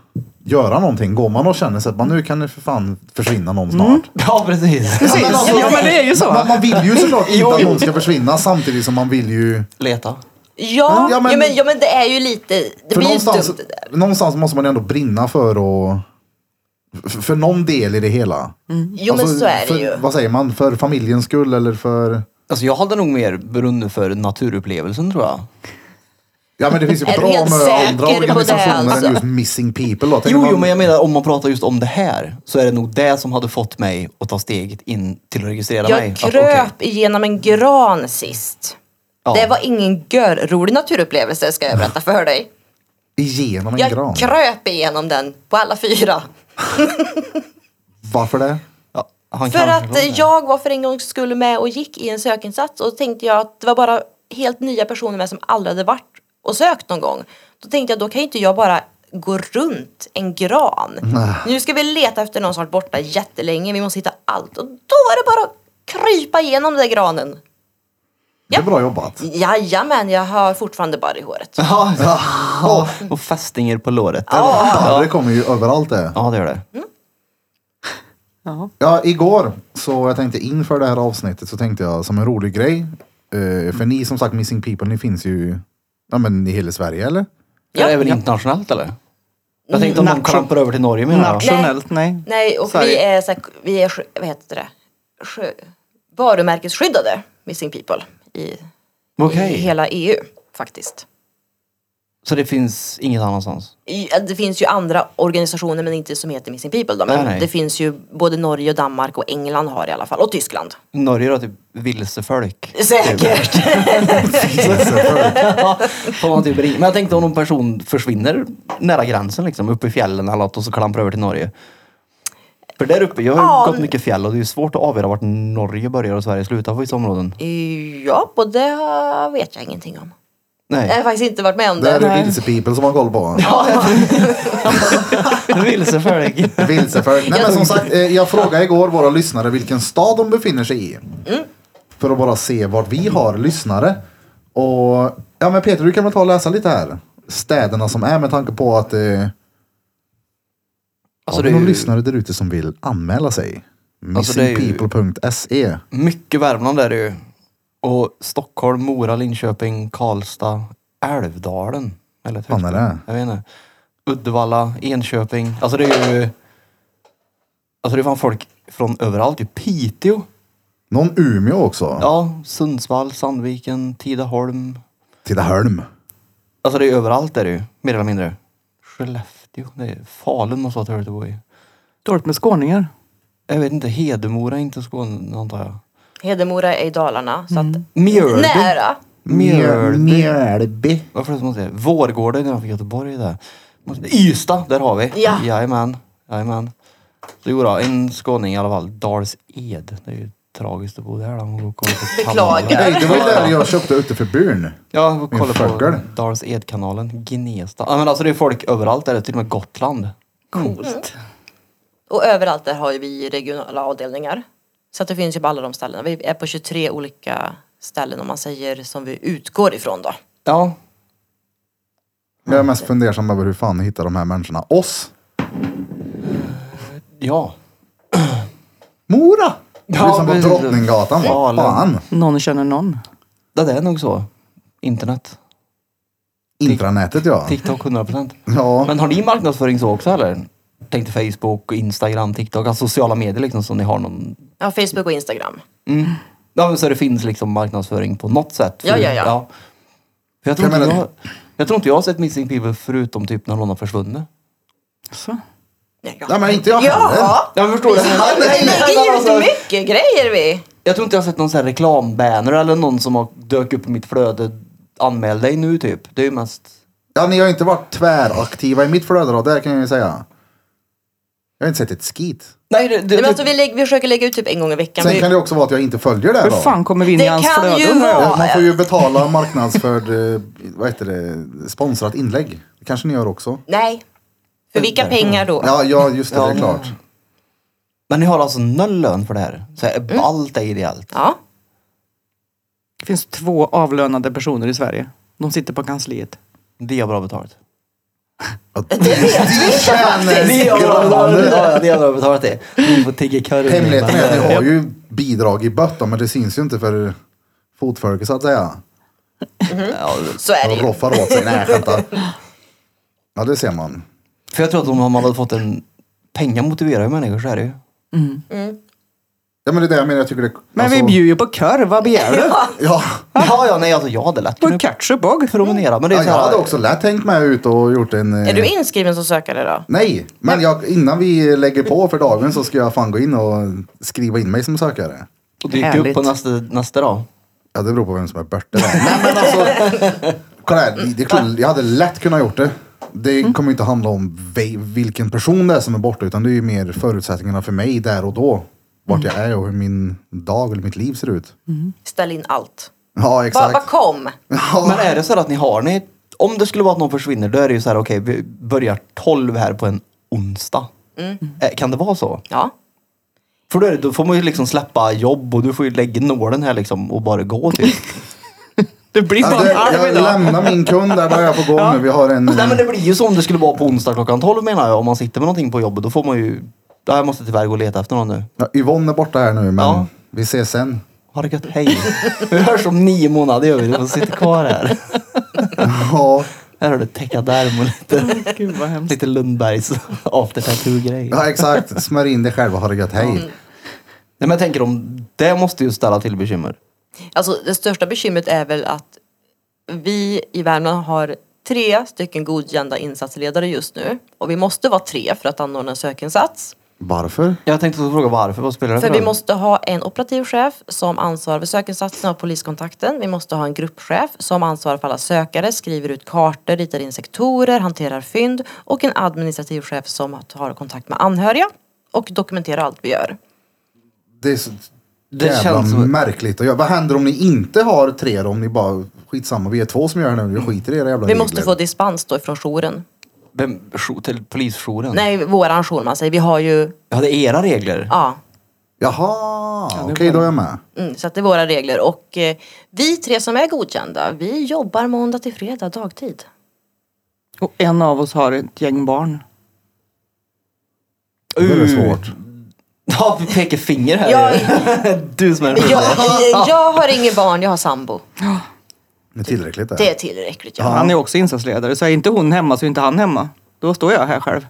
[SPEAKER 1] göra någonting. Går man och känner sig att man nu kan det för fan försvinna någon
[SPEAKER 4] Mm.
[SPEAKER 1] snart. alltså,
[SPEAKER 2] Ja, precis.
[SPEAKER 3] Precis.
[SPEAKER 4] alltså,
[SPEAKER 3] Ja, men det är ju
[SPEAKER 1] Man,
[SPEAKER 3] så.
[SPEAKER 1] man vill ju såklart inte att någon ska försvinna samtidigt som man vill ju...
[SPEAKER 2] Leta.
[SPEAKER 4] ja,
[SPEAKER 1] Ja,
[SPEAKER 4] ja,
[SPEAKER 1] men-
[SPEAKER 4] men, ja, men det är ju lite, det
[SPEAKER 1] För
[SPEAKER 4] blir ju dumt
[SPEAKER 1] någonstans,
[SPEAKER 4] det där.
[SPEAKER 1] någonstans måste man ju ändå brinna för och... f- För någon del i det hela.
[SPEAKER 4] Mm. Jo men
[SPEAKER 1] Alltså,
[SPEAKER 4] så är
[SPEAKER 1] för,
[SPEAKER 4] det ju.
[SPEAKER 1] Vad säger man? För familjens skull eller för...
[SPEAKER 2] Alltså jag hade nog mer brunnit för naturupplevelsen tror jag.
[SPEAKER 1] Ja men det finns ju
[SPEAKER 4] Är du
[SPEAKER 1] bra
[SPEAKER 4] helt
[SPEAKER 1] med andra
[SPEAKER 4] säker på det,
[SPEAKER 1] organisationer
[SPEAKER 4] alltså?
[SPEAKER 1] än just Missing People då. Tänker
[SPEAKER 2] Jo, jo,
[SPEAKER 1] man-
[SPEAKER 2] men jag menar om man pratar just om det här så är det nog det som hade fått mig att ta steget in till att registrera mig.
[SPEAKER 4] Jag
[SPEAKER 2] Att, okej.
[SPEAKER 4] kröp igenom en gran sist.
[SPEAKER 2] Ja.
[SPEAKER 4] Det var ingen görrolig naturupplevelse ska jag berätta för dig.
[SPEAKER 1] Igenom en
[SPEAKER 4] Jag
[SPEAKER 1] gran.
[SPEAKER 4] kröp igenom den på alla fyra.
[SPEAKER 1] Varför det?
[SPEAKER 2] Ja, han
[SPEAKER 4] För
[SPEAKER 2] kanske
[SPEAKER 4] att
[SPEAKER 2] kom där.
[SPEAKER 4] eh, jag var för en gångs skull med och gick i en sökinsats och då tänkte jag att det var bara helt nya personer med som aldrig hade varit och sökt någon gång. Då tänkte jag då kan ju inte jag bara gå runt en gran. Nu ska vi leta efter någon som varit borta jättelänge, vi måste hitta allt. Och då är det bara att krypa igenom den där granen.
[SPEAKER 1] Det är bra jobbat.
[SPEAKER 4] Jajamän, jag har fortfarande bara i håret.
[SPEAKER 2] Ja, ja, och fästingar på låret.
[SPEAKER 1] Ja, Det kommer ju överallt det.
[SPEAKER 2] Ja, det gör det.
[SPEAKER 4] Mm.
[SPEAKER 3] Ja.
[SPEAKER 1] Ja, igår så jag tänkte inför det här avsnittet så tänkte jag som en rolig grej. eh, För ni som sagt Missing People, ni finns ju ja, men, i hela Sverige eller?
[SPEAKER 2] Är det även internationellt eller? Jag tänkte om
[SPEAKER 3] Mm,
[SPEAKER 2] någon
[SPEAKER 3] nation-
[SPEAKER 2] klampar över till Norge menar jag.
[SPEAKER 3] Nationellt, nej.
[SPEAKER 4] Nej, och
[SPEAKER 3] Sverige.
[SPEAKER 4] vi är, så här, vi är, sj- vad heter det? sjö, varumärkesskyddade Missing People i,
[SPEAKER 2] Okej.
[SPEAKER 4] i hela EU faktiskt.
[SPEAKER 2] Så det finns inget annanstans?
[SPEAKER 4] I, det finns ju andra organisationer men inte som heter Missing People då. Men
[SPEAKER 2] Nej, nej.
[SPEAKER 4] det finns ju både Norge och Danmark och England har i alla fall. Och Tyskland.
[SPEAKER 2] Norge då, typ vilsefolk?
[SPEAKER 4] Säkert.
[SPEAKER 2] Får man typ ringa. Men jag tänkte om någon person försvinner nära gränsen liksom, uppe i fjällen eller något och så klampar över till Norge. För där uppe, jag har ju
[SPEAKER 4] Ja,
[SPEAKER 2] gått
[SPEAKER 4] men-
[SPEAKER 2] mycket fjäll och det är ju svårt att avgöra vart Norge börjar och Sverige slutar på vissa områden.
[SPEAKER 4] ja, och det vet jag ingenting om. Jag har
[SPEAKER 2] Nej,
[SPEAKER 4] faktiskt inte varit med om
[SPEAKER 1] Det är
[SPEAKER 4] det.
[SPEAKER 3] Nej.
[SPEAKER 1] det vilsepipen som har koll på.
[SPEAKER 2] vilsefolk.
[SPEAKER 1] Vilseförd. Nej men som sagt, eh, jag frågade igår våra lyssnare vilken stad de befinner sig i. För att bara se vart vi har lyssnare. Och ja men Peter, du kan väl ta och läsa lite här. Städerna som är med tanke på att eh,
[SPEAKER 2] Alltså
[SPEAKER 1] har
[SPEAKER 2] det
[SPEAKER 1] vi
[SPEAKER 2] är
[SPEAKER 1] någon
[SPEAKER 2] ju
[SPEAKER 1] lyssnare där ute som vill anmäla sig?
[SPEAKER 2] Alltså, det är ju-
[SPEAKER 1] Missingpeople.se
[SPEAKER 2] mycket Värmland är det ju. Och Stockholm, Mora, Linköping, Karlstad, Älvdalen. Eller
[SPEAKER 1] Fan är det?
[SPEAKER 2] Jag vet inte. Uddevalla, Enköping. Alltså det är ju... Alltså det är fan folk från överallt ju. Piteå.
[SPEAKER 1] Någon Umeå också?
[SPEAKER 2] Ja, Sundsvall, Sandviken, Tidaholm.
[SPEAKER 1] Tidaholm.
[SPEAKER 2] Alltså det är överallt är det ju, mer eller mindre. Skellefteå, det är Falun och så tror jag att det bor i.
[SPEAKER 3] Dåligt med skåningar.
[SPEAKER 2] Jag vet inte, Hedemora är inte Skåne antar jag.
[SPEAKER 4] Hedemora är i Dalarna. Så att
[SPEAKER 2] Mm. Mjölby.
[SPEAKER 4] nära.
[SPEAKER 1] Mjöl- Mjölby.
[SPEAKER 2] Varför är det som man säger? Vårgården utanför Göteborg är där. Måste- Ystad, där har vi.
[SPEAKER 4] Ja.
[SPEAKER 2] Jajamän. Jajamän. Så jodå, en skåning i alla fall. Dals Ed. Det är ju tragiskt att bo där då. Man går och kollar på
[SPEAKER 4] Beklagar.
[SPEAKER 2] kanalen.
[SPEAKER 1] Nej, det var ju där jag köpte ute för byn.
[SPEAKER 2] Ja, och
[SPEAKER 1] Min
[SPEAKER 2] kolla på
[SPEAKER 1] fucker.
[SPEAKER 2] Dals Ed-kanalen. Gnesta. Ja men alltså det är folk överallt där. Till och med Gotland.
[SPEAKER 4] Mm.
[SPEAKER 3] Coolt.
[SPEAKER 4] Och överallt där har ju vi regionala avdelningar. Så att det finns ju på alla de ställena. Vi är på 23 olika ställen om man säger som vi utgår ifrån då.
[SPEAKER 2] Ja,
[SPEAKER 1] Jag är mest fundersam över hur fan hittar de här människorna oss?
[SPEAKER 2] ja.
[SPEAKER 1] Mora! Det är
[SPEAKER 2] Ja,
[SPEAKER 1] som på
[SPEAKER 2] precis.
[SPEAKER 1] Drottninggatan. Vad
[SPEAKER 2] Falun.
[SPEAKER 1] fan?
[SPEAKER 3] Någon känner någon.
[SPEAKER 2] Ja, Det är nog så. Internet.
[SPEAKER 1] Intranätet ja.
[SPEAKER 2] TikTok 100%.
[SPEAKER 1] Ja,
[SPEAKER 2] Men har ni marknadsföring så också eller? Tänkte Facebook, och Instagram, TikTok, alltså sociala medier liksom som ni har någon...
[SPEAKER 4] Ja, Facebook och Instagram.
[SPEAKER 2] Mm. Ja men så det finns liksom marknadsföring på något sätt.
[SPEAKER 4] Ja, ja, ja.
[SPEAKER 2] För jag, tror
[SPEAKER 1] Jag
[SPEAKER 2] inte
[SPEAKER 1] menar-
[SPEAKER 2] jag, jag tror inte jag har sett Missing People förutom typ när någon har försvunnit.
[SPEAKER 3] Så.
[SPEAKER 4] Nej,
[SPEAKER 1] Ja, men inte jag heller.
[SPEAKER 4] Ja!
[SPEAKER 2] Jag förstår det.
[SPEAKER 4] Vi lägger ut mycket grejer vi!
[SPEAKER 2] alltså, Jag tror inte jag har sett någon sån här reklambanner eller någon som har dök upp i mitt flöde. Anmäl dig nu typ. Det är ju mest...
[SPEAKER 1] ja, ni har ju inte varit tväraktiva i mitt flöde då, det kan jag ju säga. Jag har inte sett ett skit.
[SPEAKER 2] Nej, det, det,
[SPEAKER 4] Nej, men alltså, vi, lägger, vi försöker lägga ut typ en gång i veckan.
[SPEAKER 1] Sen
[SPEAKER 4] Vi-
[SPEAKER 1] kan det också vara att jag inte följer det
[SPEAKER 3] Hur
[SPEAKER 1] då.
[SPEAKER 3] fan kommer vi in
[SPEAKER 4] Det
[SPEAKER 3] i hans
[SPEAKER 4] kan
[SPEAKER 3] flöde?
[SPEAKER 4] ju
[SPEAKER 3] undrar jag?
[SPEAKER 1] Ja, Man får ju betala marknadsförd, eh, vad heter det, sponsrat inlägg. Det kanske ni gör också.
[SPEAKER 4] Nej. För vilka pengar då?
[SPEAKER 1] Ja, ja just det, det
[SPEAKER 2] Ja.
[SPEAKER 1] är klart.
[SPEAKER 2] Men ni har alltså noll lön för det här? Så här,
[SPEAKER 4] Mm.
[SPEAKER 2] Allt är ideellt?
[SPEAKER 4] Ja.
[SPEAKER 3] Det finns två avlönade personer i Sverige. De sitter på kansliet.
[SPEAKER 2] Vi har bra betalt.
[SPEAKER 1] Ni
[SPEAKER 2] Vi
[SPEAKER 1] tjänar
[SPEAKER 2] har bra betalt!
[SPEAKER 1] grabbarna.
[SPEAKER 2] Ja, det har bra betalt det. Ni får tigga korv.
[SPEAKER 1] Hemligheten är att ni har
[SPEAKER 2] Ja.
[SPEAKER 1] ju bidrag i bötta, men det syns ju inte för fotfolket så att säga.
[SPEAKER 4] Så är det
[SPEAKER 1] De
[SPEAKER 4] ju.
[SPEAKER 1] roffar åt sig. Nej, jag skämtar. Ja, det ser man.
[SPEAKER 2] För jag tror att om man hade fått en... Pengar motiverar ju människor, så är det ju.
[SPEAKER 1] Ja, men det är det jag menar. Jag tycker det... alltså,
[SPEAKER 3] Men vi bjuder ju på korv, vad begär du?
[SPEAKER 1] Ja,
[SPEAKER 2] Ja, ja, nej alltså jag hade lätt
[SPEAKER 3] På
[SPEAKER 2] kunnat
[SPEAKER 3] ketchup och?
[SPEAKER 2] promenera. Men det är
[SPEAKER 1] ja,
[SPEAKER 2] så
[SPEAKER 1] jag
[SPEAKER 2] här,
[SPEAKER 1] hade också lätt tänkt mig ut och gjort en... eh,
[SPEAKER 4] Är du inskriven som sökare då?
[SPEAKER 1] Nej, men jag, innan vi lägger på för dagen så ska jag fan gå in och skriva in mig som sökare.
[SPEAKER 2] Och dyka upp
[SPEAKER 3] Härligt.
[SPEAKER 2] på nästa, nästa dag.
[SPEAKER 1] Ja, det beror på vem som är Börte. där. Nej, men alltså. Kolla här, det är klart, jag hade lätt kunnat gjort det.
[SPEAKER 4] Mm.
[SPEAKER 1] Det kommer ju inte handla om ve- vilken person det är som är borta, utan det är ju mer förutsättningarna för mig där och då. Vart
[SPEAKER 4] Mm.
[SPEAKER 1] jag är och hur min dag eller mitt liv ser ut.
[SPEAKER 4] Ställ in allt.
[SPEAKER 1] Ja,
[SPEAKER 4] Bara,
[SPEAKER 1] exakt.
[SPEAKER 4] bara kom!
[SPEAKER 2] Men är det så här att ni har ni... Om det skulle vara att någon försvinner, då är det ju så här, okej, vi börjar 12 här på en onsdag. Eh, Kan det vara så?
[SPEAKER 4] Ja.
[SPEAKER 2] För då, är det, då får man ju liksom släppa jobb och du får ju lägga nålen här liksom och bara gå typ.
[SPEAKER 1] Mm.
[SPEAKER 3] Det blir
[SPEAKER 1] Ja,
[SPEAKER 3] bara
[SPEAKER 1] det,
[SPEAKER 3] en arm
[SPEAKER 1] jag
[SPEAKER 3] idag.
[SPEAKER 1] lämnar min kund där bara jag får gå nu. Vi har en...
[SPEAKER 2] Nej men det blir ju som det skulle vara på onsdag klockan 12 menar jag. Om man sitter med någonting på jobbet då får man ju... Ja, jag måste tyvärr gå och leta efter någon nu.
[SPEAKER 1] Ja, Yvonne är borta här nu, men
[SPEAKER 2] Ja.
[SPEAKER 1] vi ses sen.
[SPEAKER 2] Ha det gött, hej. Vi hörs om nio månader gör vi. Du får sitta kvar här.
[SPEAKER 1] Ja,
[SPEAKER 2] Här har du täckaderm och lite,
[SPEAKER 3] Gud vad hemskt.
[SPEAKER 2] lite Lundbergs after tattoo grej.
[SPEAKER 1] ja exakt. Smörj in dig själv och ha det gött. Hej.
[SPEAKER 2] Nej, men jag tänker om det måste ju ställa till bekymmer.
[SPEAKER 4] Alltså det största bekymret är väl att vi i Värmland har tre stycken godkända insatsledare just nu. Och vi måste vara tre för att anordna en sökinsats.
[SPEAKER 1] Varför?
[SPEAKER 2] Jag tänkte fråga varför. Vad spelar det
[SPEAKER 4] För
[SPEAKER 2] roll?
[SPEAKER 4] vi måste ha en operativ chef som ansvarar för sökinsatsen och poliskontakten. Vi måste ha en gruppchef som ansvarar för alla sökare, skriver ut kartor, ritar in sektorer, hanterar fynd. Och en administrativ chef som tar kontakt med anhöriga och dokumenterar allt vi gör.
[SPEAKER 1] Det är så
[SPEAKER 2] Det
[SPEAKER 1] jävla
[SPEAKER 2] känns som-
[SPEAKER 1] märkligt. att göra. vad händer om ni inte har tre då? Om ni bara, skitsamma, vi är två som gör det nu. Vi skiter i era jävla
[SPEAKER 4] Vi måste
[SPEAKER 1] regler.
[SPEAKER 4] få dispens då ifrån jouren.
[SPEAKER 2] Vem, jour- till polisjouren?
[SPEAKER 4] Nej, våran jour man säger. Vi har ju,
[SPEAKER 2] Ja, det är era regler.
[SPEAKER 4] ja.
[SPEAKER 1] Jaha, okej
[SPEAKER 2] var-
[SPEAKER 1] då är jag med.
[SPEAKER 4] Mm, så att det är våra regler. Och eh, vi tre som är godkända, vi jobbar måndag till fredag dagtid.
[SPEAKER 3] Och en av oss har ett gäng barn.
[SPEAKER 1] Det är svårt.
[SPEAKER 2] Ja, vi pekar finger här.
[SPEAKER 4] Ja.
[SPEAKER 2] du som är en
[SPEAKER 4] Jag, jag har inget barn, jag har sambo.
[SPEAKER 1] Det är tillräckligt
[SPEAKER 4] Det
[SPEAKER 1] det.
[SPEAKER 4] är tillräckligt.
[SPEAKER 1] Ja.
[SPEAKER 4] Ja.
[SPEAKER 3] Han är också insatsledare, så är inte hon hemma så är inte han hemma. Då står jag här själv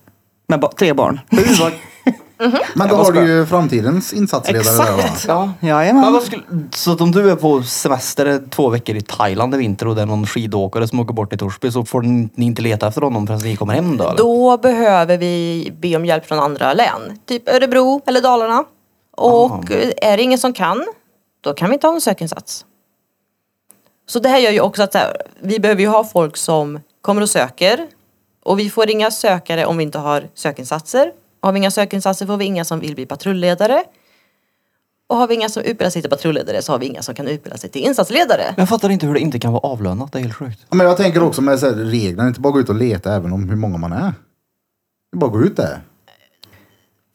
[SPEAKER 3] med ba- tre barn.
[SPEAKER 1] Men då
[SPEAKER 2] Jag
[SPEAKER 1] har
[SPEAKER 2] måste-
[SPEAKER 1] du ju framtidens insatsledare där va?
[SPEAKER 3] Exakt!
[SPEAKER 2] Ja. Men
[SPEAKER 3] Jajamän.
[SPEAKER 2] vad skulle, så att om du är på semester två veckor i Thailand i vinter och det är någon skidåkare som åker bort till Torsby så får ni ni inte leta efter honom förrän ni kommer hem då? eller?
[SPEAKER 4] Då behöver vi be om hjälp från andra län. Typ Örebro eller Dalarna. Och
[SPEAKER 2] Ah.
[SPEAKER 4] eh, är det ingen som kan, då kan vi inte ha en sökinsats. Så det här gör ju också att så här, vi behöver ju ha folk som kommer och söker. Och vi får inga sökare om vi inte har sökinsatser. Har vi inga sökinsatser får vi inga som vill bli patrulledare. Och har vi inga som utbildar sig till patrulledare så har vi inga som kan utbilda sig till insatsledare.
[SPEAKER 2] Jag fattar inte hur det inte kan vara avlönat, det är helt sjukt.
[SPEAKER 1] Ja, Men jag tänker också med så här, reglerna, inte bara gå ut och leta även om hur många man är. Det är bara gå ut där.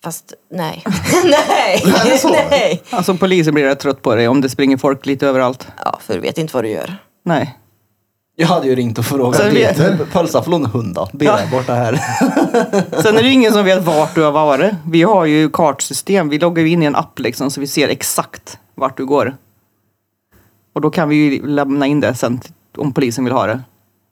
[SPEAKER 4] Fast nej. nej.
[SPEAKER 1] Det är så.
[SPEAKER 4] nej.
[SPEAKER 3] Alltså polisen blir rätt trött på dig om det springer folk lite överallt.
[SPEAKER 4] Ja, för du vet inte vad du gör.
[SPEAKER 3] Nej.
[SPEAKER 2] Jag hade ju ringt och frågat.
[SPEAKER 3] Sen vet-
[SPEAKER 2] Peter, Pölsaflon hunda, be
[SPEAKER 3] Ja.
[SPEAKER 2] där borta här.
[SPEAKER 3] Sen är det ju ingen som vet vart du har varit. Vi har ju kartsystem. Vi loggar ju in i en app liksom så vi ser exakt vart du går. Och då kan vi ju lämna in det sen t- om polisen vill ha det.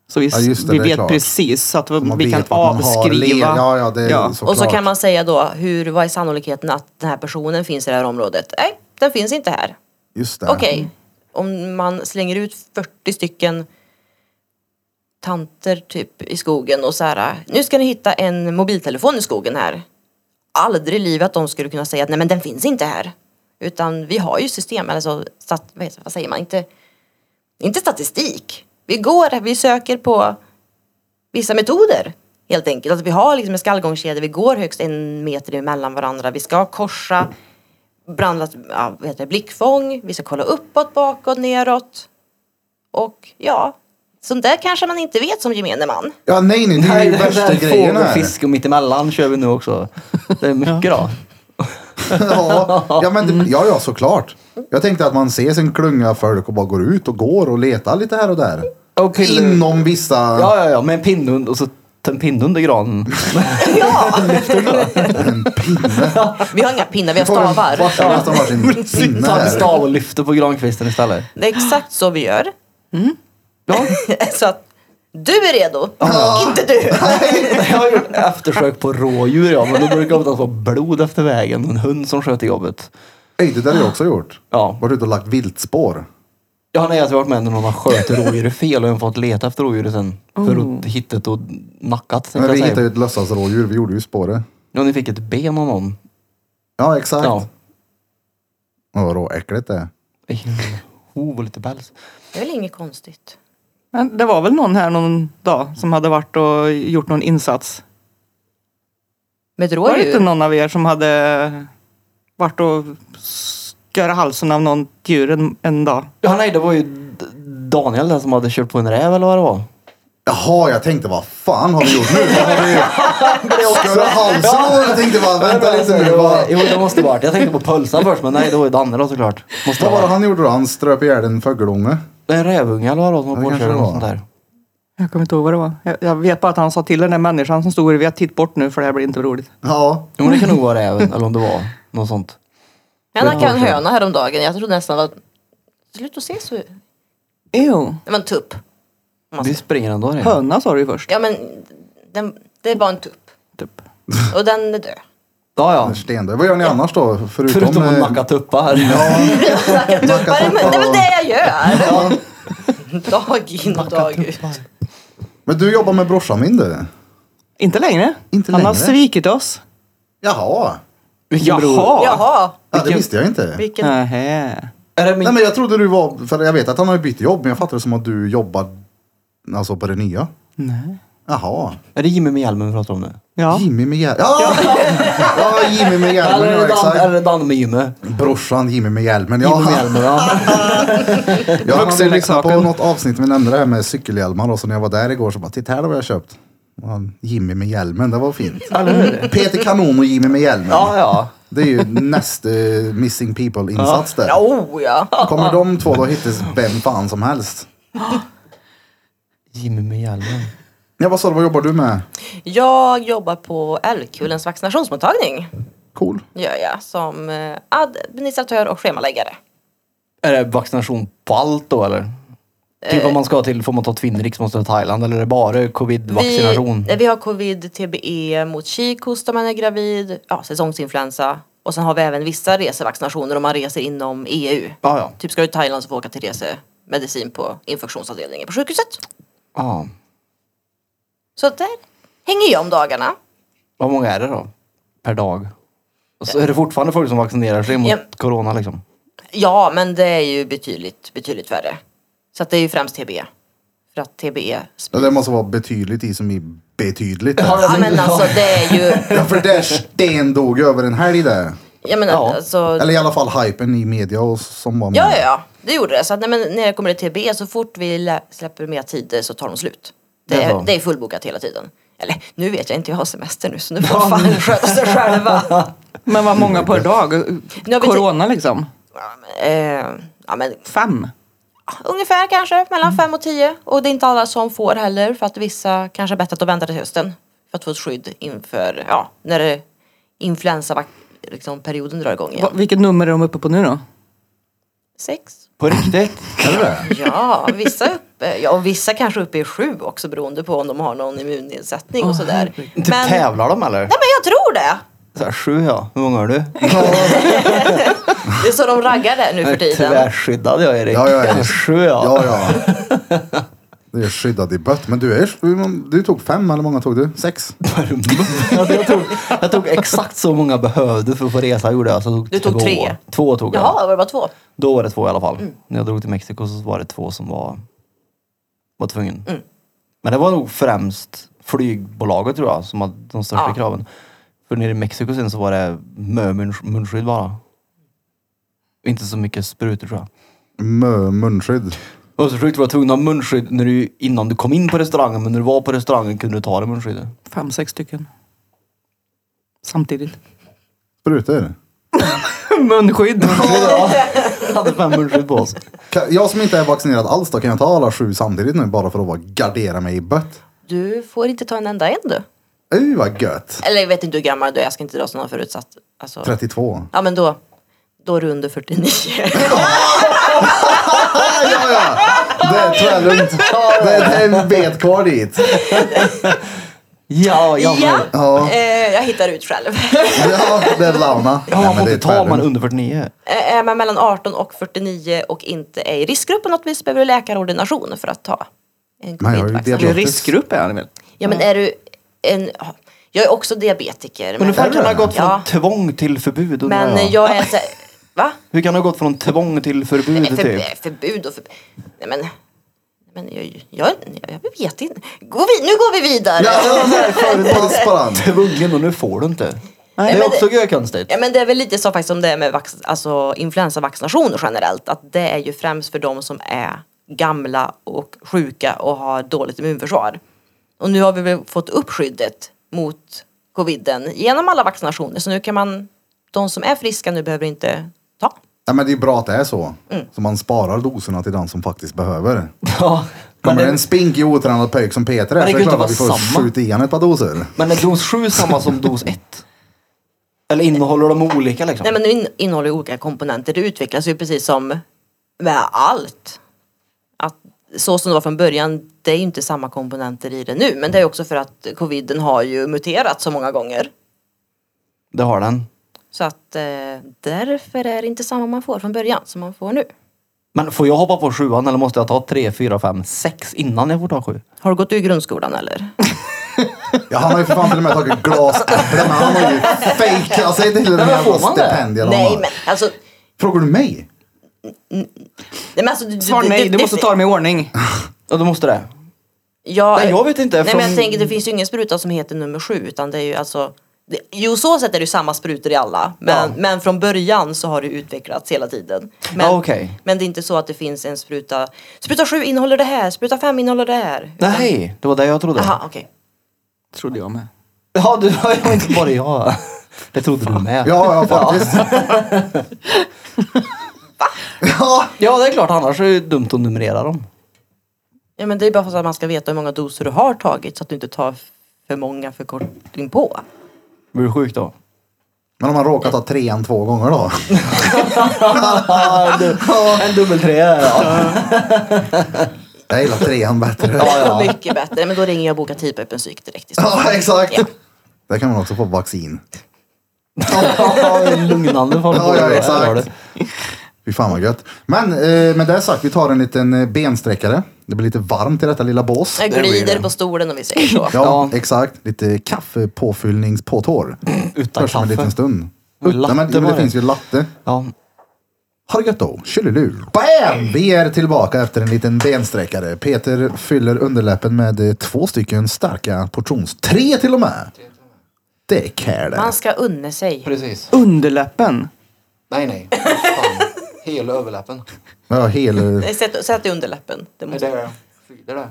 [SPEAKER 3] Så vi, s-
[SPEAKER 1] Ja, just det,
[SPEAKER 3] vi
[SPEAKER 1] det är
[SPEAKER 3] vet
[SPEAKER 1] klart.
[SPEAKER 3] precis så att vi,
[SPEAKER 1] man
[SPEAKER 3] vi
[SPEAKER 1] vet
[SPEAKER 3] kan
[SPEAKER 1] vart man har le-
[SPEAKER 3] avskriva.
[SPEAKER 1] Ja, ja, det är så.
[SPEAKER 4] Och så
[SPEAKER 1] Såklart.
[SPEAKER 4] kan man säga då, hur, vad är sannolikheten att den här personen finns i det här området? Nej, den finns inte här.
[SPEAKER 1] Just det.
[SPEAKER 4] Okej, mm. om man slänger ut 40 stycken tanter typ i skogen och så här, nu ska ni hitta en mobiltelefon i skogen här. Aldrig i livet att de skulle kunna säga att nej men den finns inte här. Utan vi har ju system, alltså stat, vad, heter, vad säger man, inte, inte statistik. Vi går, vi söker på vissa metoder helt enkelt. Att vi har liksom en skallgångskedja, vi går högst en meter emellan varandra, vi ska korsa brandat ja, vad heter det, blickfång, vi ska kolla uppåt, bakåt, neråt. Och ja, sånt där kanske man inte vet som gemene man.
[SPEAKER 1] Ja, nej, nej, det är ju värsta grejen här.
[SPEAKER 2] fisk och mittemellan kör vi nu också. Det är mycket då.
[SPEAKER 1] ja, ja, men det, ja, ja, såklart. Jag tänkte att man ses en klunga folk och bara går ut och går och letar lite här och där.
[SPEAKER 2] Och till-
[SPEAKER 1] Inom vissa...
[SPEAKER 2] Ja, ja, ja, med en pinnhund och så t- en pinne under granen.
[SPEAKER 4] Ja,
[SPEAKER 1] En pinne.
[SPEAKER 4] vi har inga pinnar, vi har
[SPEAKER 1] Får en-
[SPEAKER 4] stavar.
[SPEAKER 1] varsin- Nästan varsin pinne
[SPEAKER 2] Tar en
[SPEAKER 1] här.
[SPEAKER 2] stav och lyfter på grankvisten istället.
[SPEAKER 4] Det är exakt så vi gör.
[SPEAKER 2] Ja.
[SPEAKER 4] Så att du är redo, inte du.
[SPEAKER 2] Jag har gjort eftersök på rådjur ja, men då brukar det oftast vara blod efter vägen. En hund som sköt i jobbet.
[SPEAKER 1] Ej, det där har jag också gjort.
[SPEAKER 2] Ja.
[SPEAKER 1] Varit ute och lagt viltspår.
[SPEAKER 2] Ja, nej, jag har varit med när någon har skjutit rådjuret fel och en fått leta efter rådjuret sen. För att hittat och nackat. tänkte
[SPEAKER 1] Men
[SPEAKER 2] jag
[SPEAKER 1] Oh. vi
[SPEAKER 2] säga.
[SPEAKER 1] hittade ju ett lösdjursrådjur, vi gjorde ju spåret.
[SPEAKER 2] Ja, ni fick ett ben av någon.
[SPEAKER 1] Ja, exakt.
[SPEAKER 2] Ja.
[SPEAKER 1] Åh, vad råäckligt det är.
[SPEAKER 2] I en Hov och lite päls.
[SPEAKER 4] Det är väl inget konstigt.
[SPEAKER 3] Men det var väl någon här någon dag som hade varit och gjort någon insats.
[SPEAKER 4] Med ett
[SPEAKER 3] Var det inte
[SPEAKER 4] rådjur?
[SPEAKER 3] någon av er som hade varit och skurit halsen av någon djur en, en dag?
[SPEAKER 2] Ja, nej, det var ju D- Daniel där som hade kört på en räv eller vad det var.
[SPEAKER 1] Jaha, jag tänkte vad fan har vi gjort nu? Har vi skurit halsen av den? Jag tänkte bara, vänta lite nu.
[SPEAKER 2] Det var-
[SPEAKER 1] Vad,
[SPEAKER 2] Jo, det måste det varit. Jag tänkte på pölsan först, men nej, det var ju Danne då såklart. Måste
[SPEAKER 1] vad
[SPEAKER 2] det
[SPEAKER 1] var det
[SPEAKER 2] vara.
[SPEAKER 1] han gjorde då? Han ströp ihjäl en fågelunge.
[SPEAKER 2] Det är en rävunge eller vad det var som
[SPEAKER 1] Ja,
[SPEAKER 2] var
[SPEAKER 1] det
[SPEAKER 2] påkörd
[SPEAKER 1] kanske
[SPEAKER 2] eller
[SPEAKER 1] det
[SPEAKER 2] något
[SPEAKER 1] var.
[SPEAKER 2] sånt där.
[SPEAKER 3] Jag kommer inte ihåg vad det var. Jag, jag vet bara att han sa till den där människan som stod bredvid att titta bort nu för det här blir inte roligt.
[SPEAKER 1] Ja,
[SPEAKER 2] Jo, men det kan nog vara räven eller om det var något sånt.
[SPEAKER 4] Jag nackade en höna häromdagen. Jag trodde nästan att... Slut att se så... Det
[SPEAKER 3] Jo.
[SPEAKER 4] var en tupp.
[SPEAKER 2] Vi springer ändå det.
[SPEAKER 3] Höna sa du ju först.
[SPEAKER 4] Ja men, den, det var en tupp.
[SPEAKER 3] Typ.
[SPEAKER 4] Och den är död.
[SPEAKER 2] Ja, ja.
[SPEAKER 1] Stendöd. Vad gör ni annars då? Förutom,
[SPEAKER 2] Förutom att
[SPEAKER 1] eh,
[SPEAKER 2] nacka tuppar.
[SPEAKER 4] Snacka tuppar, men det är väl det jag gör.
[SPEAKER 1] ja.
[SPEAKER 4] Dag in och dag ut.
[SPEAKER 1] Men du jobbar med brorsan min du.
[SPEAKER 3] Inte längre.
[SPEAKER 1] Inte
[SPEAKER 3] Han har
[SPEAKER 1] längre.
[SPEAKER 3] svikit oss.
[SPEAKER 1] Jaha.
[SPEAKER 2] Vilken bror?
[SPEAKER 4] Jaha.
[SPEAKER 1] Ja, det visste jag inte.
[SPEAKER 4] Vilken...
[SPEAKER 3] Nähä.
[SPEAKER 2] Är det min...
[SPEAKER 1] Nej men jag trodde du var, för jag vet att han har ju bytt jobb men jag fattar det som att du jobbar alltså på det nya.
[SPEAKER 3] Nej.
[SPEAKER 1] Jaha.
[SPEAKER 2] Är det Jimmy med hjälmen vi pratar om nu?
[SPEAKER 3] Ja.
[SPEAKER 1] Jimmy med hjälmen. Ja! ja, Jimmy med hjälmen.
[SPEAKER 2] Eller
[SPEAKER 1] Ja,
[SPEAKER 2] är det Dan, är
[SPEAKER 1] exakt.
[SPEAKER 2] det Dan med Jimmy?
[SPEAKER 1] Brorsan Jimmy med hjälmen. Ja,
[SPEAKER 2] Jimmy med hjälmen, ja.
[SPEAKER 1] Jag har också
[SPEAKER 3] Vuxen
[SPEAKER 1] lyssnat på liksom
[SPEAKER 3] leksaken.
[SPEAKER 1] något avsnitt vi nämnde det här med cykelhjälmar och så när jag var där igår så bara titta här vad jag köpt. Och han, Jimmy med hjälmen, det var fint. Peter Kanon och Jimmy med hjälmen.
[SPEAKER 2] Ja, ja.
[SPEAKER 1] Det är ju näst eh, Missing People-insats där.
[SPEAKER 4] Oh ja.
[SPEAKER 1] Kommer de två då hittas vem fan som helst.
[SPEAKER 2] Jimmy med hjälmen.
[SPEAKER 1] Ja, vad sa du, vad jobbar du med?
[SPEAKER 4] Jag jobbar på Älgkulens vaccinationsmottagning.
[SPEAKER 1] Cool.
[SPEAKER 4] Gör jag som eh, administratör och schemaläggare.
[SPEAKER 2] Är det vaccination på allt då eller? Typ om man ska till, får man ta Twinrix, måste man ta Thailand eller är det bara covid-vaccination?
[SPEAKER 4] Vi, eh, vi har covid, TBE mot kikhosta om man är gravid, ja, säsongsinfluensa. Och sen har vi även vissa resevaccinationer om man reser inom EU.
[SPEAKER 2] Ja, ja.
[SPEAKER 4] Typ ska du till Thailand så får du åka till resemedicin på infektionsavdelningen på sjukhuset.
[SPEAKER 2] ja.
[SPEAKER 4] Så där hänger jag om dagarna.
[SPEAKER 2] Vad många är det då? Per dag? Och så är det fortfarande folk som vaccinerar sig mot
[SPEAKER 4] Ja.
[SPEAKER 2] corona liksom?
[SPEAKER 4] Ja, men det är ju betydligt, betydligt värre. Så att det är ju främst TBE. För att E TBE...
[SPEAKER 1] Ja, Det måste vara betydligt i som i betydligt.
[SPEAKER 4] Ja, men alltså det är ju...
[SPEAKER 1] Ja, för där Sten dog ju över en helg där.
[SPEAKER 4] Jag menar,
[SPEAKER 2] Ja.
[SPEAKER 4] alltså...
[SPEAKER 1] Eller i alla fall hypen i media och som var med.
[SPEAKER 4] Ja, ja, ja. Det gjorde det. Så att, nej, men när det kommer till TBE, så fort vi lä- släpper mer tider så tar de slut. Det
[SPEAKER 2] Det är
[SPEAKER 4] är,
[SPEAKER 2] så.
[SPEAKER 4] det är fullbokat hela tiden. Eller nu vet jag inte, jag har semester nu så nu får fan sköta sig själva.
[SPEAKER 3] Men vad många per dag?
[SPEAKER 4] vi ti-
[SPEAKER 3] Corona liksom?
[SPEAKER 4] Ja, men, eh, ja, men,
[SPEAKER 3] Fem?
[SPEAKER 4] ungefär kanske mellan fem och tio. Och det är inte alla som får heller för att vissa kanske är bättre att de väntar till hösten. För att få ett skydd inför, ja, när det- influensavac- liksom, perioden drar igång
[SPEAKER 3] Va,
[SPEAKER 4] igen.
[SPEAKER 3] vilket nummer är de uppe på nu då?
[SPEAKER 4] Sex.
[SPEAKER 2] På riktigt?
[SPEAKER 1] Är det det?
[SPEAKER 4] Ja, vissa är uppe, ja, och vissa kanske uppe i sju också beroende på om de har någon immunnedsättning och sådär.
[SPEAKER 2] Typ
[SPEAKER 4] Men, nej,
[SPEAKER 2] tävlar de eller?
[SPEAKER 4] men jag tror det!
[SPEAKER 2] Så här, sju ja, hur många har du?
[SPEAKER 4] Det är så de raggar där nu för tiden.
[SPEAKER 2] Tvärskyddad jag Erik.
[SPEAKER 1] Ja, ja, Erik.
[SPEAKER 2] Sju
[SPEAKER 1] Ja,
[SPEAKER 2] ja.
[SPEAKER 1] ja. Du är skyddad i bött. Men du är Du tog fem, eller hur många tog du? Sex?
[SPEAKER 2] alltså, jag, tog, jag tog exakt så många jag behövde för att få resa. Gjorde jag. Så jag tog
[SPEAKER 4] Du tog
[SPEAKER 2] två.
[SPEAKER 4] tre.
[SPEAKER 2] Två tog jag.
[SPEAKER 4] Jaha, var det bara två?
[SPEAKER 2] Då var det två i alla fall. När jag drog till Mexiko så var det två som var, var tvungen. Men det var nog främst flygbolaget tror jag som hade de största
[SPEAKER 4] Ja.
[SPEAKER 2] kraven. För nere i Mexiko sen så var det mö mun- munskydd bara. Inte så mycket sprutor tror jag.
[SPEAKER 1] Mö, munskydd.
[SPEAKER 2] Och så sjukt var jag tvungen att ha munskydd när du, innan du kom in på restaurangen men när du var på restaurangen kunde du ta det munskyddet.
[SPEAKER 3] Fem, sex stycken. Samtidigt.
[SPEAKER 1] Sprutor.
[SPEAKER 3] Munskydd.
[SPEAKER 2] Jag hade fem munskydd på oss.
[SPEAKER 1] Kan- Jag som inte är vaccinerad alls då, kan jag ta alla sju samtidigt nu bara för att bara gardera mig i bött?
[SPEAKER 4] Du får inte ta en enda en du.
[SPEAKER 1] Uj, vad gött!
[SPEAKER 4] Eller jag vet inte hur gammal du är, jag ska inte dra sådana förutsatt. Alltså,
[SPEAKER 1] 32.
[SPEAKER 4] ja men då, då är du under 49.
[SPEAKER 1] Ah, ja, ja! Det är tvärlugnt. Det är det är en bet kvar dit.
[SPEAKER 2] Ja, jag
[SPEAKER 4] ja,
[SPEAKER 2] med.
[SPEAKER 1] Ja.
[SPEAKER 4] Eh, jag hittar ut själv.
[SPEAKER 1] Ja, det är Launa.
[SPEAKER 2] Ja,
[SPEAKER 1] Nej,
[SPEAKER 2] man
[SPEAKER 1] men
[SPEAKER 2] får
[SPEAKER 1] det är
[SPEAKER 2] inte ta om man är
[SPEAKER 1] tvärlugnt.
[SPEAKER 2] under 49.
[SPEAKER 4] Eh, Är man mellan 18 och 49 och inte är i riskgrupp på något vis behöver du läkarordination för att ta en
[SPEAKER 1] Men jag har ju
[SPEAKER 4] covid-vaccination.
[SPEAKER 3] Eller riskgrupp är han väl?
[SPEAKER 4] Ja men är du en... Jag är också diabetiker.
[SPEAKER 2] Men hur fan
[SPEAKER 1] Är
[SPEAKER 2] kan det
[SPEAKER 1] det?
[SPEAKER 2] ha gått från
[SPEAKER 4] Ja.
[SPEAKER 2] tvång till förbud undrar
[SPEAKER 4] men jag är så här, Va?
[SPEAKER 2] Hur kan det ha gått från tvång till förbud
[SPEAKER 4] För,
[SPEAKER 2] typ?
[SPEAKER 4] Förbud och förbud. Nej men... Men jag, jag, jag vet inte. Går vi, nu går vi vidare!
[SPEAKER 1] Ja, det var så här förut på varann.
[SPEAKER 2] Tvungen och nu får du inte.
[SPEAKER 4] Nej,
[SPEAKER 2] det är
[SPEAKER 4] men
[SPEAKER 2] också
[SPEAKER 4] det-
[SPEAKER 2] görkonstigt.
[SPEAKER 4] Ja, men det är väl lite så faktiskt som det är med vax, alltså, influensavaccinationer generellt. Att det är ju främst för de som är gamla och sjuka och har dåligt immunförsvar. Och nu har vi väl fått upp skyddet mot coviden genom alla vaccinationer. Så nu kan man, de som är friska nu behöver inte ta.
[SPEAKER 1] Nej, men det är bra att det är så.
[SPEAKER 2] Mm.
[SPEAKER 1] Så man sparar doserna till den som faktiskt behöver.
[SPEAKER 2] Ja, men,
[SPEAKER 1] Kommer det
[SPEAKER 2] är,
[SPEAKER 1] en spinkig otränad pöjk som Peter är
[SPEAKER 2] Men det
[SPEAKER 1] så är
[SPEAKER 2] kan ju
[SPEAKER 1] klart
[SPEAKER 2] inte
[SPEAKER 1] att vi
[SPEAKER 2] vara
[SPEAKER 1] får
[SPEAKER 2] samma.
[SPEAKER 1] skjuta igen ett par doser.
[SPEAKER 2] men är dos 7 samma som dos 1? Eller innehåller de olika liksom?
[SPEAKER 4] Nej men det innehåller ju olika komponenter. Det utvecklas ju precis som med allt. Att så som det var från början, det är ju inte samma komponenter i det nu. Men det är också för att coviden har ju muterat så många gånger.
[SPEAKER 2] Det har den.
[SPEAKER 4] Så att eh, därför är det inte samma man får från början som man får nu.
[SPEAKER 2] Men får jag hoppa på sjuan eller måste jag ta tre, fyra, fem, sex innan jag får ta sju?
[SPEAKER 4] Har du gått ur grundskolan eller?
[SPEAKER 1] Ja, han har ju för fan till och med tagit glasäpplen. Han har ju fejkat sig till
[SPEAKER 2] men
[SPEAKER 1] en jävla
[SPEAKER 2] får man det?
[SPEAKER 1] stipendier. han
[SPEAKER 4] Nej
[SPEAKER 1] har.
[SPEAKER 4] men alltså, nej,
[SPEAKER 1] Frågar du mig?
[SPEAKER 4] men alltså du,
[SPEAKER 3] Svar nej, du måste ta dem i ordning.
[SPEAKER 2] Ja, du måste det.
[SPEAKER 4] Ja,
[SPEAKER 2] Nej, jag vet inte,
[SPEAKER 4] Nej, men
[SPEAKER 2] från-
[SPEAKER 4] jag tänker, det finns ju ingen spruta som heter nummer sju. Utan det är ju alltså, det, jo, så sätt är det ju samma sprutor i alla. Men,
[SPEAKER 2] Ja.
[SPEAKER 4] men från början så har det utvecklats hela tiden. Men,
[SPEAKER 2] Ja, okej.
[SPEAKER 4] men det är inte så att det finns en spruta. Spruta sju innehåller det här, spruta fem innehåller det här.
[SPEAKER 2] Nej, det var det jag trodde.
[SPEAKER 4] Aha, okej.
[SPEAKER 3] Trodde jag med.
[SPEAKER 2] Ja, du har ju inte bara jag. Det trodde du med.
[SPEAKER 1] Ja, ja faktiskt. ja.
[SPEAKER 2] Ja, det är klart. Annars är det ju dumt att numrera dem.
[SPEAKER 4] Ja, men det är bara för att man ska veta hur många doser du har tagit så att du inte tar för många för kort på.
[SPEAKER 2] Blir du sjuk då?
[SPEAKER 1] Men om man råkar ta trean två gånger då?
[SPEAKER 2] En dubbeltrea. Ja.
[SPEAKER 1] Jag gillar trean bättre.
[SPEAKER 4] Mycket bättre. Men då ringer jag och bokar tid på öppen psyk direkt. i så fall.
[SPEAKER 1] Ja, exakt.
[SPEAKER 4] Ja.
[SPEAKER 1] Där kan man också få vaccin.
[SPEAKER 2] Ja, Lugnande form
[SPEAKER 1] Ja,
[SPEAKER 2] på
[SPEAKER 1] ja,
[SPEAKER 2] det. Här har
[SPEAKER 1] exakt.
[SPEAKER 2] du.
[SPEAKER 1] Fy fan vad gött. Men eh, med det sagt, vi tar en liten eh, bensträckare. Det blir lite varmt i detta lilla bås.
[SPEAKER 4] Jag
[SPEAKER 2] Det blir
[SPEAKER 4] glider
[SPEAKER 2] det.
[SPEAKER 4] på stolen om vi säger så.
[SPEAKER 1] Ja,
[SPEAKER 2] Ja.
[SPEAKER 1] exakt. Lite kaffepåfyllningspåtår.
[SPEAKER 2] Utan
[SPEAKER 1] Först om en
[SPEAKER 2] kaffe.
[SPEAKER 1] liten stund.
[SPEAKER 2] Och latte
[SPEAKER 1] Nej, men, jo, men
[SPEAKER 2] var
[SPEAKER 1] det
[SPEAKER 2] det.
[SPEAKER 1] finns ju latte.
[SPEAKER 2] Ja.
[SPEAKER 1] Ha det gött då. Tjolilur. Bam! Vi är tillbaka efter en liten bensträckare. Peter fyller underläppen med eh, två stycken starka portions... Tre till och med! Det är care det.
[SPEAKER 4] Man ska unna sig.
[SPEAKER 2] Precis.
[SPEAKER 3] Underläppen.
[SPEAKER 2] Nej, nej. Fan. Hela överläppen.
[SPEAKER 1] Ja, hel...
[SPEAKER 4] Nej, Sätt, sätt i underläppen. Det måste...
[SPEAKER 2] det fyller det.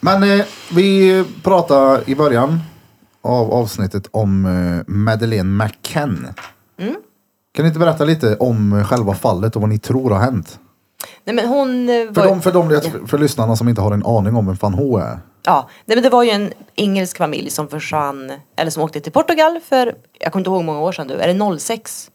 [SPEAKER 1] Men eh, vi pratade i början av avsnittet om eh, Madeleine McCann.
[SPEAKER 2] Mm.
[SPEAKER 1] Kan ni inte berätta lite om eh, själva fallet och vad ni tror har hänt?
[SPEAKER 4] Nej, men hon eh,
[SPEAKER 1] För,
[SPEAKER 4] var...
[SPEAKER 1] de, för, de, för lyssnarna som inte har en aning om vem fan hon är.
[SPEAKER 4] Ja, nej, men det var ju en engelsk familj som försvann, eller som åkte till Portugal för, jag kommer inte ihåg hur många år sedan nu, är det 06?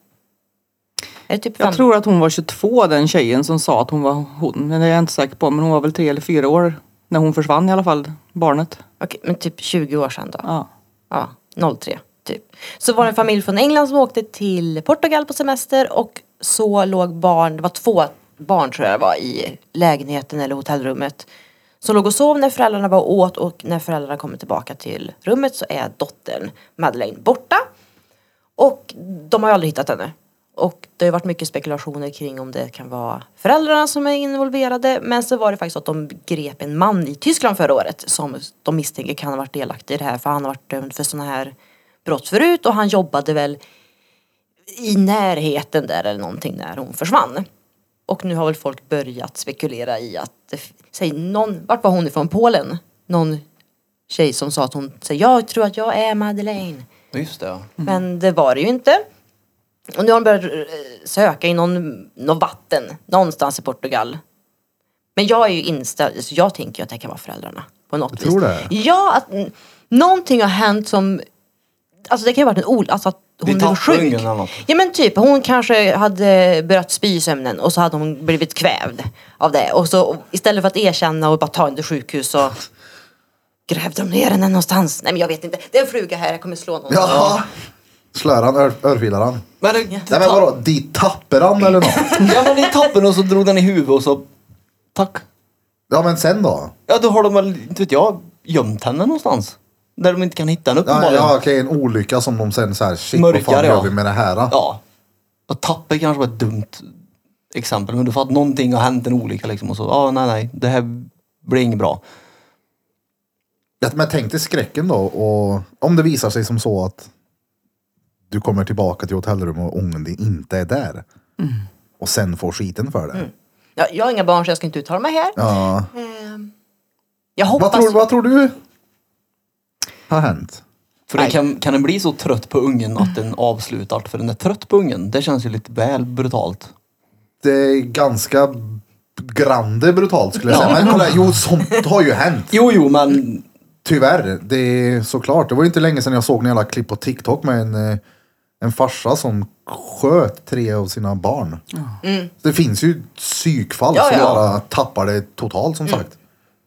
[SPEAKER 4] Är det typ fem?
[SPEAKER 3] Jag tror att hon var 22 den tjejen som sa att hon var hon. Men det är jag inte säker på. Men hon var väl tre eller fyra år när hon försvann i alla fall. Barnet.
[SPEAKER 4] Okej, men typ 20 år sedan då.
[SPEAKER 3] Ja.
[SPEAKER 4] Ja, 03 typ. Så var det en familj från England som åkte till Portugal på semester och så låg barn, det var två barn tror jag det var i lägenheten eller hotellrummet. Som låg och sov när föräldrarna var och åt och när föräldrarna kommer tillbaka till rummet så är dottern Madeleine borta. Och de har ju aldrig hittat henne. Och det har ju varit mycket spekulationer kring om det kan vara föräldrarna som är involverade. Men så var det faktiskt att de grep en man i Tyskland förra året som de misstänker kan ha varit delaktig i det här. För han har varit dömd för sådana här brott förut och han jobbade väl i närheten där eller någonting när hon försvann. Och nu har väl folk börjat spekulera i att, det f- säg någon, vart var hon ifrån? Polen? Någon tjej som sa att hon, säger jag tror att jag är Madeleine.
[SPEAKER 2] Just det, ja.
[SPEAKER 1] Mm.
[SPEAKER 4] Men det var det ju inte. Och nu har de börjat eh, söka i någon, någon vatten någonstans i Portugal. Men jag är ju inställd, så jag tänker ju att det kan vara föräldrarna. På något
[SPEAKER 1] tror
[SPEAKER 4] vis.
[SPEAKER 1] det?
[SPEAKER 4] Ja, att mm, någonting har hänt som... Alltså det kan ju ha varit en ol... Alltså att hon blev
[SPEAKER 2] tappade
[SPEAKER 4] sjuk.
[SPEAKER 2] ungen eller något.
[SPEAKER 4] Ja men typ, hon kanske hade börjat spy i sömnen och så hade hon blivit kvävd av det. Och så och istället för att erkänna och bara ta henne till sjukhus så grävde de ner henne någonstans. Nej men jag vet inte. Det är en fruga här, jag kommer slå någon.
[SPEAKER 1] Jaha! Slör han, ör, örfilar han?
[SPEAKER 2] Men, det-
[SPEAKER 1] Nej men vadå, dit tappar han eller något?
[SPEAKER 2] Ja, men i tappen och så drog den i huvudet och så... Tack.
[SPEAKER 1] Ja men sen då?
[SPEAKER 2] Ja, då har de väl, inte vet jag, gömt henne någonstans. Där de inte kan hitta henne
[SPEAKER 1] Ja,
[SPEAKER 2] uppenbarligen.
[SPEAKER 1] ja okej, en olycka som de sen så här, shit vad
[SPEAKER 2] Mörkar,
[SPEAKER 1] fan
[SPEAKER 2] ja.
[SPEAKER 1] gör vi med det här? Då?
[SPEAKER 2] Ja. Och tappa kanske var ett dumt exempel. Men du fattar, någonting har hänt, en olycka liksom. Och så, ja, nej, nej, det här blir inget bra.
[SPEAKER 1] Ja, men tänk dig skräcken då och om det visar sig som så att du kommer tillbaka till hotellrummet och ången din inte är där. Och sen får skiten för det.
[SPEAKER 4] Ja, jag har inga barn så jag ska inte uttala mig här.
[SPEAKER 1] Ja.
[SPEAKER 4] Ehm, Jag
[SPEAKER 1] Vad,
[SPEAKER 4] hoppas...
[SPEAKER 1] tror, vad tror du har hänt?
[SPEAKER 2] För den kan, kan den bli så trött på ungen att den avslutar för den är trött på ungen? Det känns ju lite väl brutalt.
[SPEAKER 1] Det är ganska grande brutalt skulle jag säga. Men kolla, jo sånt har ju hänt.
[SPEAKER 2] Jo, jo, men
[SPEAKER 1] Tyvärr, det är såklart. Det var ju inte länge sedan jag såg en jävla klipp på TikTok med en, eh, en farsa som sköt tre av sina barn. Det finns ju psykfall
[SPEAKER 4] Ja,
[SPEAKER 1] som
[SPEAKER 4] Mm. ja. Mm.
[SPEAKER 1] bara tappar det totalt som sagt.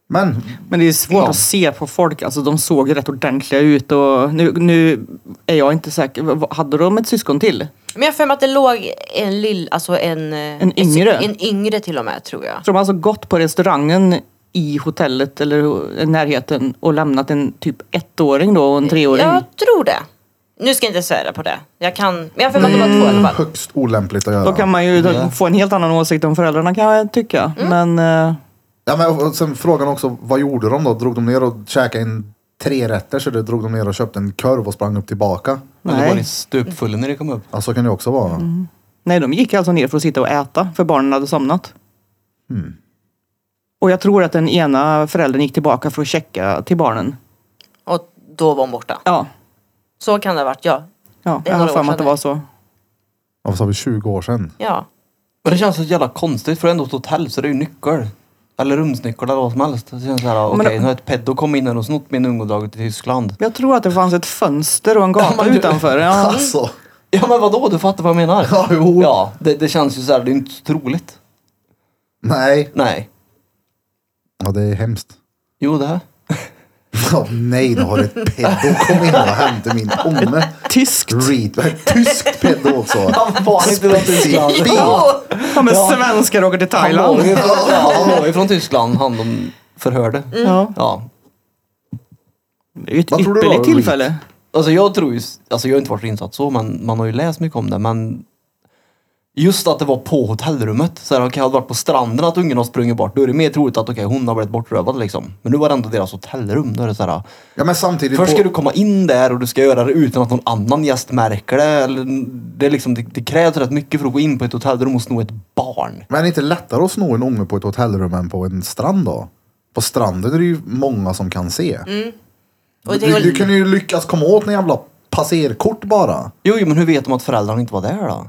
[SPEAKER 1] Men
[SPEAKER 3] Men det är svårt
[SPEAKER 1] Ja.
[SPEAKER 3] att se på folk. Alltså de såg rätt ordentliga ut och nu, nu är jag inte säker. Vad- Hade de ett syskon till?
[SPEAKER 4] Men jag har för mig att det låg en lill, alltså en... eh,
[SPEAKER 3] En yngre?
[SPEAKER 4] En yngre till och med tror jag.
[SPEAKER 3] Så de har alltså gått på restaurangen i hotellet eller i närheten och lämnat en typ ettåring då och en treåring.
[SPEAKER 4] Jag tror det. Nu ska jag inte svära på det. Jag kan... Men jag har för mig att det var två i alla fall.
[SPEAKER 1] högst olämpligt att göra.
[SPEAKER 3] Då kan man ju
[SPEAKER 2] Ja.
[SPEAKER 3] få en helt annan åsikt om föräldrarna kan jag tycka. Men eh,
[SPEAKER 1] Ja, men och- och sen frågan också, vad gjorde de då? Drog de ner och käkade en trerätters eller drog de ner och köpte en korv och sprang upp tillbaka?
[SPEAKER 2] Eller var
[SPEAKER 3] nej.
[SPEAKER 2] ni stupfulla när ni kom upp?
[SPEAKER 1] Ja, så kan det också vara.
[SPEAKER 3] Mm. nej, de gick alltså ner för att sitta och äta för barnen hade somnat. Och jag tror att den ena föräldern gick tillbaka för att checka till barnen.
[SPEAKER 4] Och då var hon borta.
[SPEAKER 3] Ja,
[SPEAKER 4] Så kan det ha varit, ja.
[SPEAKER 3] ja
[SPEAKER 4] Det är
[SPEAKER 3] jag har
[SPEAKER 4] några
[SPEAKER 3] för
[SPEAKER 4] år
[SPEAKER 3] mig att det
[SPEAKER 4] sedan.
[SPEAKER 3] var så.
[SPEAKER 1] Ja, vad sa vi, 20 år sedan?
[SPEAKER 4] Ja.
[SPEAKER 2] Men det känns så jävla konstigt för det är ändå ett hotell så det är ju nyckel. Eller rumsnyckel eller vad som helst. Det känns såhär, okej
[SPEAKER 3] Men-
[SPEAKER 2] nu har ett pedo kommit in här och snott min unge och dragit till Tyskland.
[SPEAKER 3] Jag tror att det fanns ett fönster och en gata
[SPEAKER 2] Ja, men du-
[SPEAKER 3] utanför. Ja.
[SPEAKER 1] Alltså,
[SPEAKER 2] Ja men vadå, du fattar vad jag menar?
[SPEAKER 1] Ja, jo.
[SPEAKER 2] Ja, det, det känns ju såhär, det är ju inte så troligt.
[SPEAKER 1] nej.
[SPEAKER 2] Nej.
[SPEAKER 1] Ja, det är hemskt.
[SPEAKER 2] Jo det här.
[SPEAKER 1] Ja, nej, nu har ett pedo kommit in och hämtat min unge.
[SPEAKER 3] Tyskt.
[SPEAKER 1] Reed, tyskt pedo också.
[SPEAKER 2] Han var inte från Tyskland.
[SPEAKER 1] Ja.
[SPEAKER 3] Ja, men svenskar åker till
[SPEAKER 2] Han var
[SPEAKER 3] Thailand.
[SPEAKER 2] ju från, ja, han var ju från Tyskland, han de förhörde.
[SPEAKER 3] Ja.
[SPEAKER 2] Ja.
[SPEAKER 3] Det är ju ett
[SPEAKER 1] Vad tror du
[SPEAKER 3] ypperligt
[SPEAKER 1] då, Reed?
[SPEAKER 3] tillfälle.
[SPEAKER 2] Alltså jag tror ju, alltså jag har inte varit så insatt så men man har ju läst mycket om det men Just att det var på hotellrummet. Så här, okej, hade det varit på stranden att ungen har sprungit bort, då är det mer troligt att okej, hon har blivit bortrövad liksom. Men nu var det ändå deras hotellrum. Då är det så här,
[SPEAKER 1] Ja, men samtidigt.
[SPEAKER 2] först
[SPEAKER 1] på-
[SPEAKER 2] ska du komma in där och du ska göra det utan att någon annan gäst märker det. Eller, det, är liksom, det. Det krävs rätt mycket för att gå in på ett hotellrum och sno ett barn.
[SPEAKER 1] Men är det inte lättare att sno en unge på ett hotellrum än på en strand då? På stranden är det ju många som kan se.
[SPEAKER 2] Mm,
[SPEAKER 4] Och
[SPEAKER 1] Du,
[SPEAKER 4] det-
[SPEAKER 1] du, du kan ju lyckas komma åt en jävla passerkort bara.
[SPEAKER 2] Jo, jo, men hur vet de att föräldrarna inte var där då?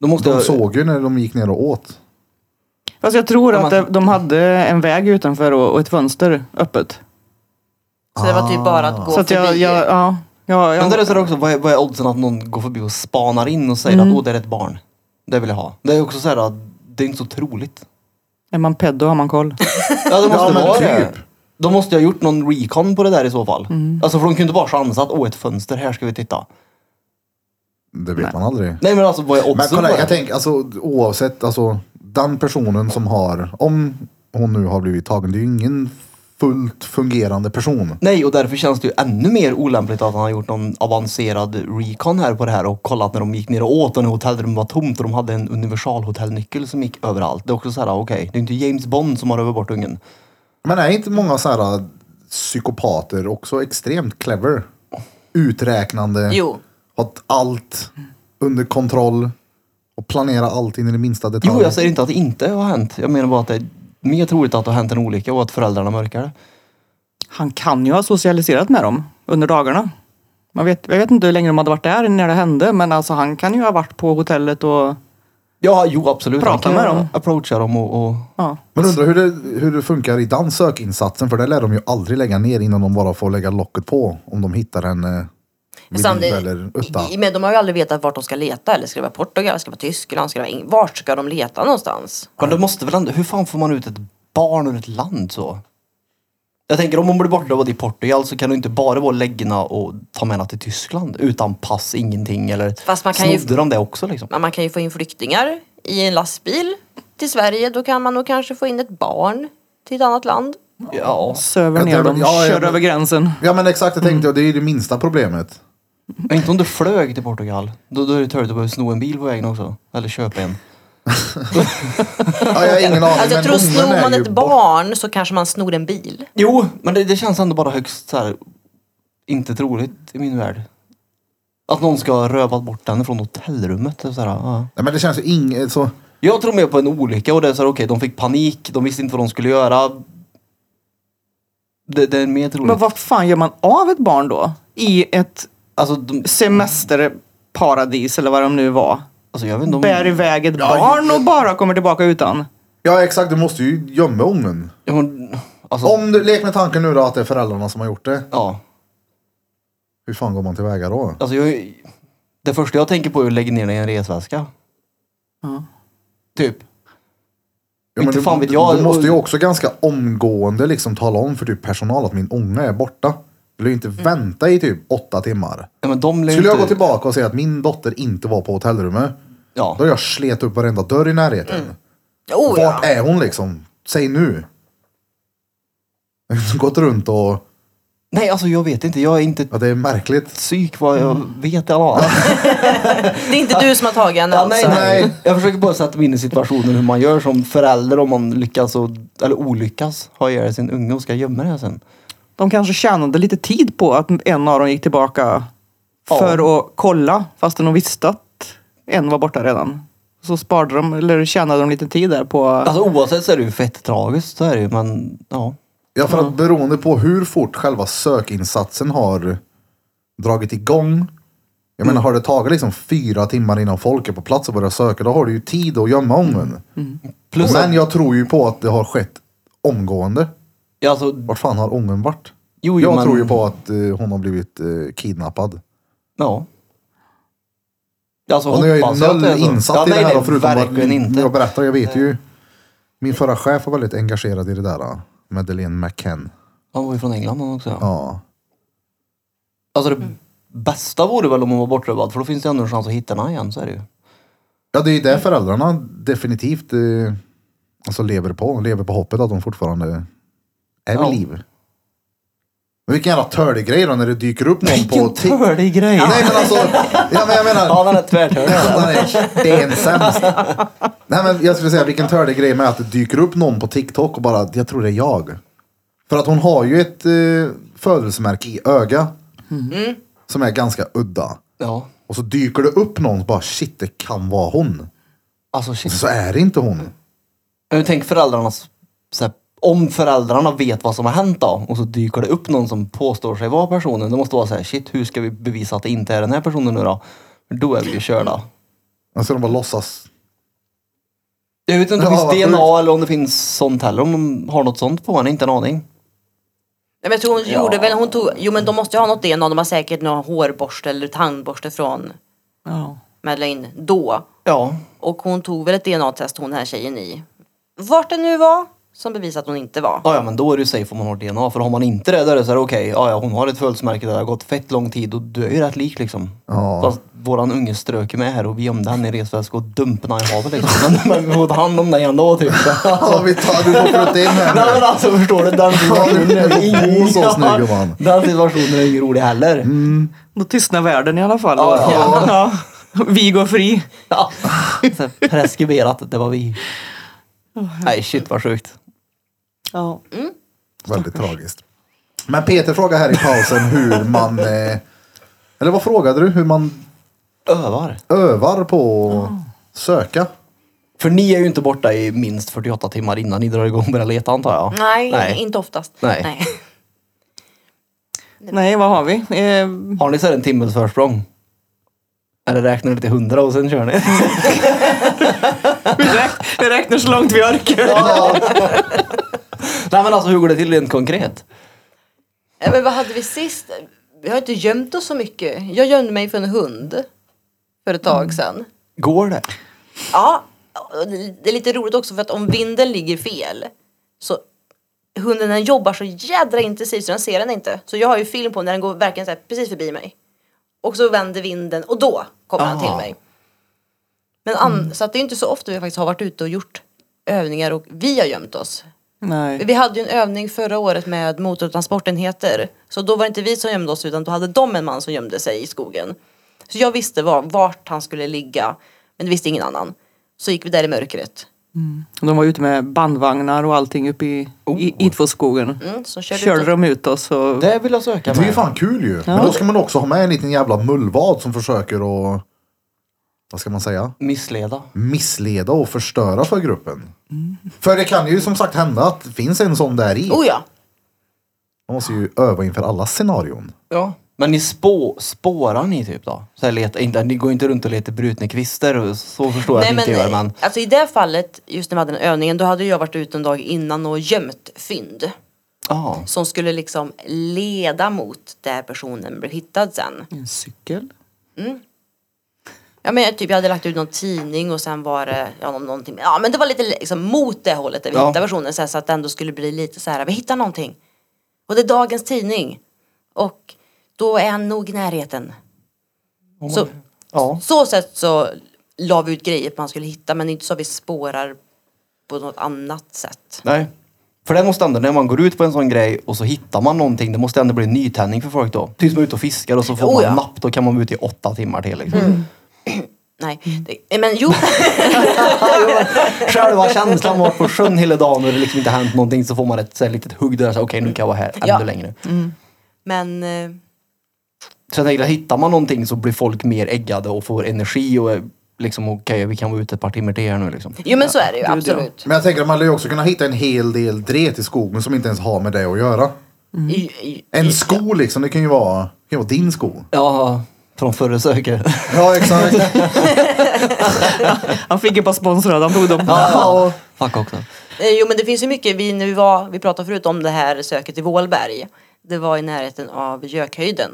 [SPEAKER 2] De måste...
[SPEAKER 1] De såg ju när de gick ner och åt.
[SPEAKER 3] Alltså jag tror
[SPEAKER 2] Ja,
[SPEAKER 3] att
[SPEAKER 2] man-
[SPEAKER 3] det- de hade en väg utanför och och ett fönster öppet.
[SPEAKER 4] Så det var typ bara att gå
[SPEAKER 3] Så att jag,
[SPEAKER 4] förbi.
[SPEAKER 3] jag, ja, ja,
[SPEAKER 2] Men där är
[SPEAKER 3] jag,
[SPEAKER 2] det så här också, vad är, vad är oddsen att någon går förbi och spanar in och säger att åh, det är ett barn. Det vill jag ha. Det är också så här att det är inte så troligt.
[SPEAKER 3] är man pedo har man koll.
[SPEAKER 2] Ja, det måste
[SPEAKER 1] men
[SPEAKER 2] vara det.
[SPEAKER 1] typ.
[SPEAKER 2] De måste ju ha gjort någon recon på det där i så fall. Alltså för de kunde inte bara chansa att åh, ett fönster, här ska vi titta.
[SPEAKER 1] Det vet man aldrig.
[SPEAKER 2] Nej men alltså vad är
[SPEAKER 1] Men
[SPEAKER 2] oddsen
[SPEAKER 1] kolla,
[SPEAKER 2] på det?
[SPEAKER 1] jag tänker alltså oavsett, alltså den personen som har, om hon nu har blivit tagen, det är ju ingen fullt fungerande person.
[SPEAKER 2] Nej, och därför känns det ju ännu mer olämpligt att han har gjort någon avancerad recon här på det här och kollat när de gick ner och åt och när hotellrummet var tomt och de hade en universalhotellnyckel som gick överallt. Det är också så här, okej, det är inte James Bond som har rövat bort ungen.
[SPEAKER 1] Men är inte många så här äh, psykopater också extremt clever? Uträknande.
[SPEAKER 4] Jo.
[SPEAKER 1] Har t- allt under kontroll. Och planera allt in i det minsta detalj.
[SPEAKER 2] Jo, jag säger inte att det inte har hänt. Jag menar bara att det är mer troligt att det har hänt en olycka och att föräldrarna mörkar det.
[SPEAKER 3] Han kan ju ha socialiserat med dem under dagarna. Man vet, jag vet inte hur länge de hade varit där när det hände men alltså han kan ju ha varit på hotellet och
[SPEAKER 2] Ja, jo absolut.
[SPEAKER 3] Prata
[SPEAKER 2] Man kan
[SPEAKER 3] med dem.
[SPEAKER 2] Approacha dem och... och...
[SPEAKER 3] ja.
[SPEAKER 1] Men undrar hur det, hur det funkar i den sökinsatsen. För det lär de ju aldrig lägga ner innan de bara får lägga locket på. Om de hittar en eh, vid liv eller utta.
[SPEAKER 4] i- men de har ju aldrig vetat vart de ska leta. Eller ska det vara Portugal, ska det vara Tyskland, ska det vara Eng- Vart ska de leta någonstans?
[SPEAKER 2] Men det måste väl ändå... Hur fan får man ut ett barn ur ett land så? Jag tänker om hon blir bortrövad i Portugal så kan du inte bara vara läggna och ta med henne till Tyskland utan pass, ingenting eller...
[SPEAKER 4] Fast man kan ju-
[SPEAKER 2] Snodde de det också liksom?
[SPEAKER 4] Men man kan ju få in flyktingar i en lastbil till Sverige. Då kan man nog kanske få in ett barn till ett annat land.
[SPEAKER 2] Ja.
[SPEAKER 3] söver
[SPEAKER 1] Jag
[SPEAKER 3] ner
[SPEAKER 1] tror-
[SPEAKER 3] dem,
[SPEAKER 1] ja, ja,
[SPEAKER 3] kör
[SPEAKER 1] men-
[SPEAKER 3] över gränsen.
[SPEAKER 1] Ja men exakt, jag
[SPEAKER 4] Mm.
[SPEAKER 1] tänkte jag. Det är ju det minsta problemet.
[SPEAKER 2] Men inte om du flög till Portugal. Då, då är det törligt att behöva sno en bil på vägen också. Eller köpa en.
[SPEAKER 1] Ja, jag har ingen aning.
[SPEAKER 4] Alltså jag
[SPEAKER 1] men
[SPEAKER 4] tror
[SPEAKER 1] ungen
[SPEAKER 4] snor
[SPEAKER 1] är
[SPEAKER 4] man
[SPEAKER 1] ju
[SPEAKER 4] ett barn så kanske man snor en bil.
[SPEAKER 2] Jo, men det, det känns ändå bara högst så här, inte troligt i min värld. Att någon ska ha rövat bort den från hotellrummet. och Så här, ja.
[SPEAKER 1] Nej, men det känns ju inget så.
[SPEAKER 2] Jag tror mer på en olycka och det är så här, okej, de fick panik, de visste inte vad de skulle göra. Det, det är mer troligt.
[SPEAKER 3] Men vad fan gör man av ett barn då? I ett
[SPEAKER 2] Alltså, de,
[SPEAKER 3] semesterparadis eller vad de nu var.
[SPEAKER 2] alltså jag vet inte om...
[SPEAKER 3] Bär iväg ett barn och bara kommer tillbaka utan.
[SPEAKER 1] Ja exakt, du måste ju gömma ungen.
[SPEAKER 2] Ja, men, alltså,
[SPEAKER 1] Om du lek med tanken nu då att det är föräldrarna som har gjort det.
[SPEAKER 2] Ja,
[SPEAKER 1] Hur fan går man tillväga då?
[SPEAKER 2] alltså jag, det första jag tänker på är att lägga ner den i en resväska. Typ.
[SPEAKER 1] Ja, men
[SPEAKER 2] Inte
[SPEAKER 1] du,
[SPEAKER 2] fan vet jag.
[SPEAKER 1] Du måste ju också ganska omgående liksom tala om för typ personal att min ånga är borta. Du lär ju inte vänta i typ åtta timmar.
[SPEAKER 2] Ja, men de lär ju
[SPEAKER 1] Skulle jag
[SPEAKER 2] Mm. inte-
[SPEAKER 1] gå tillbaka och säga att min dotter inte var på hotellrummet.
[SPEAKER 2] Ja.
[SPEAKER 1] Då har jag slet upp varenda dörr i närheten.
[SPEAKER 2] Mm.
[SPEAKER 4] Oh, ja.
[SPEAKER 1] Vart är hon liksom? Säg nu. Jag har gått runt och...
[SPEAKER 2] Nej, alltså jag vet inte. Jag är inte
[SPEAKER 1] Ja, det är märkligt.
[SPEAKER 2] psyk vad jag
[SPEAKER 3] Mm.
[SPEAKER 2] vet i alla fall.
[SPEAKER 4] Det är inte du som har tagit henne
[SPEAKER 2] Ja,
[SPEAKER 4] alltså.
[SPEAKER 2] nej, nej. Jag försöker bara sätta mig in i situationen hur man gör som förälder om man lyckas och, eller olyckas ha ihjäl sin unge och ska gömma det här sen.
[SPEAKER 3] De kanske tjänade lite tid på att en av dem gick tillbaka
[SPEAKER 2] Ja.
[SPEAKER 3] för att kolla fastän de visste att en var borta redan. Så sparade de, eller tjänade de lite tid där på...
[SPEAKER 2] Alltså oavsett så är det ju fett tragiskt, så är det ju. Men ja.
[SPEAKER 1] Ja, för att beroende på hur fort själva sökinsatsen har dragit igång. Jag
[SPEAKER 2] Mm.
[SPEAKER 1] menar, har det tagit liksom fyra timmar innan folk är på plats och börjar söka, då har du ju tid att gömma
[SPEAKER 2] Mm.
[SPEAKER 1] ången.
[SPEAKER 2] Plus
[SPEAKER 1] Men
[SPEAKER 2] att,
[SPEAKER 1] jag tror ju på att det har skett omgående.
[SPEAKER 2] ja, alltså,
[SPEAKER 1] Vart fan har ången varit?
[SPEAKER 2] jo,
[SPEAKER 1] jag
[SPEAKER 2] men,
[SPEAKER 1] tror ju på att eh, hon har blivit eh, kidnappad.
[SPEAKER 2] Ja. Alltså
[SPEAKER 1] Och nu är jag ju
[SPEAKER 2] hoppas jag att det är
[SPEAKER 1] noll
[SPEAKER 2] så.
[SPEAKER 1] insatt
[SPEAKER 2] ja,
[SPEAKER 1] i
[SPEAKER 2] nej,
[SPEAKER 1] det här
[SPEAKER 2] nej,
[SPEAKER 1] då, förutom
[SPEAKER 2] verkligen
[SPEAKER 1] att
[SPEAKER 2] inte.
[SPEAKER 1] jag berättar, jag vet ju. Min förra chef var väldigt engagerad i det där. då. Madeleine McCann.
[SPEAKER 2] Han var ju från England han också. Ja.
[SPEAKER 1] Ja.
[SPEAKER 2] Alltså det bästa vore väl om hon var bortrövad för då finns det ändå en chans att hitta henne igen, så är det ju.
[SPEAKER 1] Ja, det är ju det föräldrarna definitivt eh, alltså lever på. Lever på hoppet att de fortfarande är vid
[SPEAKER 2] Ja.
[SPEAKER 1] liv. Men vilken jävla tördig grej då när det dyker upp någon på...
[SPEAKER 2] Vilken
[SPEAKER 1] ti-
[SPEAKER 2] tördig grej!
[SPEAKER 1] Nej men alltså, ja, men jag menar...
[SPEAKER 2] Ja, den är tvärtördig.
[SPEAKER 1] Den är stensämst. Nej men jag skulle säga vilken tördig grej med att det dyker upp någon på TikTok och bara, jag tror det är jag. För att hon har ju ett eh, födelsemärke i öga.
[SPEAKER 2] Mhm.
[SPEAKER 1] Som är ganska udda.
[SPEAKER 2] Ja.
[SPEAKER 1] Och så dyker det upp någon och bara, shit det kan vara hon.
[SPEAKER 2] Alltså shit.
[SPEAKER 1] Så är det inte hon.
[SPEAKER 2] Men tänk föräldrarnas... Så här, om föräldrarna vet vad som har hänt då och så dyker det upp någon som påstår sig vara personen. Det måste vara så här, shit hur ska vi bevisa att det inte är den här personen nu då? Då är vi ju körda.
[SPEAKER 1] Alltså de bara låtsas.
[SPEAKER 2] Jag vet inte om
[SPEAKER 1] Ja,
[SPEAKER 2] det
[SPEAKER 1] vad
[SPEAKER 2] finns
[SPEAKER 1] sjukt.
[SPEAKER 2] DNA eller om det finns sånt heller. Om de har något sånt på henne, inte en aning.
[SPEAKER 4] Nej, men jag tror hon gjorde väl, hon tog, jo men de måste ju ha något DNA, de har säkert någon hårborste eller tandborste från
[SPEAKER 3] Ja.
[SPEAKER 4] Madeleine då.
[SPEAKER 2] Ja.
[SPEAKER 4] Och hon tog väl ett DNA-test hon här tjejen i. Vart det nu var som bevisade att hon inte var.
[SPEAKER 2] Ja, ja, men då är det ju safe om man har DNA. För har man inte det, då är det så här, okej, ja, ja, hon har ett födelsemärke där det har gått fett lång tid och du är ju rätt lik liksom.
[SPEAKER 1] Ja.
[SPEAKER 2] Fast våran unge strök ju med här och vi gömde henne i resväska och dumpade henne i havet liksom. Men, men vi får ta hand om dig ändå typ.
[SPEAKER 1] Ja, vi tar, du får flytta in
[SPEAKER 2] Nej
[SPEAKER 1] här
[SPEAKER 2] men alltså förstår du, den situationen är
[SPEAKER 1] Bo hos oss nu,
[SPEAKER 2] Ja,
[SPEAKER 1] gumman. Mm.
[SPEAKER 2] Den situationen är ju rolig heller.
[SPEAKER 3] Då tystnar världen i alla fall.
[SPEAKER 2] Ja, ja.
[SPEAKER 3] Ja. Vi går fri.
[SPEAKER 2] Ja. Så här, Preskriberat, det var vi. Nej shit vad sjukt.
[SPEAKER 3] Ja.
[SPEAKER 1] nu. Väldigt tragiskt. Men Peter frågade här i pausen hur man... Eh, eller vad frågade du? Hur man
[SPEAKER 2] Övar.
[SPEAKER 1] övar på att söka?
[SPEAKER 2] För ni är ju inte borta i minst 48 timmar innan ni drar igång och börjar leta antar jag.
[SPEAKER 4] Nej,
[SPEAKER 2] Nej.
[SPEAKER 4] inte oftast.
[SPEAKER 2] Nej.
[SPEAKER 3] Nej, vad har vi? Eh,
[SPEAKER 2] Har ni så här en timmes försprång? Eller räknar ni till 100 och sen kör ni?
[SPEAKER 3] vi, räk- vi räknar så långt vi orkar.
[SPEAKER 2] Nej men alltså hur går det till rent konkret?
[SPEAKER 4] Ja, Men vad hade vi sist? Vi har inte gömt oss så mycket. Jag gömde mig för en hund för ett
[SPEAKER 2] Mm.
[SPEAKER 4] tag sedan.
[SPEAKER 2] Går det?
[SPEAKER 4] Ja, och det är lite roligt också för att om vinden ligger fel så hunden den jobbar så jädra intensivt så den ser den inte. Så jag har ju film på när den går verkligen så här precis förbi mig. Och så vänder vinden och då kommer han till
[SPEAKER 2] Aha.
[SPEAKER 4] mig. Men an- Så att det är inte så ofta vi faktiskt har varit ute och gjort övningar och vi har gömt oss.
[SPEAKER 3] Nej.
[SPEAKER 4] Vi hade ju en övning förra året med motortransportenheter. Så då var det inte vi som gömde oss utan då hade de en man som gömde sig i skogen. Så jag visste var, vart han skulle ligga. Men det visste ingen annan. Så gick vi där i mörkret.
[SPEAKER 3] De var ute med bandvagnar och allting uppe i, i Idfoskogen.
[SPEAKER 4] Mm, så körde,
[SPEAKER 3] Körde
[SPEAKER 4] ut-
[SPEAKER 3] de ut oss och...
[SPEAKER 2] Det vill jag söka
[SPEAKER 1] Det är ju
[SPEAKER 2] med.
[SPEAKER 1] fan kul ju. Men då ska man också ha med en liten jävla mullvad som försöker att... Vad ska man säga?
[SPEAKER 2] Missleda.
[SPEAKER 1] Missleda och förstöra för gruppen. För det kan ju som sagt hända att det finns en sån där i.
[SPEAKER 4] Mm. Oh ja!
[SPEAKER 1] Man måste ju öva inför alla scenarion.
[SPEAKER 2] Ja. Men ni spå, spårar ni typ då? Så här leta, inte, ni går inte runt och letar brutna kvistar och så förstår jag att
[SPEAKER 4] Nej,
[SPEAKER 2] ni inte gör.
[SPEAKER 4] men,
[SPEAKER 2] Men
[SPEAKER 4] alltså, I det fallet, just när vi hade den övningen, då hade jag varit ute en dag innan och gömt fynd.
[SPEAKER 2] ja.
[SPEAKER 4] Som skulle liksom leda mot där personen blev hittad sen.
[SPEAKER 3] En cykel?
[SPEAKER 4] Ja, men jag, typ, jag hade lagt ut någon tidning och sen var det ja, nå- någonting. Ja, men det var lite liksom, mot det hållet där vi
[SPEAKER 2] Ja.
[SPEAKER 4] hittade versionen. Så, här, så att det ändå skulle bli lite så här, vi hittar någonting. Och det är dagens tidning. Och då är han nog i närheten.
[SPEAKER 2] Om man-
[SPEAKER 4] Så-
[SPEAKER 2] Ja.
[SPEAKER 4] Så sätt så la vi ut grejer man skulle hitta men inte så vi spårar på något annat sätt.
[SPEAKER 2] Nej. För det måste ändå, när man går ut på en sån grej och så hittar man någonting, det måste ändå bli en nytändning för folk då. Typ Tills man är ute och fiskar och så får
[SPEAKER 4] Oh,
[SPEAKER 2] man
[SPEAKER 4] ja. Mm.
[SPEAKER 2] napp, då kan man vara ute i åtta timmar till liksom.
[SPEAKER 4] Nej,
[SPEAKER 2] Mm.
[SPEAKER 4] det, men jo.
[SPEAKER 2] Själva känslan var på sjön hela dagen och det liksom inte hänt någonting så får man ett så här, litet hugg där, så här, okej nu kan jag vara här ännu
[SPEAKER 4] Ja.
[SPEAKER 2] längre.
[SPEAKER 4] men eh,
[SPEAKER 2] Så jag tänker att hittar man någonting så blir folk mer eggade och får energi och är liksom okej vi kan vara ute ett par timmar till här nu liksom.
[SPEAKER 4] jo men så är det ju
[SPEAKER 3] Gud, ja.
[SPEAKER 4] absolut.
[SPEAKER 1] Men jag tänker att man lär ju också kunna hitta en hel del dret i skogen som inte ens har med det att göra.
[SPEAKER 2] Mm.
[SPEAKER 4] I, i,
[SPEAKER 1] En sko liksom, det kan ju vara, det kan ju vara din sko.
[SPEAKER 2] Ja, från förre söket.
[SPEAKER 1] Ja, exakt.
[SPEAKER 3] Han fick ju bara sponsrade, han tog dem.
[SPEAKER 2] Ja, fuck också.
[SPEAKER 4] Eh, Jo men det finns ju mycket, vi, när vi, var, vi pratade förut om det här söket i Vålberg. Det var i närheten av Gökhöjden.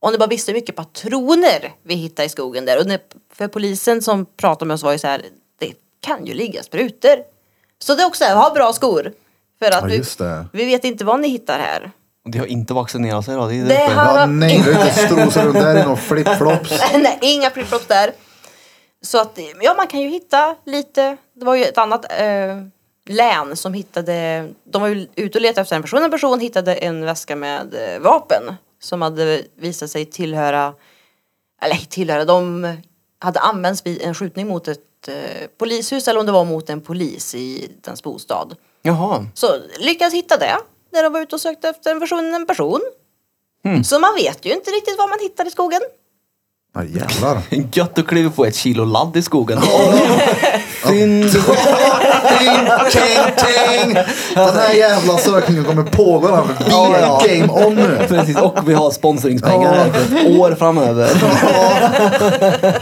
[SPEAKER 4] Och ni bara visste hur mycket patroner vi hittade i skogen där. Och när, för polisen som pratade med oss var ju så här, det kan ju ligga sprutor. Så det är också, så här, ha bra skor. För att
[SPEAKER 1] Ja,
[SPEAKER 4] vi,
[SPEAKER 1] just det.
[SPEAKER 4] vi vet inte vad ni hittar här.
[SPEAKER 2] Och De har inte vaccinerat sig då. Det är
[SPEAKER 4] Det
[SPEAKER 2] därför.
[SPEAKER 4] har-
[SPEAKER 1] Ja, nej, du inte strosa runt där i någon flipflops.
[SPEAKER 4] Nej, inga flipflops där. Så att, ja man kan ju hitta lite. Det var ju ett annat eh, län som hittade, de var ju ute och letade efter en person. En person hittade en väska med eh, vapen. Som hade visat sig tillhöra, eller tillhöra, de hade använts vid en skjutning mot ett eh, polishus eller om det var mot en polis i dens bostad.
[SPEAKER 2] Jaha.
[SPEAKER 4] Så lyckades hitta det när de var ute och sökte efter en person. En person. Så man vet ju inte riktigt vad man hittar i skogen.
[SPEAKER 1] Ja, jävlar.
[SPEAKER 2] Gött att kliva på ett kilo ladd i skogen. Fynd.
[SPEAKER 1] Ting, ting, ting. Den här jävla sökningen kommer pågå. den här.
[SPEAKER 2] Ja, ja.
[SPEAKER 1] Game on nu.
[SPEAKER 2] Precis, och vi har sponsringspengar här för ett år framöver.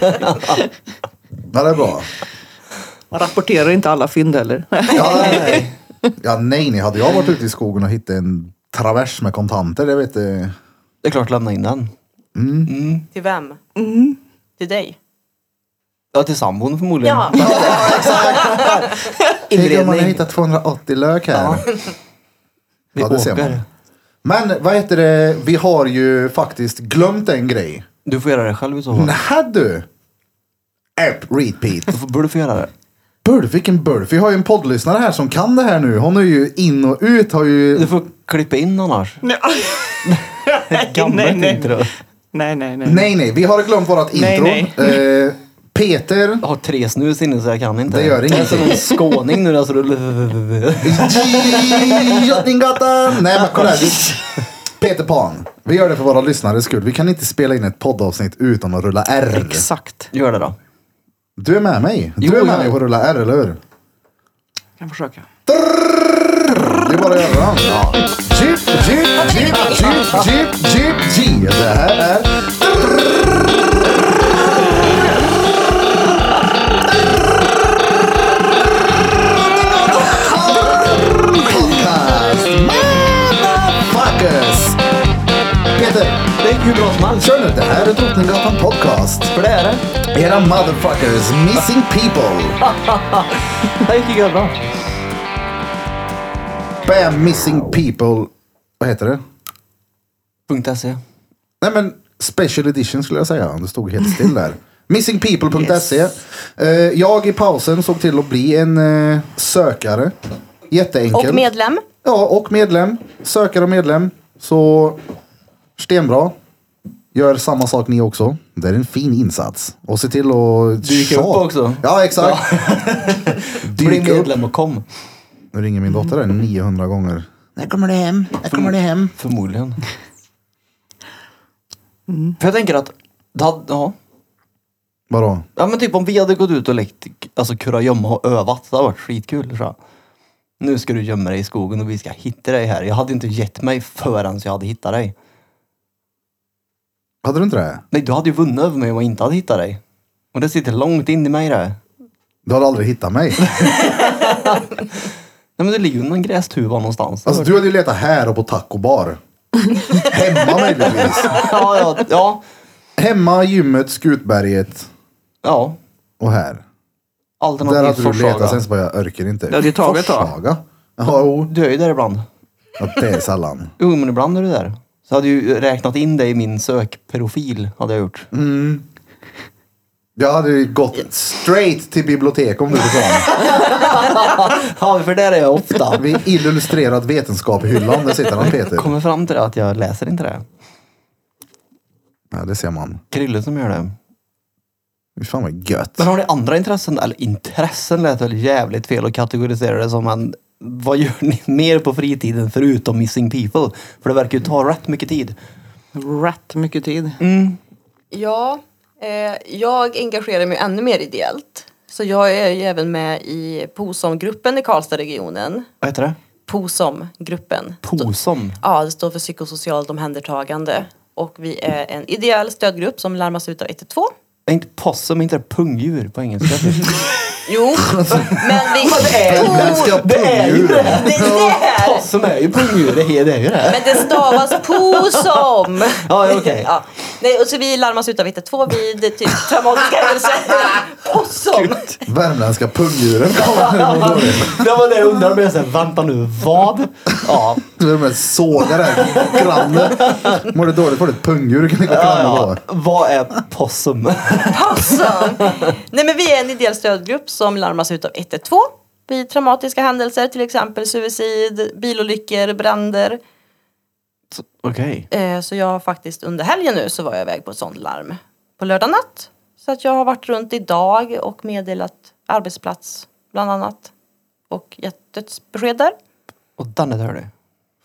[SPEAKER 1] Ja, det är bra.
[SPEAKER 3] Han rapporterar inte alla fynd heller.
[SPEAKER 1] Ja, nej. Ja, nej, nej. Hade jag varit ute i skogen och hittat en travers med kontanter, det vet du.
[SPEAKER 2] Det är klart, lämna in den.
[SPEAKER 4] Till vem? Mm. Till dig?
[SPEAKER 2] Ja, till sambon förmodligen.
[SPEAKER 4] Ja,
[SPEAKER 1] Tänk om man har
[SPEAKER 2] Inredning.
[SPEAKER 1] hittat 280 lök här.
[SPEAKER 2] Vi
[SPEAKER 1] Ja, det ser man.
[SPEAKER 2] åker.
[SPEAKER 1] Men vad heter det, vi har ju faktiskt glömt en grej.
[SPEAKER 2] Du får göra det själv i så fall.
[SPEAKER 1] Nähä du! App repeat.
[SPEAKER 2] Då får- borde du få göra det.
[SPEAKER 1] Bulf, vilken bulf. Vi har ju en poddlyssnare här som kan det här nu. Hon är ju in och ut, har ju...
[SPEAKER 2] Du får klippa in annars.
[SPEAKER 3] nej,
[SPEAKER 2] Gammalt intro.
[SPEAKER 3] nej, nej, nej.
[SPEAKER 1] Nej, nej, vi har glömt vårat
[SPEAKER 3] Nej,
[SPEAKER 1] intro. Eh, Peter.
[SPEAKER 2] Jag har tre snus inne så jag kan inte.
[SPEAKER 1] Det gör
[SPEAKER 2] Jag är som en skåning nu. Alltså.
[SPEAKER 1] Drottninggatan! Nej, men kolla här. Vi- Peter Pan. Vi gör det för våra lyssnares skull. Vi kan inte spela in ett poddavsnitt utan att rulla R.
[SPEAKER 3] Exakt.
[SPEAKER 2] Gör det då.
[SPEAKER 1] Du är med mig. Du
[SPEAKER 2] Jo,
[SPEAKER 1] är med
[SPEAKER 2] jag-
[SPEAKER 1] mig på att rulla R, eller hur?
[SPEAKER 3] Jag kan försöka.
[SPEAKER 1] Det är bara att göra. Ja. Jeep, jeep, jeep, jeep, jeep, jeep, jeep. Det här är... Podcast. Motherfuckers. Peter,
[SPEAKER 2] Det är hur bra som helst.
[SPEAKER 1] kör nu. Det här är Drottninggatan Podcast.
[SPEAKER 2] För det är det.
[SPEAKER 1] Era motherfuckers, missing people.
[SPEAKER 2] Det gick ju bra.
[SPEAKER 1] Bam, missing people. Vad heter det?
[SPEAKER 2] Punkt E. .se.
[SPEAKER 1] Nej men special edition skulle jag säga. Det stod helt still där. Missingpeople.se. Eh, jag i pausen såg till att bli en eh, sökare. Jätteenkelt.
[SPEAKER 4] och medlem.
[SPEAKER 1] Ja, och medlem. Sökare och medlem. Så stenbra. Gör samma sak ni också. Det är en fin insats. Och se till att...
[SPEAKER 2] Dyka upp
[SPEAKER 1] tjata.
[SPEAKER 2] också.
[SPEAKER 1] Ja, exakt.
[SPEAKER 2] Bli
[SPEAKER 1] Dyk upp.
[SPEAKER 2] medlem och kom.
[SPEAKER 1] Nu ringer min dotter där 900 gånger. När kommer du hem? När kommer du hem?
[SPEAKER 2] Förmodligen. För jag tänker att, det hade, ja.
[SPEAKER 1] Vadå?
[SPEAKER 2] ja men typ om vi hade gått ut och lekt alltså kurragömma och övat, det hade varit skitkul tror jag. Nu ska du gömma dig i skogen och vi ska hitta dig här. Jag hade inte gett mig förrän jag hade hittat dig.
[SPEAKER 1] Hade du inte det?
[SPEAKER 2] Nej, du hade ju vunnit över mig om jag inte hade hittat dig. Och det sitter långt in i mig det.
[SPEAKER 1] Du hade aldrig hittat mig.
[SPEAKER 2] Nej men det ligger ju någon grästuva någonstans.
[SPEAKER 1] Alltså du hade ju letat här och på tacobar. Hemma möjligtvis.
[SPEAKER 2] ja, ja, ja.
[SPEAKER 1] Hemma, gymmet, Skutberget.
[SPEAKER 2] Ja,
[SPEAKER 1] Och här. Där
[SPEAKER 2] alternativt
[SPEAKER 1] hade du letat,
[SPEAKER 2] Forshaga.
[SPEAKER 1] sen så bara jag orkar inte.
[SPEAKER 3] Ja, det tar ett tag.
[SPEAKER 1] Forshaga? Ja, jo.
[SPEAKER 2] Du är ju där ibland.
[SPEAKER 1] Ja, det är sällan.
[SPEAKER 2] Jo, men ibland är du där. Så hade jag ju räknat in dig i min sökprofil, hade jag gjort.
[SPEAKER 1] Mm. Jag hade ju gått straight till bibliotek om du kom.
[SPEAKER 2] Ja, för där är jag ofta.
[SPEAKER 1] Vid illustrerad vetenskap i hyllan, där sitter han Peter.
[SPEAKER 2] Kommer fram till det att jag läser inte det.
[SPEAKER 1] Ja, det ser man.
[SPEAKER 2] Krille som gör det.
[SPEAKER 1] Fy fan vad gött.
[SPEAKER 2] Men har ni andra intressen? Eller intressen lät väl jävligt fel att kategorisera det som. Men vad gör ni mer på fritiden förutom Missing People? För det verkar ju ta rätt mycket tid.
[SPEAKER 3] Rätt mycket tid.
[SPEAKER 4] Ja, eh, jag engagerar mig ännu mer ideellt. Så jag är ju även med i POSOM-gruppen i Karlstadregionen.
[SPEAKER 2] Vad heter det?
[SPEAKER 4] POSOM-gruppen.
[SPEAKER 2] POSOM.
[SPEAKER 4] Ja, det står för psykosocialt omhändertagande. Och vi är en ideell stödgrupp som larmas ut av 112.
[SPEAKER 2] Är inte possum, är inte det pungdjur på engelska?
[SPEAKER 4] Jo, men vi...
[SPEAKER 1] Utländska pungdjur.
[SPEAKER 4] Det är där!
[SPEAKER 2] possum är ju pungdjur, det är det. Är ju det.
[SPEAKER 4] Men det stavas POSOM!
[SPEAKER 2] Ja, ja, okej.
[SPEAKER 4] Ja. Nej, och så vi larmas ut av 112 vid typ traumatiska händelser. POSOM!
[SPEAKER 1] Värmländska pungdjuren kommer.
[SPEAKER 2] Det var det jag undrade, men jag sa vänta nu, vad? Ja,
[SPEAKER 1] Du med sågar där grannen. Mår du dåligt får du ett pungdjur. Kan inte
[SPEAKER 2] ja,
[SPEAKER 1] ja,
[SPEAKER 2] ja.
[SPEAKER 1] ja.
[SPEAKER 2] vad är possum?
[SPEAKER 4] Awesome. Nej men vi är en ideell stödgrupp som larmas ut av 112 vid traumatiska händelser, till exempel suicid, bilolyckor, bränder.
[SPEAKER 2] Okej.
[SPEAKER 4] Eh, så jag har faktiskt under helgen nu så var jag iväg på ett sånt larm på lördag natt. Så att jag har varit runt idag och meddelat arbetsplats bland annat och gett dödsbesked där.
[SPEAKER 2] Och Danne hör du.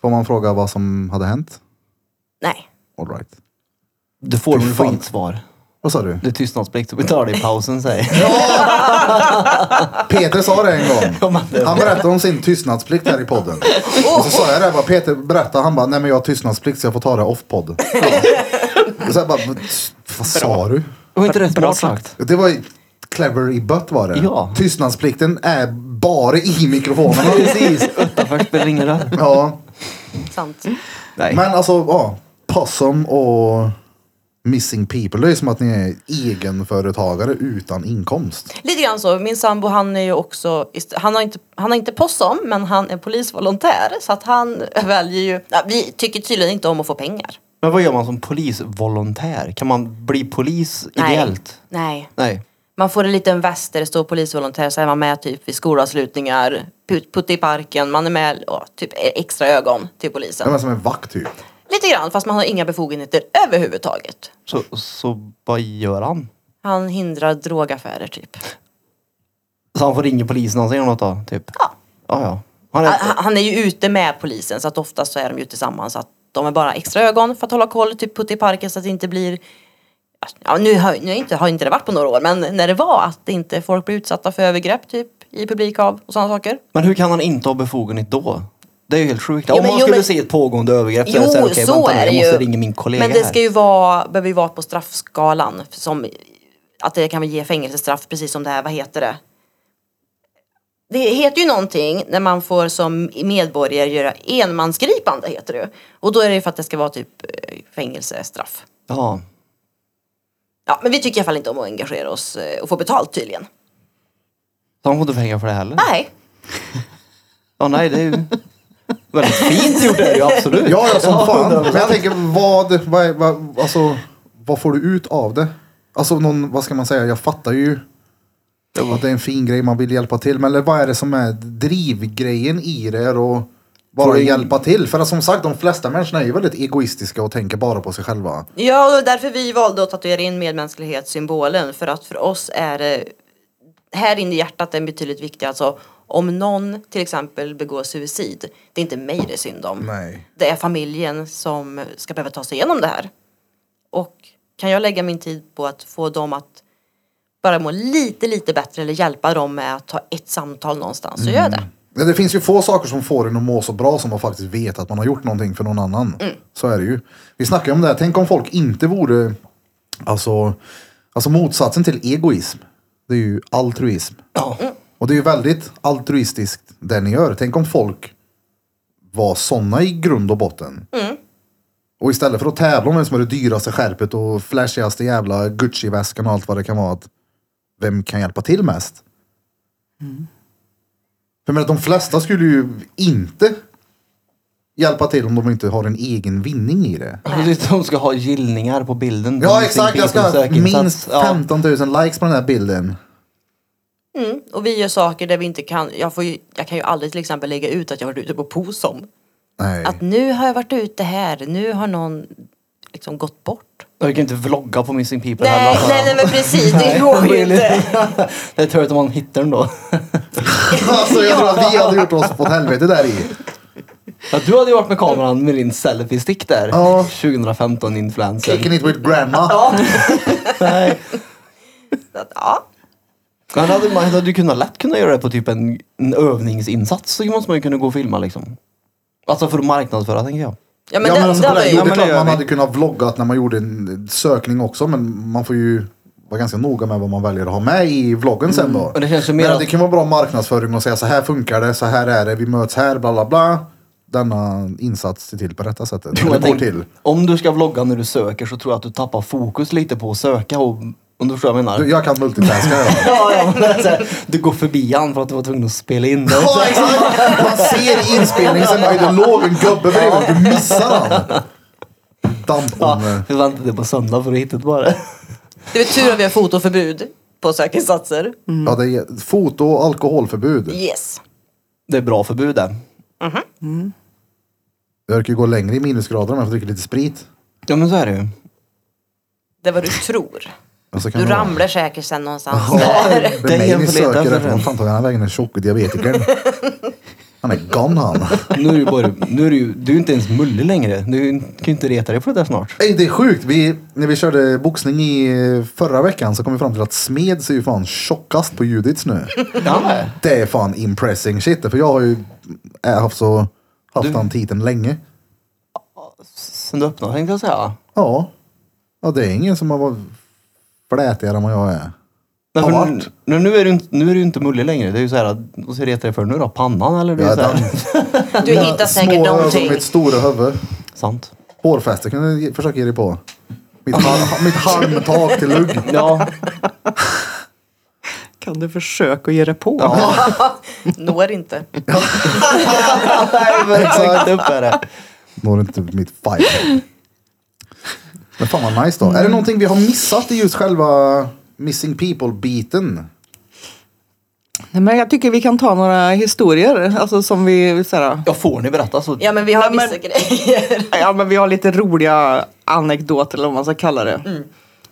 [SPEAKER 1] Får man fråga vad som hade hänt?
[SPEAKER 4] Nej.
[SPEAKER 1] All right.
[SPEAKER 2] Du får,
[SPEAKER 1] Fy
[SPEAKER 2] men du får
[SPEAKER 1] fan.
[SPEAKER 2] inte svar.
[SPEAKER 1] Vad sa du?
[SPEAKER 2] Det är tystnadsplikt, så vi tar det i pausen säger jag.
[SPEAKER 1] Peter sa det en gång.
[SPEAKER 2] men det-
[SPEAKER 1] Han berättade om sin tystnadsplikt här i podden. Och så sa jag det, jag bara, Peter berättade, han bara, nej men jag har tystnadsplikt så jag får ta det off-podd. Och så jag bara, vad sa du?
[SPEAKER 2] Och inte det
[SPEAKER 3] Bra
[SPEAKER 2] smart
[SPEAKER 3] sagt.
[SPEAKER 2] sagt.
[SPEAKER 1] Det var ju clever i bött var det.
[SPEAKER 2] Ja.
[SPEAKER 1] Tystnadsplikten är bara i mikrofonerna.
[SPEAKER 2] Precis, utanför spelar ingen roll.
[SPEAKER 1] Ja.
[SPEAKER 4] Sant.
[SPEAKER 2] Nej.
[SPEAKER 1] Men alltså, ja. Possum och Missing People. Det är ju som att ni är egenföretagare utan inkomst.
[SPEAKER 4] Lite grann så. Min sambo han är ju också, ist- han har inte, han har inte POSOM men han är polisvolontär så att han väljer ju, ja, vi tycker tydligen inte om att få pengar.
[SPEAKER 2] Men vad gör man som polisvolontär? Kan man bli polis ideellt?
[SPEAKER 4] Nej.
[SPEAKER 2] Nej.
[SPEAKER 4] Man får en liten väst där det står polisvolontär, så är man med typ vid skolavslutningar, put, putt i parken, man är med ja, typ extra ögon till
[SPEAKER 1] Det
[SPEAKER 4] polisen.
[SPEAKER 1] är som en vakt typ.
[SPEAKER 4] Lite grann, fast man har inga befogenheter överhuvudtaget.
[SPEAKER 2] Så, så vad gör han?
[SPEAKER 4] Han hindrar drogaffärer typ.
[SPEAKER 2] Så han får ringa polisen och säger något då? Typ?
[SPEAKER 4] Ja.
[SPEAKER 2] Ja, ja. Han
[SPEAKER 4] Han,
[SPEAKER 2] är,
[SPEAKER 4] Ah, han är ju ute med polisen så att oftast så är de ju tillsammans. Så att de är bara extra ögon för att hålla koll, typ putt i parken så att det inte blir Ja, nu har, nu har inte, har inte det varit på några år, men när det var att inte folk blir utsatta för övergrepp typ i publikhav och sådana saker.
[SPEAKER 2] men hur kan han inte ha befogenhet då? Det är ju helt sjukt.
[SPEAKER 4] Ja,
[SPEAKER 2] Om
[SPEAKER 4] men-
[SPEAKER 2] man
[SPEAKER 4] jo,
[SPEAKER 2] skulle
[SPEAKER 4] men-
[SPEAKER 2] se ett pågående övergrepp så är
[SPEAKER 4] Jo,
[SPEAKER 2] det så, här, okej,
[SPEAKER 4] så
[SPEAKER 2] vänta nu,
[SPEAKER 4] är det
[SPEAKER 2] jag
[SPEAKER 4] ju.
[SPEAKER 2] måste ringa min kollega
[SPEAKER 4] Men det
[SPEAKER 2] här.
[SPEAKER 4] ska ju vara, behöver ju vara på straffskalan. Som, att det kan väl ge fängelsestraff precis som det här, vad heter det? Det heter ju någonting när man får som medborgare göra enmansgripande heter det ju. Och då är det ju för att det ska vara typ eh, fängelsestraff.
[SPEAKER 2] Ja.
[SPEAKER 4] Ja, men vi tycker i alla fall inte om att engagera oss eh, och få betalt tydligen.
[SPEAKER 2] Så han får inte pengar för det heller?
[SPEAKER 4] Nej.
[SPEAKER 2] Ja, nej, det är ju... Väldigt fint gjort är det ju absolut.
[SPEAKER 1] Ja, ja som fan. Men jag tänker vad, vad, är- vad, alltså, vad får du ut av det? Alltså någon, vad ska man säga, jag fattar ju att det är en fin grej man vill hjälpa till med. Eller vad är det som är drivgrejen i det? Och bara
[SPEAKER 2] Får du-
[SPEAKER 1] hjälpa till. För att som sagt, de flesta människorna är ju väldigt egoistiska och tänker bara på sig själva.
[SPEAKER 4] Ja, och det var därför vi valde att tatuera in medmänsklighetssymbolen. För att för oss är det här inne i hjärtat är betydligt viktigare. Alltså, om någon till exempel begår suicid, det är inte mig det är synd om.
[SPEAKER 1] Nej.
[SPEAKER 4] Det är familjen som ska behöva ta sig igenom det här. Och kan jag lägga min tid på att få dem att bara må lite, lite bättre eller hjälpa dem med att ta ett samtal någonstans, så gör jag det.
[SPEAKER 1] Ja, det finns ju få saker som får en att må så bra som man faktiskt vet att man har gjort någonting för någon annan. Så är det ju. Vi snackar ju om det här, tänk om folk inte vore, alltså, alltså motsatsen till egoism, det är ju altruism. Och det är ju väldigt altruistiskt det ni gör. Tänk om folk var sådana i grund och botten. Och istället för att tävla om vem som är det dyraste skärpet och flashigaste jävla Gucci-väskan och allt vad det kan vara. Att vem kan hjälpa till mest? För jag menar, de flesta skulle ju inte hjälpa till om de inte har en egen vinning i det.
[SPEAKER 2] Precis, de ska ha gillningar på bilden.
[SPEAKER 1] Ja
[SPEAKER 2] De
[SPEAKER 1] exakt,
[SPEAKER 2] sin
[SPEAKER 1] jag ska ha
[SPEAKER 2] sökinsats.
[SPEAKER 1] minst 15 000 likes på den här bilden.
[SPEAKER 4] Mm. Och vi gör saker där vi inte kan. Jag, får ju, jag kan ju aldrig till exempel lägga ut att jag har varit ute på Posom.
[SPEAKER 1] Nej.
[SPEAKER 4] Att nu har jag varit ute här, nu har någon liksom gått bort.
[SPEAKER 2] Ja. Jag kan inte vlogga på Missing People
[SPEAKER 4] Nej,
[SPEAKER 2] heller.
[SPEAKER 4] nej, nej men precis, det
[SPEAKER 2] Nej,
[SPEAKER 4] går ju
[SPEAKER 2] really.
[SPEAKER 4] inte.
[SPEAKER 2] det är tur att man hittar den då.
[SPEAKER 1] Alltså jag tror att vi hade gjort oss på ett helvete där i.
[SPEAKER 2] Ja, du hade ju varit med kameran med din selfie-stick där.
[SPEAKER 1] Ja.
[SPEAKER 2] 2015 influencer.
[SPEAKER 1] Kicking it with grandma.
[SPEAKER 2] Nej.
[SPEAKER 4] Så att, ja.
[SPEAKER 2] Men hade, man hade ju kunnat lätt kunnat göra det på typ en, en övningsinsats. Så måste man ju kunna gå och filma liksom. Alltså för att marknadsföra tänker jag.
[SPEAKER 4] Ja men,
[SPEAKER 1] Ja,
[SPEAKER 4] det,
[SPEAKER 1] men alltså,
[SPEAKER 4] det
[SPEAKER 1] kolla,
[SPEAKER 4] var ju...
[SPEAKER 1] jo, det
[SPEAKER 3] men
[SPEAKER 1] är
[SPEAKER 3] det
[SPEAKER 1] klart
[SPEAKER 3] gör
[SPEAKER 1] man
[SPEAKER 3] vi.
[SPEAKER 1] hade kunnat vlogga när man gjorde en sökning också men man får ju vara ganska noga med vad man väljer att ha med i vloggen sen då.
[SPEAKER 2] Mm. Och det känns ju mer
[SPEAKER 1] men
[SPEAKER 2] att-
[SPEAKER 1] det kan vara bra marknadsföring och säga så här funkar det, så här är det, vi möts här, bla bla bla. Denna insats ser till på detta sättet. Eller
[SPEAKER 2] Jag
[SPEAKER 1] går
[SPEAKER 2] tänk-
[SPEAKER 1] till.
[SPEAKER 2] Om du ska vlogga när du söker så tror jag att du tappar fokus lite på att söka. Och, om du förstår vad jag menar.
[SPEAKER 1] Du, Jag kan multitaska jag.
[SPEAKER 2] Ja, ja, men alltså, du går förbi han för att du var tvungen att spela in det.
[SPEAKER 1] Ja, exakt! Man ser i inspelningen, sen bara, det låg en gubbe bredvid, du missar han. eh,
[SPEAKER 2] Ja,
[SPEAKER 1] Dampon.
[SPEAKER 2] vi väntade på söndag för att hitta det bara.
[SPEAKER 4] Det är tur att vi har fotoförbud på sökinsatser.
[SPEAKER 1] Ja, det är foto och alkoholförbud.
[SPEAKER 4] Yes.
[SPEAKER 2] Det är bra förbud det.
[SPEAKER 1] Jag orkar ju gå längre i minusgrader om jag får dricka lite sprit.
[SPEAKER 2] Ja men så är det ju.
[SPEAKER 4] Det är vad du tror.
[SPEAKER 1] Och så kan
[SPEAKER 4] Du
[SPEAKER 1] det vara-
[SPEAKER 4] ramlar säkert sen någonstans.
[SPEAKER 1] Det är
[SPEAKER 2] en
[SPEAKER 1] mig ni
[SPEAKER 2] förled-
[SPEAKER 1] söker
[SPEAKER 2] därför
[SPEAKER 1] efter. Vad fan tog han här vägen den tjocke diabetikern? Han är gone han.
[SPEAKER 2] Nu är det ju bara, nu är det ju, du är ju inte ens mullig längre. Du kan ju inte reta dig på det där snart.
[SPEAKER 1] Ey, det är sjukt. Vi, när vi körde boxning i eh, förra veckan så kom vi fram till att Smed ser ju fan tjockast på Judits nu.
[SPEAKER 2] Ja.
[SPEAKER 1] Det är fan impressing shit. För jag har ju äh, haft så haft den titeln länge.
[SPEAKER 2] Sen du öppnade tänkte jag säga.
[SPEAKER 1] Ja. ja, det är ingen som har varit flätigare än vad jag är.
[SPEAKER 2] Men
[SPEAKER 1] Har
[SPEAKER 2] för, nu,
[SPEAKER 1] varit.
[SPEAKER 2] nu, nu är du, inte- nu är du inte mullig längre. Det är ju så här, att- vad ska jag reta dig för nu då? Pannan eller? Det är
[SPEAKER 1] Ja,
[SPEAKER 2] ju så här.
[SPEAKER 1] den-
[SPEAKER 4] Du hittar säkert
[SPEAKER 1] Små ögon,
[SPEAKER 4] någonting.
[SPEAKER 1] mitt stora huvud.
[SPEAKER 2] Sant.
[SPEAKER 1] Hårfäste kan du ge- försöka ge dig på. Mitt, hal- mitt halmtag till lugg.
[SPEAKER 2] Ja,
[SPEAKER 3] Kan du försöka ge det på?
[SPEAKER 4] Når inte.
[SPEAKER 2] exakt upp är det.
[SPEAKER 1] Når inte mitt five. Men fan vad nice då. Är det någonting vi har missat i just själva Missing People-biten?
[SPEAKER 3] Nej, men jag tycker vi kan ta några historier. Alltså som vi, så här,
[SPEAKER 2] Ja, får ni berätta så.
[SPEAKER 4] Ja men vi
[SPEAKER 3] Nej,
[SPEAKER 4] har
[SPEAKER 3] men-
[SPEAKER 4] vissa grejer.
[SPEAKER 3] ja, men vi har lite roliga anekdoter eller vad man ska kalla det.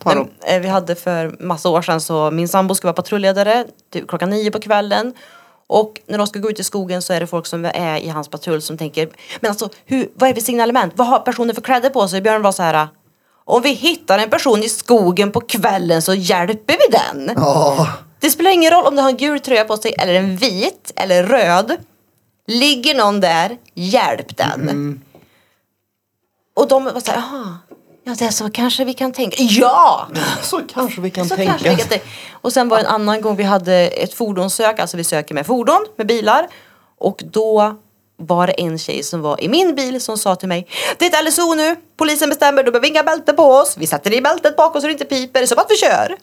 [SPEAKER 3] Ta dem.
[SPEAKER 4] Men, eh, Vi hade för massa år sedan så min sambo skulle vara patrulledare typ klockan nio på kvällen. Och när de ska gå ut i skogen så är det folk som är i hans patrull som tänker Men alltså hur, vad är det för signalement? Vad har personen för kläder på sig? Björn var så här Om vi hittar en person i skogen på kvällen så hjälper vi den.
[SPEAKER 1] Ja,
[SPEAKER 4] Det spelar ingen roll om du har en gul tröja på sig eller en vit eller röd. Ligger någon där, hjälp den. Och de var så här, "Jaha, ja det är så kanske vi kan tänka. Ja!
[SPEAKER 2] Så kanske vi kan
[SPEAKER 4] Så
[SPEAKER 2] tänka.
[SPEAKER 4] kanske vi kan tänka. Och sen var det en annan gång vi hade ett fordonssök, alltså vi söker med fordon, med bilar. Och då var det en tjej som var i min bil som sa till mig Det är ett LSO nu, polisen bestämmer, du behöver inga bälten på oss. Vi sätter i bältet bak oss så det inte piper, som att vi kör.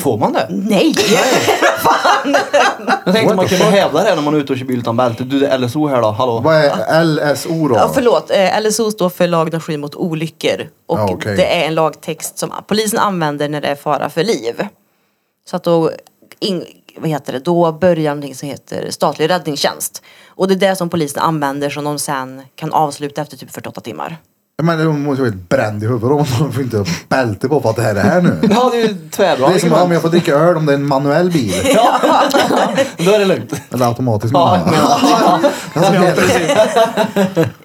[SPEAKER 2] Får man det?
[SPEAKER 4] Nej!
[SPEAKER 2] Jag tänkte
[SPEAKER 1] What
[SPEAKER 2] man
[SPEAKER 1] the
[SPEAKER 2] kunde
[SPEAKER 1] fuck?
[SPEAKER 2] hävda det när man är ute och kör bil utan bälte. Du, det är LSO här då, hallå?
[SPEAKER 1] vad är LSO då?
[SPEAKER 4] Ja, förlåt. Eh, LSO står för lagen om skydd mot olyckor. Och
[SPEAKER 1] Ja, okej.
[SPEAKER 4] det är en lagtext som polisen använder när det är fara för liv. Så att då, in, vad heter det, då börjar någonting som heter statlig räddningstjänst. Och det är det som polisen använder som de sen kan avsluta efter typ 48 timmar.
[SPEAKER 1] Men de måste ju vara helt bränd i huvudet om de får inte bälte på för att det här är här nu.
[SPEAKER 2] Ja, det är ju tvärbra
[SPEAKER 1] Det är som
[SPEAKER 2] argument.
[SPEAKER 1] om jag får dricka öl om det är en manuell bil.
[SPEAKER 2] Ja, då är det lugnt.
[SPEAKER 1] Eller automatisk
[SPEAKER 2] Ja,
[SPEAKER 1] menar jag. Alltså,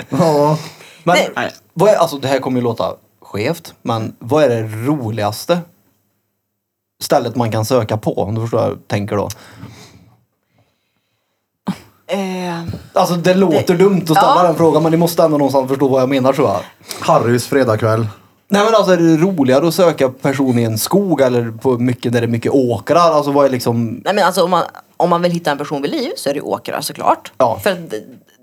[SPEAKER 1] Ja,
[SPEAKER 2] men
[SPEAKER 4] Nej.
[SPEAKER 2] men vad är, alltså, det här kommer ju låta skevt, men vad är det roligaste stället man kan söka på? Om du förstår vad jag tänker då.
[SPEAKER 4] Eh,
[SPEAKER 2] Alltså det låter dumt att ställa den frågan, men ni måste ändå någonstans förstå vad jag menar tror jag.
[SPEAKER 1] Harrys fredagkväll.
[SPEAKER 2] Nej men alltså är det roligare att söka person i en skog eller på mycket där det är mycket åkrar? Alltså vad är liksom...
[SPEAKER 4] nej men alltså om man, om man vill hitta en person vid liv så är det ju åkrar såklart.
[SPEAKER 2] Ja.
[SPEAKER 4] För att d-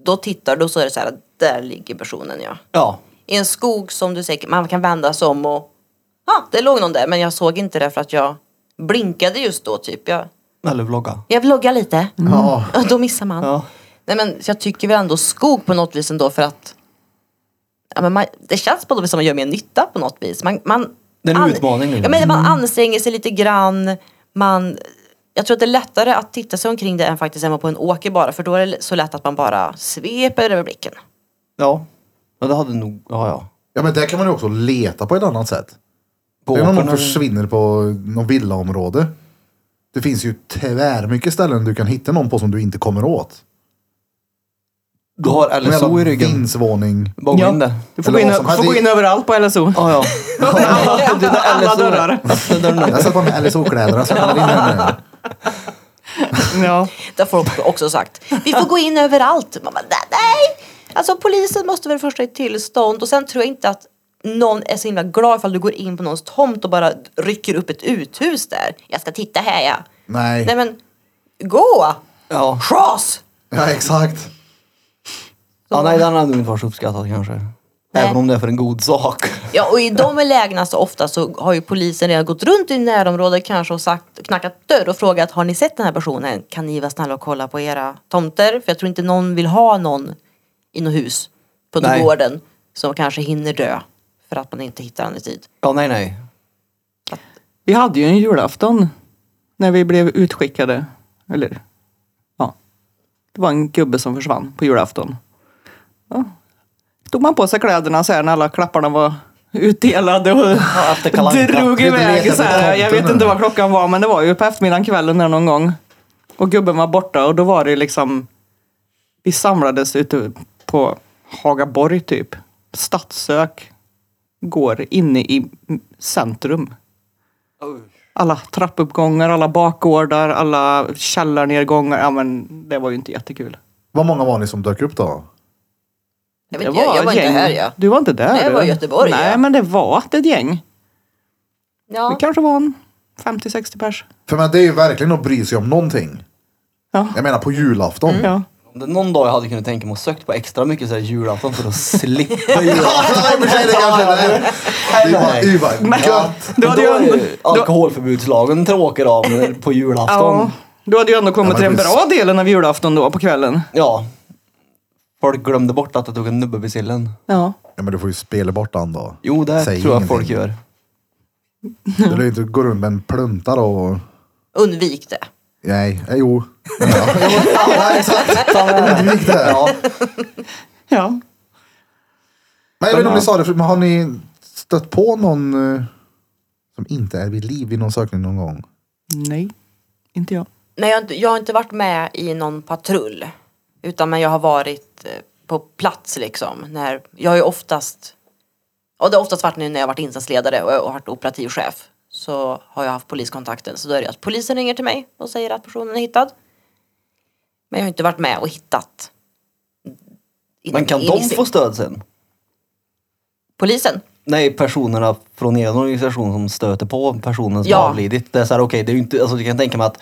[SPEAKER 4] då tittar du och så är det så här, där ligger personen ja.
[SPEAKER 2] Ja.
[SPEAKER 4] i en skog som du säkert, man kan vända sig om och ja, ah, det låg någon där men jag såg inte det för att jag blinkade just då typ. Jag,
[SPEAKER 2] Eller vlogga.
[SPEAKER 4] jag vloggar lite.
[SPEAKER 1] Ja.
[SPEAKER 4] Ja, då missar man.
[SPEAKER 2] Mm. Ja.
[SPEAKER 4] Nej men så jag tycker väl ändå skog på något vis ändå för att ja, men man, det känns på något vis som man gör mer nytta på något vis. Man, man,
[SPEAKER 2] Det är en
[SPEAKER 4] an-
[SPEAKER 2] utmaning, liksom. Mm. Lina.
[SPEAKER 4] Ja, men man anstränger sig lite grann. Man, jag tror att det är lättare att titta sig omkring det än faktiskt hemma på en åker bara för då är det så lätt att man bara sveper över blicken.
[SPEAKER 2] Ja. Men det hade nog, ja ja.
[SPEAKER 1] ja, men där kan man ju också leta på ett annat sätt.
[SPEAKER 2] På
[SPEAKER 1] Det är när
[SPEAKER 2] åkern
[SPEAKER 1] någon
[SPEAKER 2] eller-
[SPEAKER 1] försvinner på någon villaområde. Det finns ju tvärmycket ställen du kan hitta någon på som du inte kommer åt.
[SPEAKER 2] Du har
[SPEAKER 1] Någon
[SPEAKER 2] LSO i
[SPEAKER 1] jävla
[SPEAKER 2] ryggen.
[SPEAKER 1] Vindsvåning.
[SPEAKER 2] Bara gå in där.
[SPEAKER 3] Mm. Du får,
[SPEAKER 1] Eller
[SPEAKER 3] gå in,
[SPEAKER 1] vad som
[SPEAKER 3] du får
[SPEAKER 1] helst.
[SPEAKER 3] gå in överallt på LSO.
[SPEAKER 2] Ja ja. Dina
[SPEAKER 3] Alla
[SPEAKER 2] LSO
[SPEAKER 3] dörrar.
[SPEAKER 2] Öppna dörren.
[SPEAKER 1] Jag satt på mig LSO-kläder. Jag satt in här nu.
[SPEAKER 3] Ja.
[SPEAKER 4] Det har folk också sagt. Vi får gå in överallt. Man bara, "Nej, nej! Alltså polisen måste väl först ha ett tillstånd och sen tror jag inte att någon är så himla glad ifall du går in på någons tomt och bara rycker upp ett uthus där. Jag ska titta här ja.
[SPEAKER 1] Nej.
[SPEAKER 4] Nej men, gå!
[SPEAKER 2] Ja.
[SPEAKER 4] Schas!
[SPEAKER 1] Ja, exakt.
[SPEAKER 2] ja. Nej, den hade nog inte varit så uppskattad kanske. Även om det är för en god sak.
[SPEAKER 4] Ja och i de lägena så ofta så har ju polisen redan gått runt i närområdet kanske och sagt, knackat dörr och frågat har ni sett den här personen? Kan ni vara snälla och kolla på era tomter? För jag tror inte någon vill ha någon i något hus på
[SPEAKER 2] Nej.
[SPEAKER 4] gården som kanske hinner dö för att man inte hittar den i tid.
[SPEAKER 2] Ja, nej, nej.
[SPEAKER 3] Vi hade ju en julafton när vi blev utskickade. Eller ja, det var en gubbe som försvann på julafton. Ja. Tog man på sig kläderna så här när alla klapparna var utdelade och
[SPEAKER 2] Ja, efter Kalle Anka.
[SPEAKER 3] drog
[SPEAKER 1] Vi letar
[SPEAKER 3] iväg så här.
[SPEAKER 1] efter
[SPEAKER 3] Jag
[SPEAKER 1] tomten
[SPEAKER 3] vet inte
[SPEAKER 1] nu.
[SPEAKER 3] vad klockan var men det var ju på eftermiddagen kvällen där någon gång. Och gubben var borta och då var det liksom vi samlades ute på Hagaborg typ. Stadssök. Går inne i centrum. Alla trappuppgångar, alla bakgårdar, alla källarnedgångar. Ja men det var ju inte jättekul.
[SPEAKER 1] Vad många var ni som dök upp då?
[SPEAKER 4] Jag, vet, inte, jag, jag var inte
[SPEAKER 3] gäng.
[SPEAKER 4] här ja.
[SPEAKER 3] Du var inte där?
[SPEAKER 4] Nej, jag var i
[SPEAKER 3] du.
[SPEAKER 4] Göteborg,
[SPEAKER 3] Nej
[SPEAKER 4] ja.
[SPEAKER 3] men det var ett gäng. Det
[SPEAKER 4] ja.
[SPEAKER 3] kanske var en 50-60 pers.
[SPEAKER 1] För men det är ju verkligen att bry sig om någonting.
[SPEAKER 3] Ja.
[SPEAKER 4] Mm.
[SPEAKER 1] Jag menar på julafton.
[SPEAKER 3] ja.
[SPEAKER 2] Om det är någon dag jag hade kunnat tänka mig att sökt på extra mycket så här julafton för att slippa
[SPEAKER 1] Ja,
[SPEAKER 2] julafton.
[SPEAKER 1] i och för sig, det kanske är det. Det är bara- det är ju bara gött.
[SPEAKER 3] Du
[SPEAKER 2] Då
[SPEAKER 3] hade ju
[SPEAKER 2] är
[SPEAKER 3] ändå,
[SPEAKER 2] ju alkoholförbudslagen tråkig av på
[SPEAKER 3] ja,
[SPEAKER 2] julafton.
[SPEAKER 3] du hade ju ändå
[SPEAKER 1] Ja,
[SPEAKER 3] kommit till
[SPEAKER 1] men
[SPEAKER 3] den
[SPEAKER 1] precis.
[SPEAKER 3] bra delen av julafton då på kvällen.
[SPEAKER 2] Ja. Folk glömde bort att jag tog en nubbe vid sillen.
[SPEAKER 3] Ja.
[SPEAKER 1] Ja, men du får ju spela bort den då.
[SPEAKER 2] Jo, det
[SPEAKER 1] Säg
[SPEAKER 2] tror jag
[SPEAKER 1] ingenting.
[SPEAKER 2] folk gör.
[SPEAKER 1] Du lär ju inte gå runt med en plunta då. och-
[SPEAKER 4] Undvik det.
[SPEAKER 1] Nej, eh, jo. Ja, jo. Ja, exakt. Undvik det.
[SPEAKER 2] Ja.
[SPEAKER 3] ja.
[SPEAKER 1] Men jag vet inte om ni sa det, för- men har ni stött på någon eh, som inte är vid liv i någon sökning någon gång?
[SPEAKER 3] Nej, inte jag.
[SPEAKER 4] Nej, jag, har inte, jag har inte varit med i någon patrull. Utan men jag har varit eh, på plats liksom. När, jag har ju oftast, och det har oftast varit nu när jag har varit insatsledare och jag har varit operativ chef. Så har jag haft poliskontakten. Så då är det att polisen ringer till mig och säger att personen är hittad. Men jag har inte varit med och hittat. In-
[SPEAKER 2] Men kan
[SPEAKER 4] in i
[SPEAKER 2] de
[SPEAKER 4] sig-
[SPEAKER 2] få stöd sen?
[SPEAKER 4] Polisen?
[SPEAKER 2] Nej, personerna från er organisation som stöter på personen som
[SPEAKER 4] Ja.
[SPEAKER 2] avlidit. Det är så här, okej, det är ju inte, alltså du kan tänka mig att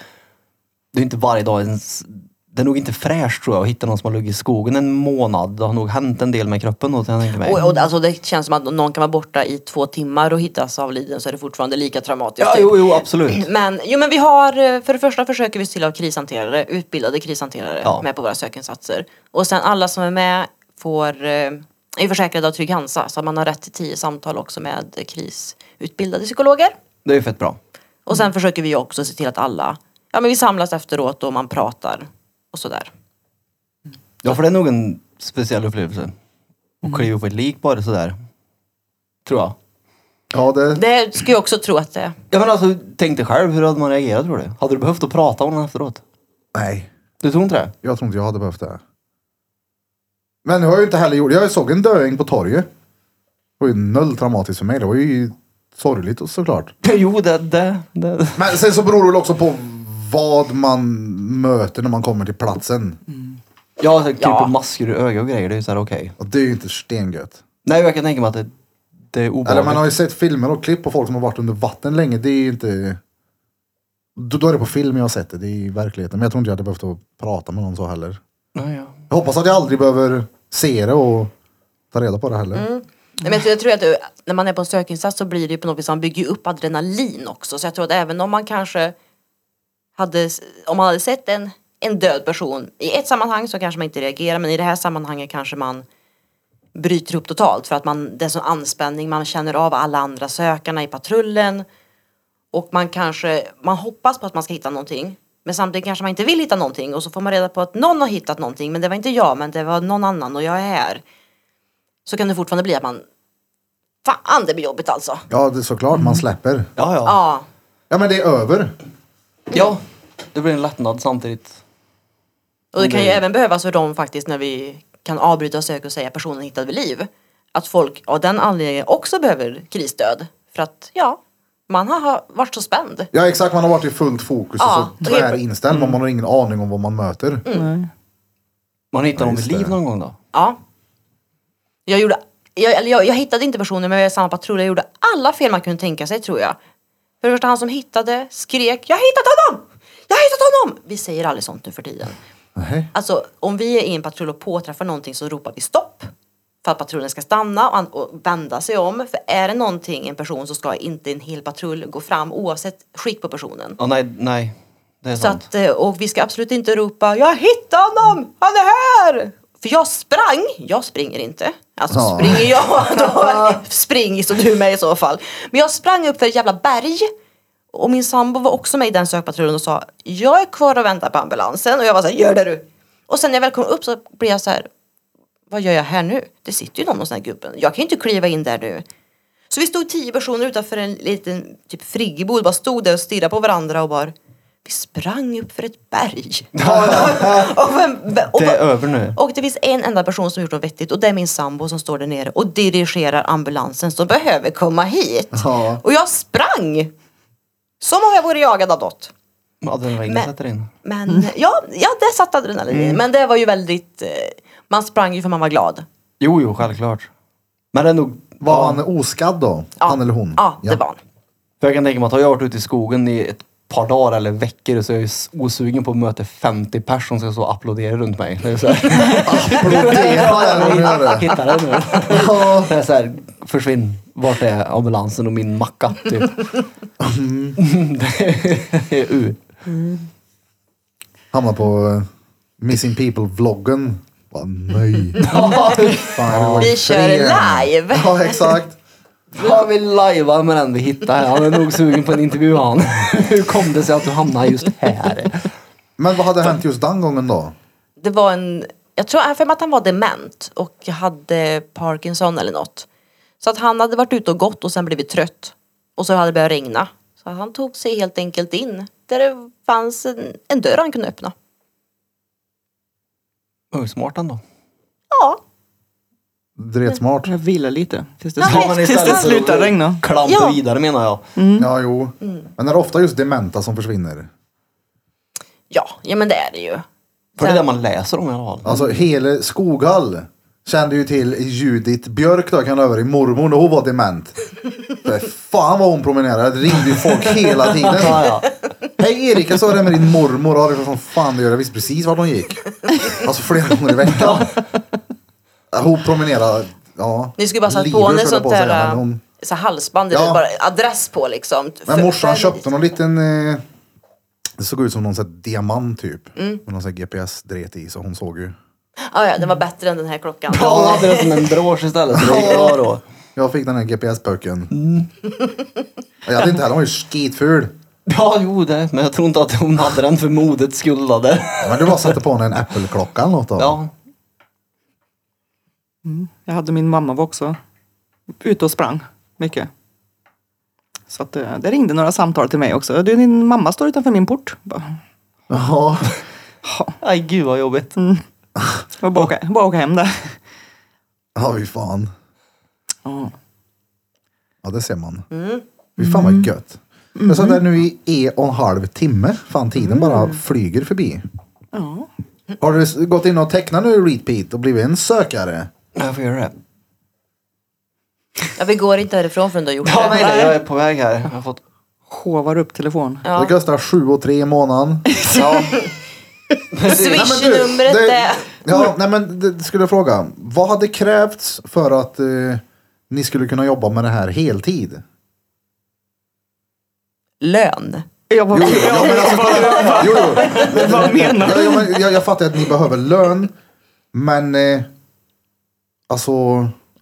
[SPEAKER 2] det är inte varje dag ens, det är nog inte fräscht tror jag att hitta någon som har legat i skogen en månad. Det har nog hänt en del med kroppen då, kan jag tänka mig.
[SPEAKER 4] Och, och, alltså, det känns som att någon kan vara borta i två timmar och hittas avliden så är det fortfarande lika traumatiskt.
[SPEAKER 2] ja,
[SPEAKER 4] typ.
[SPEAKER 2] jo, jo, absolut.
[SPEAKER 4] Men, jo, men vi har, eh, för det första försöker vi se till att ha krishanterare, utbildade krishanterare
[SPEAKER 2] Ja.
[SPEAKER 4] med på våra sökinsatser. Och sen alla som är med får, eh, är försäkrade av Trygg Hansa så man har rätt till tio samtal också med krisutbildade psykologer.
[SPEAKER 2] Det är ju fett bra.
[SPEAKER 4] Och sen försöker vi också se till att alla, ja men vi samlas efteråt och man pratar och sådär.
[SPEAKER 2] Ja, för det är nog en speciell upplevelse.
[SPEAKER 4] Mm.
[SPEAKER 2] Att kliva på ett lik bara sådär. Tror jag.
[SPEAKER 1] Ja, det...
[SPEAKER 4] Det skulle jag också tro att det
[SPEAKER 2] Ja men alltså, tänk dig själv, hur hade man reagerat tror du? Hade du behövt att prata om den efteråt?
[SPEAKER 1] Nej,
[SPEAKER 2] Du tror inte det?
[SPEAKER 1] jag tror inte jag hade behövt det. Men jag har ju inte heller gjort... Jag såg en döing på torget. Det var ju noll traumatiskt för mig. Det var ju sorgligt och såklart.
[SPEAKER 2] Jo, det, det, det.
[SPEAKER 1] Men sen så beror det väl också på vad man möter när man kommer till platsen.
[SPEAKER 2] Ja, så, typ
[SPEAKER 4] Ja.
[SPEAKER 2] masker i ögat och grejer, det är ju såhär okej.
[SPEAKER 1] Och det är ju inte stengött.
[SPEAKER 2] Nej, jag kan tänka mig att det, det är obehagligt.
[SPEAKER 1] Eller man har ju sett filmer och klipp på folk som har varit under vatten länge. Det är ju inte... Då, då är det på film jag har sett det, det är i verkligheten. Men jag tror inte jag hade behövt att prata med någon så heller.
[SPEAKER 2] Ja, ja.
[SPEAKER 4] Mm.
[SPEAKER 1] Jag hoppas att jag aldrig behöver se det och ta reda på det heller.
[SPEAKER 4] Nej, men jag tror, jag tror att det, när man är på en sökinsats så blir det ju på något vis, man bygger ju upp adrenalin också. Så jag tror att även om man kanske hade, om man hade sett en, en död person i ett sammanhang så kanske man inte reagerar men i det här sammanhanget kanske man bryter ihop totalt för att man, det är sån anspänning, man känner av alla andra sökarna i patrullen och man kanske, man hoppas på att man ska hitta någonting men samtidigt kanske man inte vill hitta någonting och så får man reda på att någon har hittat någonting men det var inte jag men det var någon annan och jag är här så kan det fortfarande bli att man Fan det blir jobbigt alltså.
[SPEAKER 1] Ja, det är såklart man släpper.
[SPEAKER 2] Ja, ja.
[SPEAKER 4] Ja.
[SPEAKER 1] Ja, men det är över.
[SPEAKER 2] Ja, det blir en lättnad samtidigt.
[SPEAKER 4] Och det kan ju även behövas för dem faktiskt när vi kan avbryta sök och säga personen hittade vid liv. Att folk av den anledningen också behöver krisstöd. För att ja, man har varit så spänd.
[SPEAKER 1] Ja, exakt. Man har varit i fullt fokus
[SPEAKER 4] Ja, typ. Mm.
[SPEAKER 1] och så
[SPEAKER 4] det är-
[SPEAKER 1] tvärinställd. men Man har ingen aning om vad man möter.
[SPEAKER 2] Man hittar
[SPEAKER 1] Ja,
[SPEAKER 2] dem i
[SPEAKER 1] just det.
[SPEAKER 2] liv någon gång då?
[SPEAKER 4] Ja. Jag gjorde, jag, eller jag, jag hittade inte personen men jag var i samma patrull. Jag gjorde alla fel man kunde tänka sig tror jag. För det första han som hittade skrek Jag har hittat honom! Jag har hittat honom! Vi säger aldrig sånt nu för tiden.
[SPEAKER 1] Nej.
[SPEAKER 4] Alltså om vi är i en patrull och påträffar någonting så ropar vi stopp. För att patrullen ska stanna och, an- och vända sig om. För är det någonting en person så ska inte en hel patrull gå fram oavsett skick på personen.
[SPEAKER 2] Ja, nej, nej. Det är
[SPEAKER 4] Så
[SPEAKER 2] sant.
[SPEAKER 4] att, eh, och vi ska absolut inte ropa Jag hittade honom! Han är här! För jag sprang! Jag springer inte. Alltså
[SPEAKER 1] Ja.
[SPEAKER 4] springer jag då spring så du med i så fall. Men jag sprang upp för ett jävla berg. Och min sambo var också med i den sökpatrullen och sa Jag är kvar och väntar på ambulansen. Och jag var så här, gör det du! Och sen när jag väl kom upp så blev jag så här Vad gör jag här nu? Det sitter ju någon hos den här gubben. Jag kan ju inte kliva in där nu. Så vi stod tio personer utanför en liten typ friggebod. Bara stod där och stirrade på varandra och bara Vi sprang upp för ett berg. och, vem, och,
[SPEAKER 2] Det är över nu.
[SPEAKER 4] och det finns en enda person som gjort något vettigt och det är min sambo som står där nere och dirigerar ambulansen som behöver komma hit.
[SPEAKER 1] Ja.
[SPEAKER 4] Och jag sprang! Som om jag vore jagad av något.
[SPEAKER 2] Adrenalinet
[SPEAKER 4] Men-
[SPEAKER 2] sätter in.
[SPEAKER 4] Men
[SPEAKER 2] Mm.
[SPEAKER 4] ja, ja, det satt adrenalin. Men det var ju väldigt... Eh, man sprang ju för man var glad.
[SPEAKER 2] Jo, jo, självklart. Men det är nog...
[SPEAKER 1] Var han oskadd då? Han eller hon?
[SPEAKER 4] Ja, det var han.
[SPEAKER 2] För jag kan tänka mig att har jag varit ute i skogen i ett par dagar eller veckor så är jag ju s- osugen på att möta 50 personer som ska stå och applådera runt mig. Det är så här,
[SPEAKER 1] Applådera den nu.
[SPEAKER 2] hitta det nu.
[SPEAKER 1] Ja.
[SPEAKER 2] Det är så här, försvinn. Vart är ambulansen och min macka? Typ. Det är U.
[SPEAKER 1] Hamnar på eh, Missing People-vloggen. Bara, nej. Fan, det var ju
[SPEAKER 4] Vi kör
[SPEAKER 1] tre.
[SPEAKER 4] live.
[SPEAKER 1] Ja, exakt.
[SPEAKER 2] Ja, vi lajvar med den vi hittar. här. Han är nog sugen på en intervju han. Hur kom det sig att du hamnade just här?
[SPEAKER 1] Men vad hade hänt just den gången då?
[SPEAKER 4] Det var en... Jag tror jag har för mig att han var dement och hade Parkinson eller något. Så att han hade varit ute och gått och sen blivit trött. Och så hade det börjat regna. Så han tog sig helt enkelt in där det fanns en, en dörr han kunde öppna.
[SPEAKER 2] Oh, smart ändå.
[SPEAKER 4] Ja,
[SPEAKER 1] Dret smart.
[SPEAKER 4] Mm.
[SPEAKER 3] Jag vilar lite tills det,
[SPEAKER 4] Ja,
[SPEAKER 3] slut-
[SPEAKER 4] men
[SPEAKER 3] tills det
[SPEAKER 4] istället så-
[SPEAKER 3] slutar regna.
[SPEAKER 2] Klampa
[SPEAKER 4] Ja.
[SPEAKER 2] vidare menar jag.
[SPEAKER 4] Mm.
[SPEAKER 1] Ja, jo. Men är det ofta just dementa som försvinner?
[SPEAKER 4] ja, ja men det är det ju.
[SPEAKER 2] För det är det man läser om i alla fall.
[SPEAKER 4] Mm.
[SPEAKER 1] Alltså hela Skoghall kände ju till Judith Björk då, kan jag över i mormor när hon var dement. För fan vad hon promenerade, det ringde ju folk hela tiden.
[SPEAKER 2] Ja, ja.
[SPEAKER 1] Hej Erik, jag såg det med din mormor. Ja, det var som fan det gör. Jag visste precis vart hon gick. Alltså flera gånger i veckan. Ja, Hon promenerade, ja.
[SPEAKER 4] Ni skulle bara satt
[SPEAKER 1] Lider,
[SPEAKER 4] på henne
[SPEAKER 1] skulle jag
[SPEAKER 4] sånt
[SPEAKER 1] på att säga,
[SPEAKER 4] där
[SPEAKER 1] Men, hon,
[SPEAKER 4] så här halsband eller
[SPEAKER 1] Ja.
[SPEAKER 4] bara adress på liksom.
[SPEAKER 1] men
[SPEAKER 4] För-
[SPEAKER 1] morsan
[SPEAKER 4] för-
[SPEAKER 1] köpte någon liten, eh, det såg ut som någon sån här diamant typ.
[SPEAKER 4] Mm.
[SPEAKER 1] Med någon sån här GPS-dret i så hon såg ju.
[SPEAKER 4] Ja, ja, den var bättre än den här klockan.
[SPEAKER 2] Han hade det som en brosch istället. Så det gick bra då.
[SPEAKER 1] Jag fick den här GPS-böken.
[SPEAKER 4] Mm.
[SPEAKER 1] Jag hade inte heller, hon var ju skitful.
[SPEAKER 2] Ja, jo det. Men jag tror inte att hon hade den för modets skull. då, det.
[SPEAKER 1] Ja, Men du bara satte på henne en Apple-klocka eller något då.
[SPEAKER 2] Ja.
[SPEAKER 3] Jag hade min mamma var också ute och sprang mycket. Så att, eh, det ringde några samtal till mig också. Du, din mamma står utanför min port. Bara,
[SPEAKER 1] Ja.
[SPEAKER 2] Aj, gud vad jobbigt.
[SPEAKER 3] jag bara, åka, bara åka hem där.
[SPEAKER 1] Ja, fy fan.
[SPEAKER 3] Ja.
[SPEAKER 1] Ja, det ser man. Fy fan vad gött. Jag satt där nu i en och en halv timme. Fan, tiden bara flyger förbi.
[SPEAKER 3] Ja.
[SPEAKER 1] Har du s- gått in och tecknat nu repeat och blivit en sökare?
[SPEAKER 2] Jag får göra det.
[SPEAKER 4] Ja, vi går inte härifrån förrän du har gjort
[SPEAKER 2] Ja,
[SPEAKER 4] det.
[SPEAKER 2] nej, nej, jag är på väg här. Jag har fått...
[SPEAKER 3] Håvar upp telefonen.
[SPEAKER 4] Ja.
[SPEAKER 1] Det kostar 7 och 3 i månaden.
[SPEAKER 2] Ja.
[SPEAKER 4] Swish-numret
[SPEAKER 1] det-
[SPEAKER 4] är...
[SPEAKER 1] Ja, nej men det skulle jag fråga. Vad hade krävts för att eh, Ni skulle kunna jobba med det här heltid.
[SPEAKER 4] Lön.
[SPEAKER 3] Jag bara,
[SPEAKER 1] Jo, jo, ja, men alltså, kolla. jo, jo.
[SPEAKER 3] vad menar
[SPEAKER 1] Ja, ja, men jag, jag fattar att ni behöver lön. Men eh, alltså,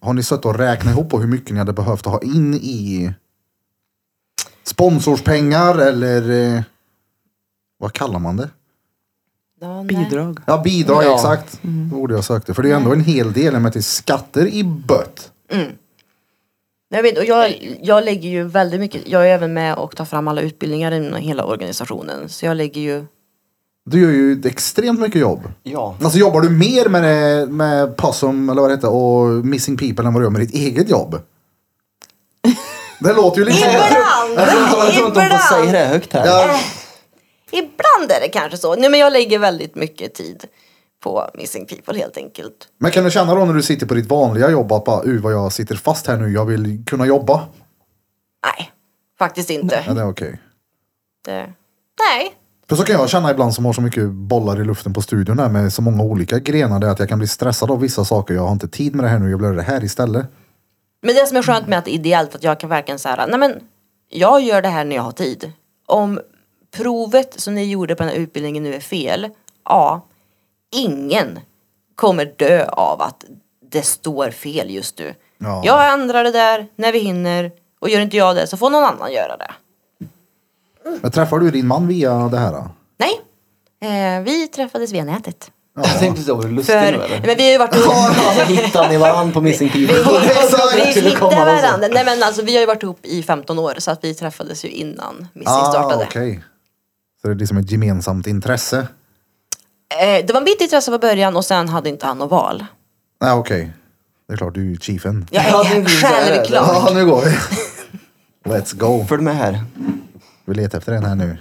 [SPEAKER 1] har ni suttit och räknat ihop på hur mycket ni hade behövt att ha in i sponsorspengar eller eh, vad kallar man det?
[SPEAKER 4] Ja, nej.
[SPEAKER 3] Bidrag.
[SPEAKER 1] Ja, bidrag
[SPEAKER 2] Ja.
[SPEAKER 1] exakt. Det borde jag sökte. För det är ju ändå en hel del med till skatter i bött.
[SPEAKER 4] Jag, vet, och jag, jag lägger ju väldigt mycket, jag är även med och tar fram alla utbildningar inom hela organisationen. Så jag lägger ju,
[SPEAKER 1] Du gör ju extremt mycket jobb.
[SPEAKER 2] Ja.
[SPEAKER 1] Alltså jobbar du mer med, det, med Possum eller vad det heter och Missing People än vad du gör med ditt eget jobb? Det låter ju liksom...
[SPEAKER 4] Ibland!
[SPEAKER 2] Jag tror inte, jag tror inte de får säga
[SPEAKER 4] Ibland!
[SPEAKER 2] det högt här.
[SPEAKER 1] Ja,
[SPEAKER 4] Ibland är det kanske så. Nej men jag lägger väldigt mycket tid på Missing People helt enkelt.
[SPEAKER 1] Men kan du känna då när du sitter på ditt vanliga jobb att bara, uh vad jag sitter fast här nu, jag vill kunna jobba.
[SPEAKER 4] Nej, faktiskt inte.
[SPEAKER 1] Ja, det är okej.
[SPEAKER 4] Det, nej.
[SPEAKER 1] För så kan jag känna ibland som har så mycket bollar i luften på studion där med så många olika grenar där att jag kan bli stressad av vissa saker. Jag har inte tid med det här nu, jag vill göra det här istället.
[SPEAKER 4] Men det som är skönt med att det är ideellt att jag kan verkligen säga, nej men jag gör det här när jag har tid. Om provet som ni gjorde på den här utbildningen nu är fel, ja, ingen kommer dö av att det står fel just nu.
[SPEAKER 1] Ja.
[SPEAKER 4] Jag ändrar det där när vi hinner och gör inte jag det så får någon annan göra det.
[SPEAKER 1] Men träffar du din man via det här? Då?
[SPEAKER 4] Nej, eh, vi träffades via nätet.
[SPEAKER 2] Jag tänkte så, är du lustig nu
[SPEAKER 4] För,
[SPEAKER 2] eller?
[SPEAKER 4] men vi har ju varit ihop
[SPEAKER 2] Hittar ni varandra på Missing People?
[SPEAKER 1] Exakt!
[SPEAKER 4] Vi
[SPEAKER 2] Skulle komma
[SPEAKER 4] hittar
[SPEAKER 2] någon sån.
[SPEAKER 4] varandra. Nej men alltså vi har ju varit ihop i 15 år så att vi träffades ju innan Missing
[SPEAKER 1] Ah,
[SPEAKER 4] startade.
[SPEAKER 1] okej. Så det är liksom ett gemensamt intresse?
[SPEAKER 4] Eh, det var mitt intresse från början och sen hade inte han något val.
[SPEAKER 1] Nej, okej. Det är klart, du är ju chiefen.
[SPEAKER 4] Jag
[SPEAKER 2] Ja, det är
[SPEAKER 4] är
[SPEAKER 2] precis det här.
[SPEAKER 4] självklart.
[SPEAKER 1] Ja, nu går vi. Let's go.
[SPEAKER 2] Följ med här.
[SPEAKER 1] Vi letar efter den här nu.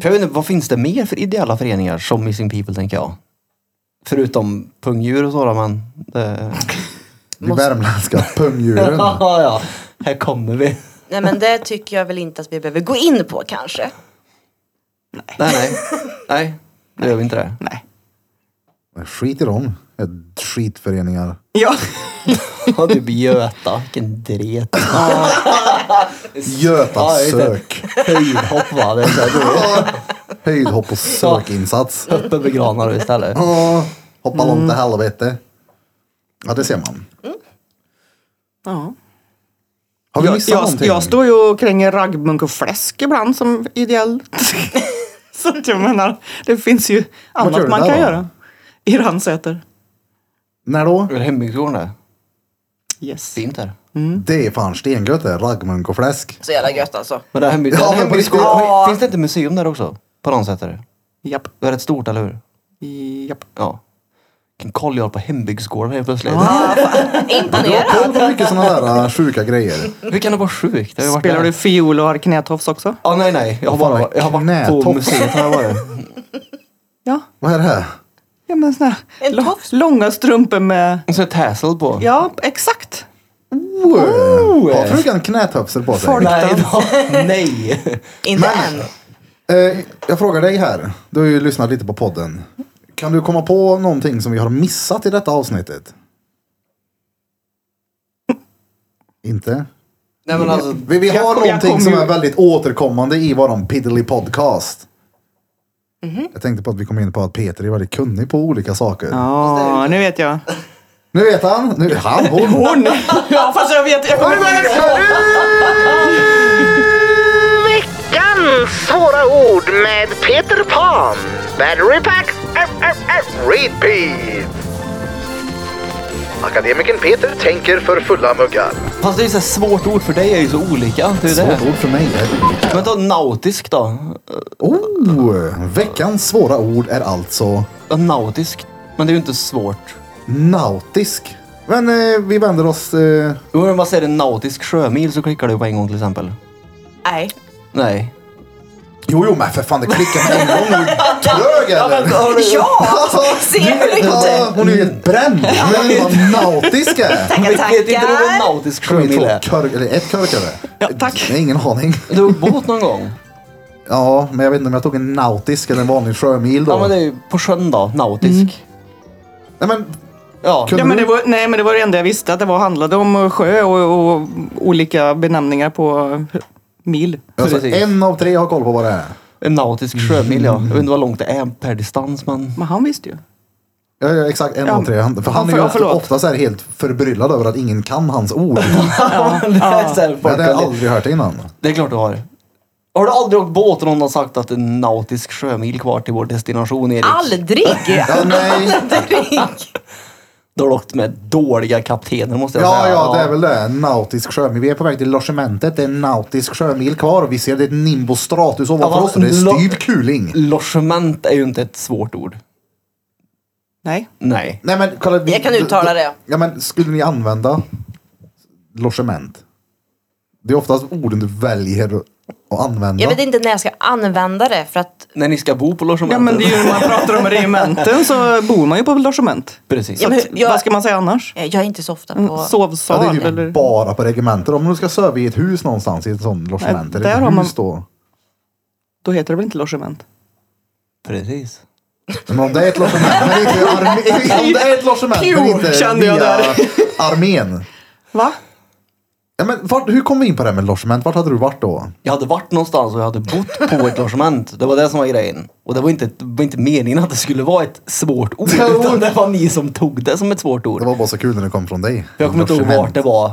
[SPEAKER 2] För jag vet inte, vad finns det mer för ideella föreningar som Missing People tänker jag? Förutom pungdjur och sådär men... Det...
[SPEAKER 1] De värmländska pungdjuren.
[SPEAKER 2] ja, ja. Här kommer vi.
[SPEAKER 4] Nej men det tycker jag väl inte att vi behöver gå in på kanske.
[SPEAKER 2] Nej, nej. Nej, det gör vi inte det.
[SPEAKER 3] Nej.
[SPEAKER 1] Men Skit i dem. Ett Skitföreningar.
[SPEAKER 3] Ja.
[SPEAKER 2] Ja, typ Göta. Vilken dret.
[SPEAKER 1] Göta
[SPEAKER 2] Ja, jag vet
[SPEAKER 1] sök.
[SPEAKER 2] Höjdhopp va? Det är så här, då är
[SPEAKER 1] Höjdhopp och sökinsats.
[SPEAKER 2] det uppe vid Granarö istället.
[SPEAKER 1] Ja, Hoppa långt till helvete. Ja, det ser man.
[SPEAKER 3] ja.
[SPEAKER 1] Har vi
[SPEAKER 3] Jag,
[SPEAKER 1] missat
[SPEAKER 3] jag,
[SPEAKER 1] någonting?
[SPEAKER 3] jag står ju och kränger raggmunk och fläsk ibland som ideell. Så att jag menar, det finns ju
[SPEAKER 1] gör
[SPEAKER 3] annat
[SPEAKER 1] du
[SPEAKER 3] man
[SPEAKER 1] där
[SPEAKER 3] kan
[SPEAKER 1] då?
[SPEAKER 3] göra. I Ransäter.
[SPEAKER 1] När då?
[SPEAKER 2] Är det hembygdsgården det?
[SPEAKER 3] Yes.
[SPEAKER 2] Fint där.
[SPEAKER 3] Mm.
[SPEAKER 1] Det är fan stengött det. Raggmunk och fläsk.
[SPEAKER 4] Så jävla gött alltså.
[SPEAKER 2] Men det här hembygd...
[SPEAKER 1] Ja,
[SPEAKER 2] ja,
[SPEAKER 1] men på
[SPEAKER 2] hembygdsgården.
[SPEAKER 1] riktigt.
[SPEAKER 2] Ja. Finns det inte museum där också? På något sätt är det.
[SPEAKER 3] Japp.
[SPEAKER 2] Det är rätt stort, eller hur?
[SPEAKER 3] Japp.
[SPEAKER 2] Ja. Vilken koll jag har på hembygdsgården helt plötsligt.
[SPEAKER 1] Du
[SPEAKER 4] Imponerad.
[SPEAKER 1] har koll på mycket sådana där äh, sjuka grejer.
[SPEAKER 2] Hur kan det vara sjukt? Jag har ju varit
[SPEAKER 3] Spelar
[SPEAKER 2] där.
[SPEAKER 3] du fiol och har knätofs också?
[SPEAKER 2] Ja, nej, nej. Jag har
[SPEAKER 1] Fan,
[SPEAKER 2] bara jag har varit på
[SPEAKER 1] knätopp.
[SPEAKER 2] museet. Har jag varit.
[SPEAKER 3] Ja.
[SPEAKER 1] Vad är det här?
[SPEAKER 3] Ja men såna här
[SPEAKER 4] En
[SPEAKER 3] lång,
[SPEAKER 4] tofs.
[SPEAKER 3] långa strumpor med...
[SPEAKER 2] Och så är tassel på.
[SPEAKER 3] Ja, exakt.
[SPEAKER 1] Oh,
[SPEAKER 3] eh.
[SPEAKER 1] har frugan knätöpsel på sig?
[SPEAKER 3] Folk-
[SPEAKER 2] Nej, då. nej.
[SPEAKER 4] Inte
[SPEAKER 1] Men-
[SPEAKER 4] än.
[SPEAKER 1] Eh, jag frågar dig här. Du har ju lyssnat lite på podden. Kan du komma på någonting som vi har missat i detta avsnittet? Inte?
[SPEAKER 2] nej, men alltså.
[SPEAKER 1] Vi, vi har
[SPEAKER 3] Jag kom- jag
[SPEAKER 1] någonting
[SPEAKER 3] kom
[SPEAKER 1] som
[SPEAKER 3] ju-
[SPEAKER 1] är väldigt återkommande i våran piddly podcast.
[SPEAKER 3] Mhm.
[SPEAKER 1] Jag tänkte på att vi kom in på att Peter är väldigt kunnig på olika saker.
[SPEAKER 3] Ja, nu vet jag.
[SPEAKER 1] Nu vet han. Nu, han, hon. hon.
[SPEAKER 3] Ja, fast jag vet. Jag kommer inte ihåg det.
[SPEAKER 5] Veckans svåra ord med Peter Pan. Battery pack, ap, ap, ap, repeat. Akademikern Peter tänker för fulla muggar.
[SPEAKER 2] Fast det är ju så här svårt ord för dig är ju så olika. Det är det.
[SPEAKER 1] Svårt ord för mig.
[SPEAKER 2] Men ta nautisk då.
[SPEAKER 1] Oh, veckans svåra ord är alltså
[SPEAKER 2] Eh, Nautisk. Men det är ju inte svårt.
[SPEAKER 1] nautisk. Men eh, vi vänder oss... Eh,
[SPEAKER 2] Jo, men vad säger du? Nautisk sjömil så klickar du på en gång till exempel.
[SPEAKER 4] Nej.
[SPEAKER 2] Nej.
[SPEAKER 1] jo, jo, men för fan det klickar med en gång. Är du Trög eller?
[SPEAKER 4] Ja!
[SPEAKER 3] Alltså,
[SPEAKER 4] Ser du
[SPEAKER 1] Ja,
[SPEAKER 4] inte?
[SPEAKER 1] hon är helt bränd. Men vad nautisk är.
[SPEAKER 4] Tackar,
[SPEAKER 2] Vet inte du vad en
[SPEAKER 4] tackar.
[SPEAKER 2] nautisk
[SPEAKER 1] Kom hit
[SPEAKER 2] sjömil
[SPEAKER 1] två
[SPEAKER 2] är?
[SPEAKER 1] körk, eller ett körkare.
[SPEAKER 3] Ja, tack.
[SPEAKER 1] Nej, ingen aning.
[SPEAKER 2] Du har båt någon gång?
[SPEAKER 1] Ja, men jag vet inte om jag tog en nautisk eller en vanlig sjömil då.
[SPEAKER 2] Ja men det är ju på sjön då, nautisk.
[SPEAKER 1] Nej men
[SPEAKER 2] Ja.
[SPEAKER 1] Kunde
[SPEAKER 3] Ja, men
[SPEAKER 1] du?
[SPEAKER 3] det var, nej, men det var det enda jag visste, att det var, handlade om eh, sjö och, och olika benämningar på eh, mil.
[SPEAKER 1] Alltså,
[SPEAKER 2] Precis.
[SPEAKER 1] en av tre har koll på vad det är.
[SPEAKER 2] En nautisk sjömil ja. Jag vet inte vad långt det är per distans men...
[SPEAKER 3] Men han visste ju.
[SPEAKER 1] Ja, ja, exakt, en
[SPEAKER 3] Ja.
[SPEAKER 1] av tre. Han, för
[SPEAKER 3] Ja,
[SPEAKER 1] han är
[SPEAKER 3] för-
[SPEAKER 1] ju
[SPEAKER 3] ja,
[SPEAKER 1] ofta,
[SPEAKER 3] förlåt.
[SPEAKER 1] ofta så här helt förbryllad över att ingen kan hans ord.
[SPEAKER 2] det, är så här,
[SPEAKER 1] det
[SPEAKER 2] folk
[SPEAKER 1] hade jag
[SPEAKER 2] har-
[SPEAKER 1] aldrig hört innan.
[SPEAKER 2] det är klart du har. Har du aldrig åkt båt och någon har sagt att en nautisk sjömil kvar till vår destination Erik?
[SPEAKER 4] Aldrig!
[SPEAKER 1] Ja, nej.
[SPEAKER 4] Aldrig!
[SPEAKER 2] Då har du åkt med dåliga kaptener måste jag
[SPEAKER 1] Ja,
[SPEAKER 2] säga.
[SPEAKER 1] ja, det är väl det. Nautisk sjömil. Vi är på väg till logementet. Det är en nautisk sjömil kvar. Vi ser det är ett nimbostratus ovanför
[SPEAKER 2] Ja,
[SPEAKER 1] oss. och Det är
[SPEAKER 2] lo-
[SPEAKER 1] styv kuling.
[SPEAKER 2] Logement är ju inte ett svårt ord.
[SPEAKER 3] Nej.
[SPEAKER 2] Nej.
[SPEAKER 1] Nej, men kolla. vi-
[SPEAKER 4] Jag kan uttala det.
[SPEAKER 1] Ja, men skulle ni använda logement? Det är oftast orden du väljer att använda.
[SPEAKER 4] Jag vet inte när jag ska använda det för att...
[SPEAKER 2] När ni ska bo på logementet.
[SPEAKER 3] Ja, men det är ju när man pratar om regementen så bor man ju på logement.
[SPEAKER 2] Precis.
[SPEAKER 4] Ja, men-
[SPEAKER 3] Så att, Vad ska man säga annars?
[SPEAKER 4] Eh, Jag är inte så ofta
[SPEAKER 3] Mm,
[SPEAKER 4] på...
[SPEAKER 1] Ja, det
[SPEAKER 3] Sovsal
[SPEAKER 1] är ju
[SPEAKER 3] eller?
[SPEAKER 1] bara på regementer. Om du ska söva i ett hus någonstans i ett sånt logement. eller
[SPEAKER 3] Nej, där
[SPEAKER 1] ett
[SPEAKER 3] har
[SPEAKER 1] hus
[SPEAKER 3] man-
[SPEAKER 1] då.
[SPEAKER 3] Då heter det väl inte logement?
[SPEAKER 2] Precis.
[SPEAKER 1] Men om det är ett logement men inte armé... Om det är ett logement men
[SPEAKER 3] Jo,
[SPEAKER 1] inte
[SPEAKER 3] kände jag
[SPEAKER 1] via
[SPEAKER 3] där.
[SPEAKER 1] armén.
[SPEAKER 3] Va?
[SPEAKER 1] Ja, men vart, hur kom vi in på det här med logement? Vart hade du varit då?
[SPEAKER 2] Jag hade varit någonstans och jag hade bott på ett logement. Det var det som var grejen. Och det var inte, det var inte meningen att det skulle vara ett svårt ord.
[SPEAKER 1] Jo.
[SPEAKER 2] Utan det var ni som tog det som ett svårt ord.
[SPEAKER 1] Det var bara så kul när det kom från dig.
[SPEAKER 2] För jag kommer inte ihåg
[SPEAKER 1] Logement.
[SPEAKER 2] vart det var.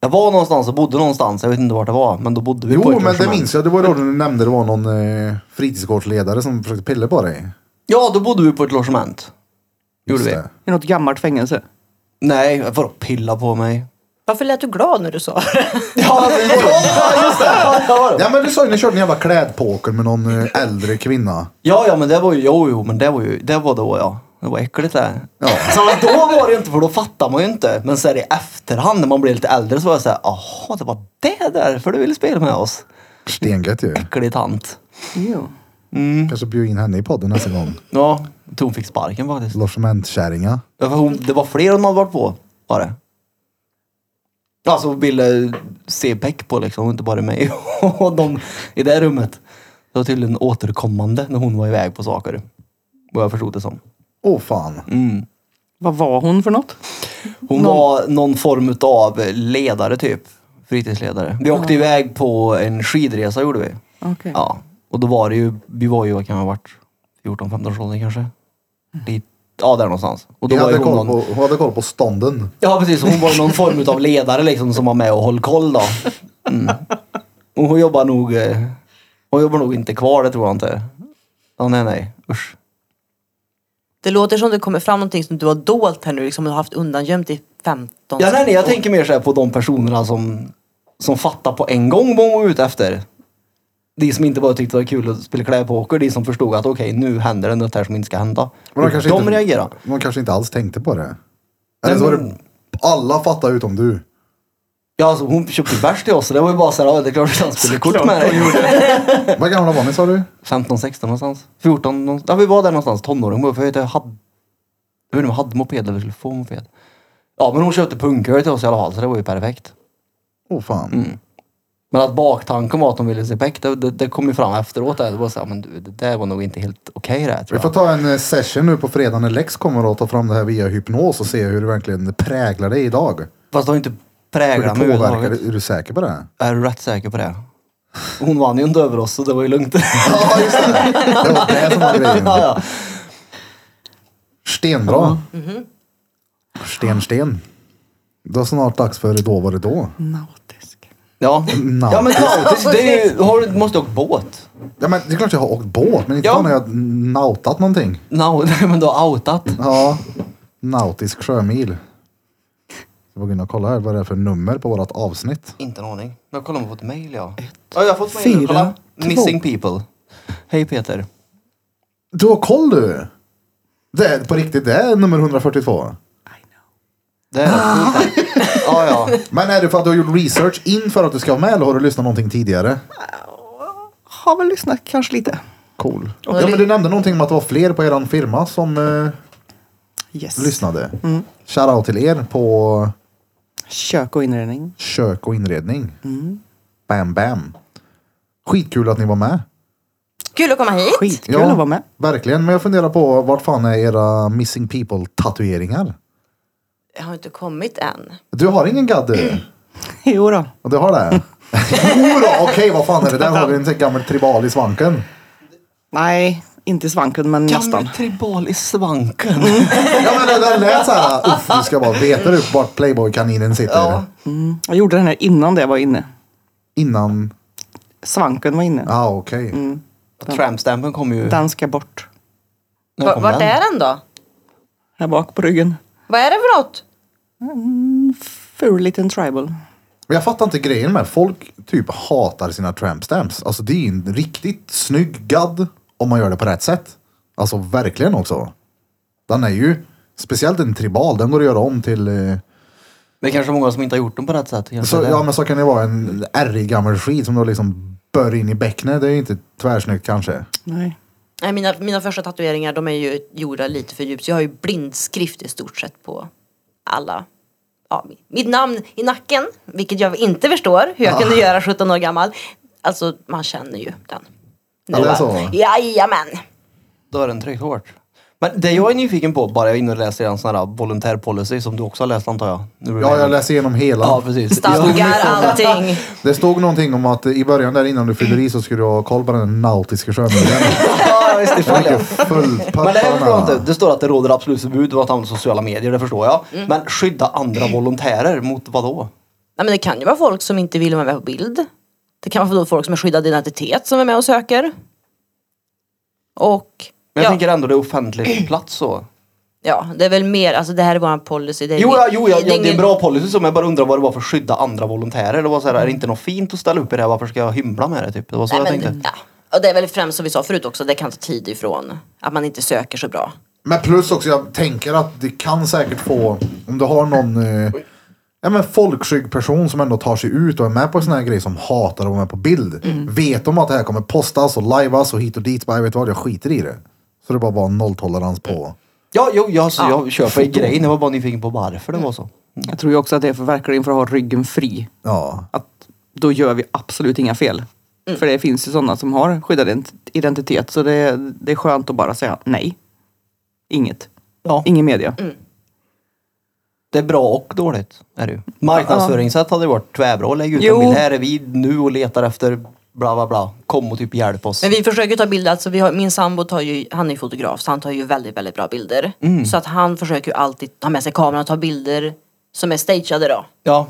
[SPEAKER 2] Jag var någonstans och bodde någonstans. Jag vet inte vart det var. Men då bodde vi på ett
[SPEAKER 1] Jo, men det
[SPEAKER 2] logement.
[SPEAKER 1] minns jag. Det var då du nämnde det var någon eh, fritidsgårdsledare som försökte pilla på dig.
[SPEAKER 2] Ja, då bodde vi på ett logement. Gjorde
[SPEAKER 1] Just
[SPEAKER 2] vi.
[SPEAKER 1] det.
[SPEAKER 3] I något gammalt fängelse?
[SPEAKER 2] Nej, vadå pilla på mig?
[SPEAKER 4] Varför lät du glad när du sa det?
[SPEAKER 2] Ja, just det. Ja, det var det.
[SPEAKER 1] Ja, men du sa ju ni körde en jävla klädpoker med någon eh, äldre kvinna.
[SPEAKER 2] Ja, ja, men det var ju, jo, jo, men det var ju, det var då ja. Det var äckligt det. Så då var det ju inte, för då fattar man ju inte. Men så här i efterhand när man blir lite äldre så var jag såhär, jaha, det var det därför du ville spela med oss.
[SPEAKER 1] Stengött ju.
[SPEAKER 2] Äcklig tant.
[SPEAKER 3] Jo.
[SPEAKER 2] Mm.
[SPEAKER 1] Kanske bjuda in henne i podden nästa gång.
[SPEAKER 2] Ja, jag tror hon fick sparken faktiskt.
[SPEAKER 1] Logementkärringa.
[SPEAKER 2] Ja, för hon, det var fler hon hade varit på, var det. Alltså hon ville se peck på liksom, och inte bara mig och de i det rummet. Det var tydligen återkommande när hon var iväg på saker. Vad jag förstod det som.
[SPEAKER 1] Åh
[SPEAKER 2] Mm,
[SPEAKER 1] fan.
[SPEAKER 3] Vad var hon för något?
[SPEAKER 2] Hon var någon form av ledare typ. Fritidsledare. Vi åkte iväg på en skidresa gjorde vi.
[SPEAKER 3] Okej.
[SPEAKER 2] Ja. Och då var det ju, vi var ju, vad kan vi ha varit? 14-15 åldern kanske? Lite, ja, där någonstans. Och då
[SPEAKER 1] Ni
[SPEAKER 2] var ju
[SPEAKER 1] hade
[SPEAKER 2] hon
[SPEAKER 1] koll
[SPEAKER 2] någon,
[SPEAKER 1] på, hon hade koll på stånden.
[SPEAKER 2] Ja precis, hon var någon form av ledare liksom som var med och höll koll då. Mm. Och hon jobbar nog, eh, hon jobbar nog inte kvar, det tror jag inte. Ja, nej nej, usch.
[SPEAKER 4] Det låter som det kommer fram någonting som du har dolt här nu, liksom du har haft undangömt i 15
[SPEAKER 2] Ja, nej, nej, jag tänker mer så här på de personerna som, som fattar på en gång vad hon var ute efter. De som inte bara tyckte det var kul att spela klädpoker, de som förstod att okej, nu händer det något här som inte ska hända.
[SPEAKER 1] Men
[SPEAKER 2] Mm. De reagerar.
[SPEAKER 1] De kanske inte alls tänkte på det.
[SPEAKER 2] Nej,
[SPEAKER 1] Eller så var det
[SPEAKER 2] men-
[SPEAKER 1] alla fattade utom du.
[SPEAKER 2] Ja, alltså, hon köpte bärs till oss, så det var ju bara så här, ja, det är klart att han spelade kort med dig.
[SPEAKER 1] Vad gamla var ni sa du?
[SPEAKER 2] 15, 16 någonstans. 14 någonstans. Ja, vi var där någonstans. Tonåring. var vi, För jag, vet, jag, hade, jag vet inte om jag hade moped eller skulle få moped. Ja, men hon köpte punköl till oss i alla fall, så det var ju perfekt.
[SPEAKER 1] Åh fan.
[SPEAKER 2] Mm. Men att baktanken var att hon ville se peck, det, det, det kom ju fram efteråt. där. Det var så här, men du, det där var nog inte helt okej det här,
[SPEAKER 1] Vi
[SPEAKER 2] tror
[SPEAKER 1] får
[SPEAKER 2] jag.
[SPEAKER 1] ta en eh, session nu på fredag när Lex kommer och ta fram det här via hypnos och se hur det verkligen präglar dig idag.
[SPEAKER 2] Fast det har ju inte
[SPEAKER 1] Hur det
[SPEAKER 2] präglat mig
[SPEAKER 1] påverkar
[SPEAKER 2] överhuvudtaget.
[SPEAKER 1] dig. Är du säker på det?
[SPEAKER 2] Är du rätt säker på det? Hon vann ju inte över oss, så det var ju lugnt.
[SPEAKER 1] Ja, just det. Det var det som var grejen.
[SPEAKER 2] ja, ja.
[SPEAKER 1] Stenbra. Mm-hmm. Sten, sten. Det var snart dags för Då var det då.
[SPEAKER 2] Mm.
[SPEAKER 3] Nautisk.
[SPEAKER 2] Ja.
[SPEAKER 1] Nautiskt.
[SPEAKER 2] ja, men nautiskt. Det är ju, har, du- måste du åkt båt?
[SPEAKER 1] Ja, men det är klart jag har åkt båt, men inte
[SPEAKER 2] Ja.
[SPEAKER 1] fan har jag nautat någonting.
[SPEAKER 2] No, men du har outat.
[SPEAKER 1] Ja, nautisk sjömil. Jag var gå in och kolla här vad det är för nummer på vårt avsnitt.
[SPEAKER 2] Inte en aning. Jag kollar om jag fått mejl ja. ja, jag har fått
[SPEAKER 3] fyra,
[SPEAKER 2] mejl. Kolla.
[SPEAKER 3] två.
[SPEAKER 2] Missing people. Hej Peter.
[SPEAKER 1] Du har koll du! Det är på riktigt, det är nummer 142.
[SPEAKER 2] Det är
[SPEAKER 1] Ah,
[SPEAKER 2] rätt coolt här. Ja, ja.
[SPEAKER 1] Men är det för att du har gjort research inför att du ska vara med eller har du lyssnat någonting tidigare?
[SPEAKER 3] Har väl lyssnat kanske lite.
[SPEAKER 1] Cool. Ja, men du nämnde någonting om att det var fler på eran firma som eh,
[SPEAKER 3] Yes.
[SPEAKER 1] lyssnade. Shoutout till er på
[SPEAKER 3] Kök och inredning.
[SPEAKER 1] kök och inredning. Bam, bam. Skitkul att ni var med.
[SPEAKER 4] Kul att komma hit!
[SPEAKER 3] Skitkul att vara med.
[SPEAKER 1] Verkligen, men jag funderar på vart fan är era missing people tatueringar?
[SPEAKER 4] Jag har inte kommit än.
[SPEAKER 1] Du har ingen gadd du?
[SPEAKER 3] Jo då.
[SPEAKER 1] Ja, Du har det? Jodå, okej vad fan är det där? Har du en sån gammal tribal i svanken?
[SPEAKER 3] Nej, inte i svanken men nästan.
[SPEAKER 2] Gammal tribal i svanken.
[SPEAKER 1] Mm. Ja men det där lät såhär, uff du ska bara veta du vart Playboy-kaninen sitter.
[SPEAKER 3] Jag gjorde den här innan det var inne.
[SPEAKER 1] Innan,
[SPEAKER 3] Svanken var inne.
[SPEAKER 1] ja ah, okej.
[SPEAKER 2] Trampstampen kom ju...
[SPEAKER 3] Den ska bort.
[SPEAKER 2] när
[SPEAKER 4] Va-
[SPEAKER 2] kom
[SPEAKER 4] Vart
[SPEAKER 2] den?
[SPEAKER 4] är den då?
[SPEAKER 3] Här bak på ryggen.
[SPEAKER 4] Vad är det för något?
[SPEAKER 3] Ful liten tribal.
[SPEAKER 1] Men jag fattar inte grejen med folk typ hatar sina tramp stamps. Alltså det är ju en riktigt snygg gadd om man gör det på rätt sätt. Alltså verkligen också. Den är ju, speciellt en tribal, den går att göra om till eh,
[SPEAKER 2] Det är kanske många som inte har gjort den på rätt sätt. kanske
[SPEAKER 1] Så,
[SPEAKER 2] det.
[SPEAKER 1] ja men så kan det vara en ärrig gammal skit som då liksom bör in i bäcknet. Det är ju inte tvärsnyggt kanske.
[SPEAKER 3] Nej.
[SPEAKER 4] Nej, mina, mina första tatueringar de är ju gjorda lite för djupt. Så jag har ju blindskrift i stort sett på alla. Ja, mitt namn i nacken, vilket jag inte förstår hur jag
[SPEAKER 2] Ah.
[SPEAKER 4] kunde göra 17 år gammal. Alltså, man känner ju den.
[SPEAKER 1] Ja, det är
[SPEAKER 4] bara,
[SPEAKER 1] så.
[SPEAKER 4] Jajamän!
[SPEAKER 2] Då är den tryckt hårt. Men det jag är nyfiken på, bara jag är inne och läser en sån här volontärpolicy som du också har läst antar jag. Nu blir det-
[SPEAKER 1] Ja jag läser igenom hela.
[SPEAKER 2] Ja, precis.
[SPEAKER 4] Stadgar, allting.
[SPEAKER 1] Det stod någonting om att i början där innan du fyller i så skulle du ha koll på den nautiska sjömiljön.
[SPEAKER 2] Ja, visst, det får jag.
[SPEAKER 1] Fullt
[SPEAKER 2] Men det här förstår jag inte.
[SPEAKER 1] papparna.
[SPEAKER 2] Det står att det råder absolut förbud mot att använda sociala medier, det förstår jag.
[SPEAKER 4] Mm.
[SPEAKER 2] Men skydda andra volontärer mot vad då?
[SPEAKER 4] Nej, men det kan ju vara folk som inte vill vara med på bild. Det kan vara folk som är skyddad identitet som är med och söker. Och
[SPEAKER 2] Men jag
[SPEAKER 4] ja,
[SPEAKER 2] tänker ändå det är offentlig plats så.
[SPEAKER 4] ja, det är väl mer, alltså det här är vår policy. Det är
[SPEAKER 2] Jo,
[SPEAKER 4] ing-
[SPEAKER 2] ja, jo ja, ja, det är en
[SPEAKER 4] ingen-
[SPEAKER 2] bra policy så, men jag bara undrar vad det var för skydda andra volontärer. Det var så här, är det inte något fint att ställa upp i det här? Varför ska jag hymla med det? Typ? Det var så
[SPEAKER 4] Nej,
[SPEAKER 2] jag
[SPEAKER 4] men,
[SPEAKER 2] tänkte.
[SPEAKER 4] Ja. Och det är väl främst som vi sa förut också, det kan ta tid ifrån att man inte söker så bra.
[SPEAKER 1] Men plus också jag tänker att det kan säkert få, om du har någon eh, ja, men folkskygg person som ändå tar sig ut och är med på en sån här grej som hatar att vara med på bild.
[SPEAKER 2] Mm.
[SPEAKER 1] Vet de att det här kommer postas och lajvas och hit och dit. Bara, jag vet vad, jag skiter i det. Så det bara var nolltolerans
[SPEAKER 2] Mm.
[SPEAKER 1] på.
[SPEAKER 2] Ja, jo, ja, så jag köper grejen. Jag var bara nyfiken på varför det var så.
[SPEAKER 3] Jag tror ju också att det är för verkligen för att ha ryggen fri.
[SPEAKER 1] Ja.
[SPEAKER 3] Att då gör vi absolut inga fel. För det finns ju sådana som har skyddad ident- identitet. Så det, det är skönt att bara säga nej. Inget.
[SPEAKER 2] Ja.
[SPEAKER 3] Ingen media.
[SPEAKER 2] Det är bra och dåligt. Är det ju. Marknadsföringssätt hade ju varit tvärbra. Lägg ut
[SPEAKER 3] Jo.
[SPEAKER 2] en bild. Här är vi nu och letar efter bla bla bla. Kom och typ hjälp oss.
[SPEAKER 4] Men vi försöker ta bilder, alltså vi har, min sambo tar ju, han är ju fotograf så han tar ju väldigt, väldigt bra bilder.
[SPEAKER 2] Mm.
[SPEAKER 4] Så att han försöker ju alltid ha med sig kameran och ta bilder som är stageade då.
[SPEAKER 2] Ja,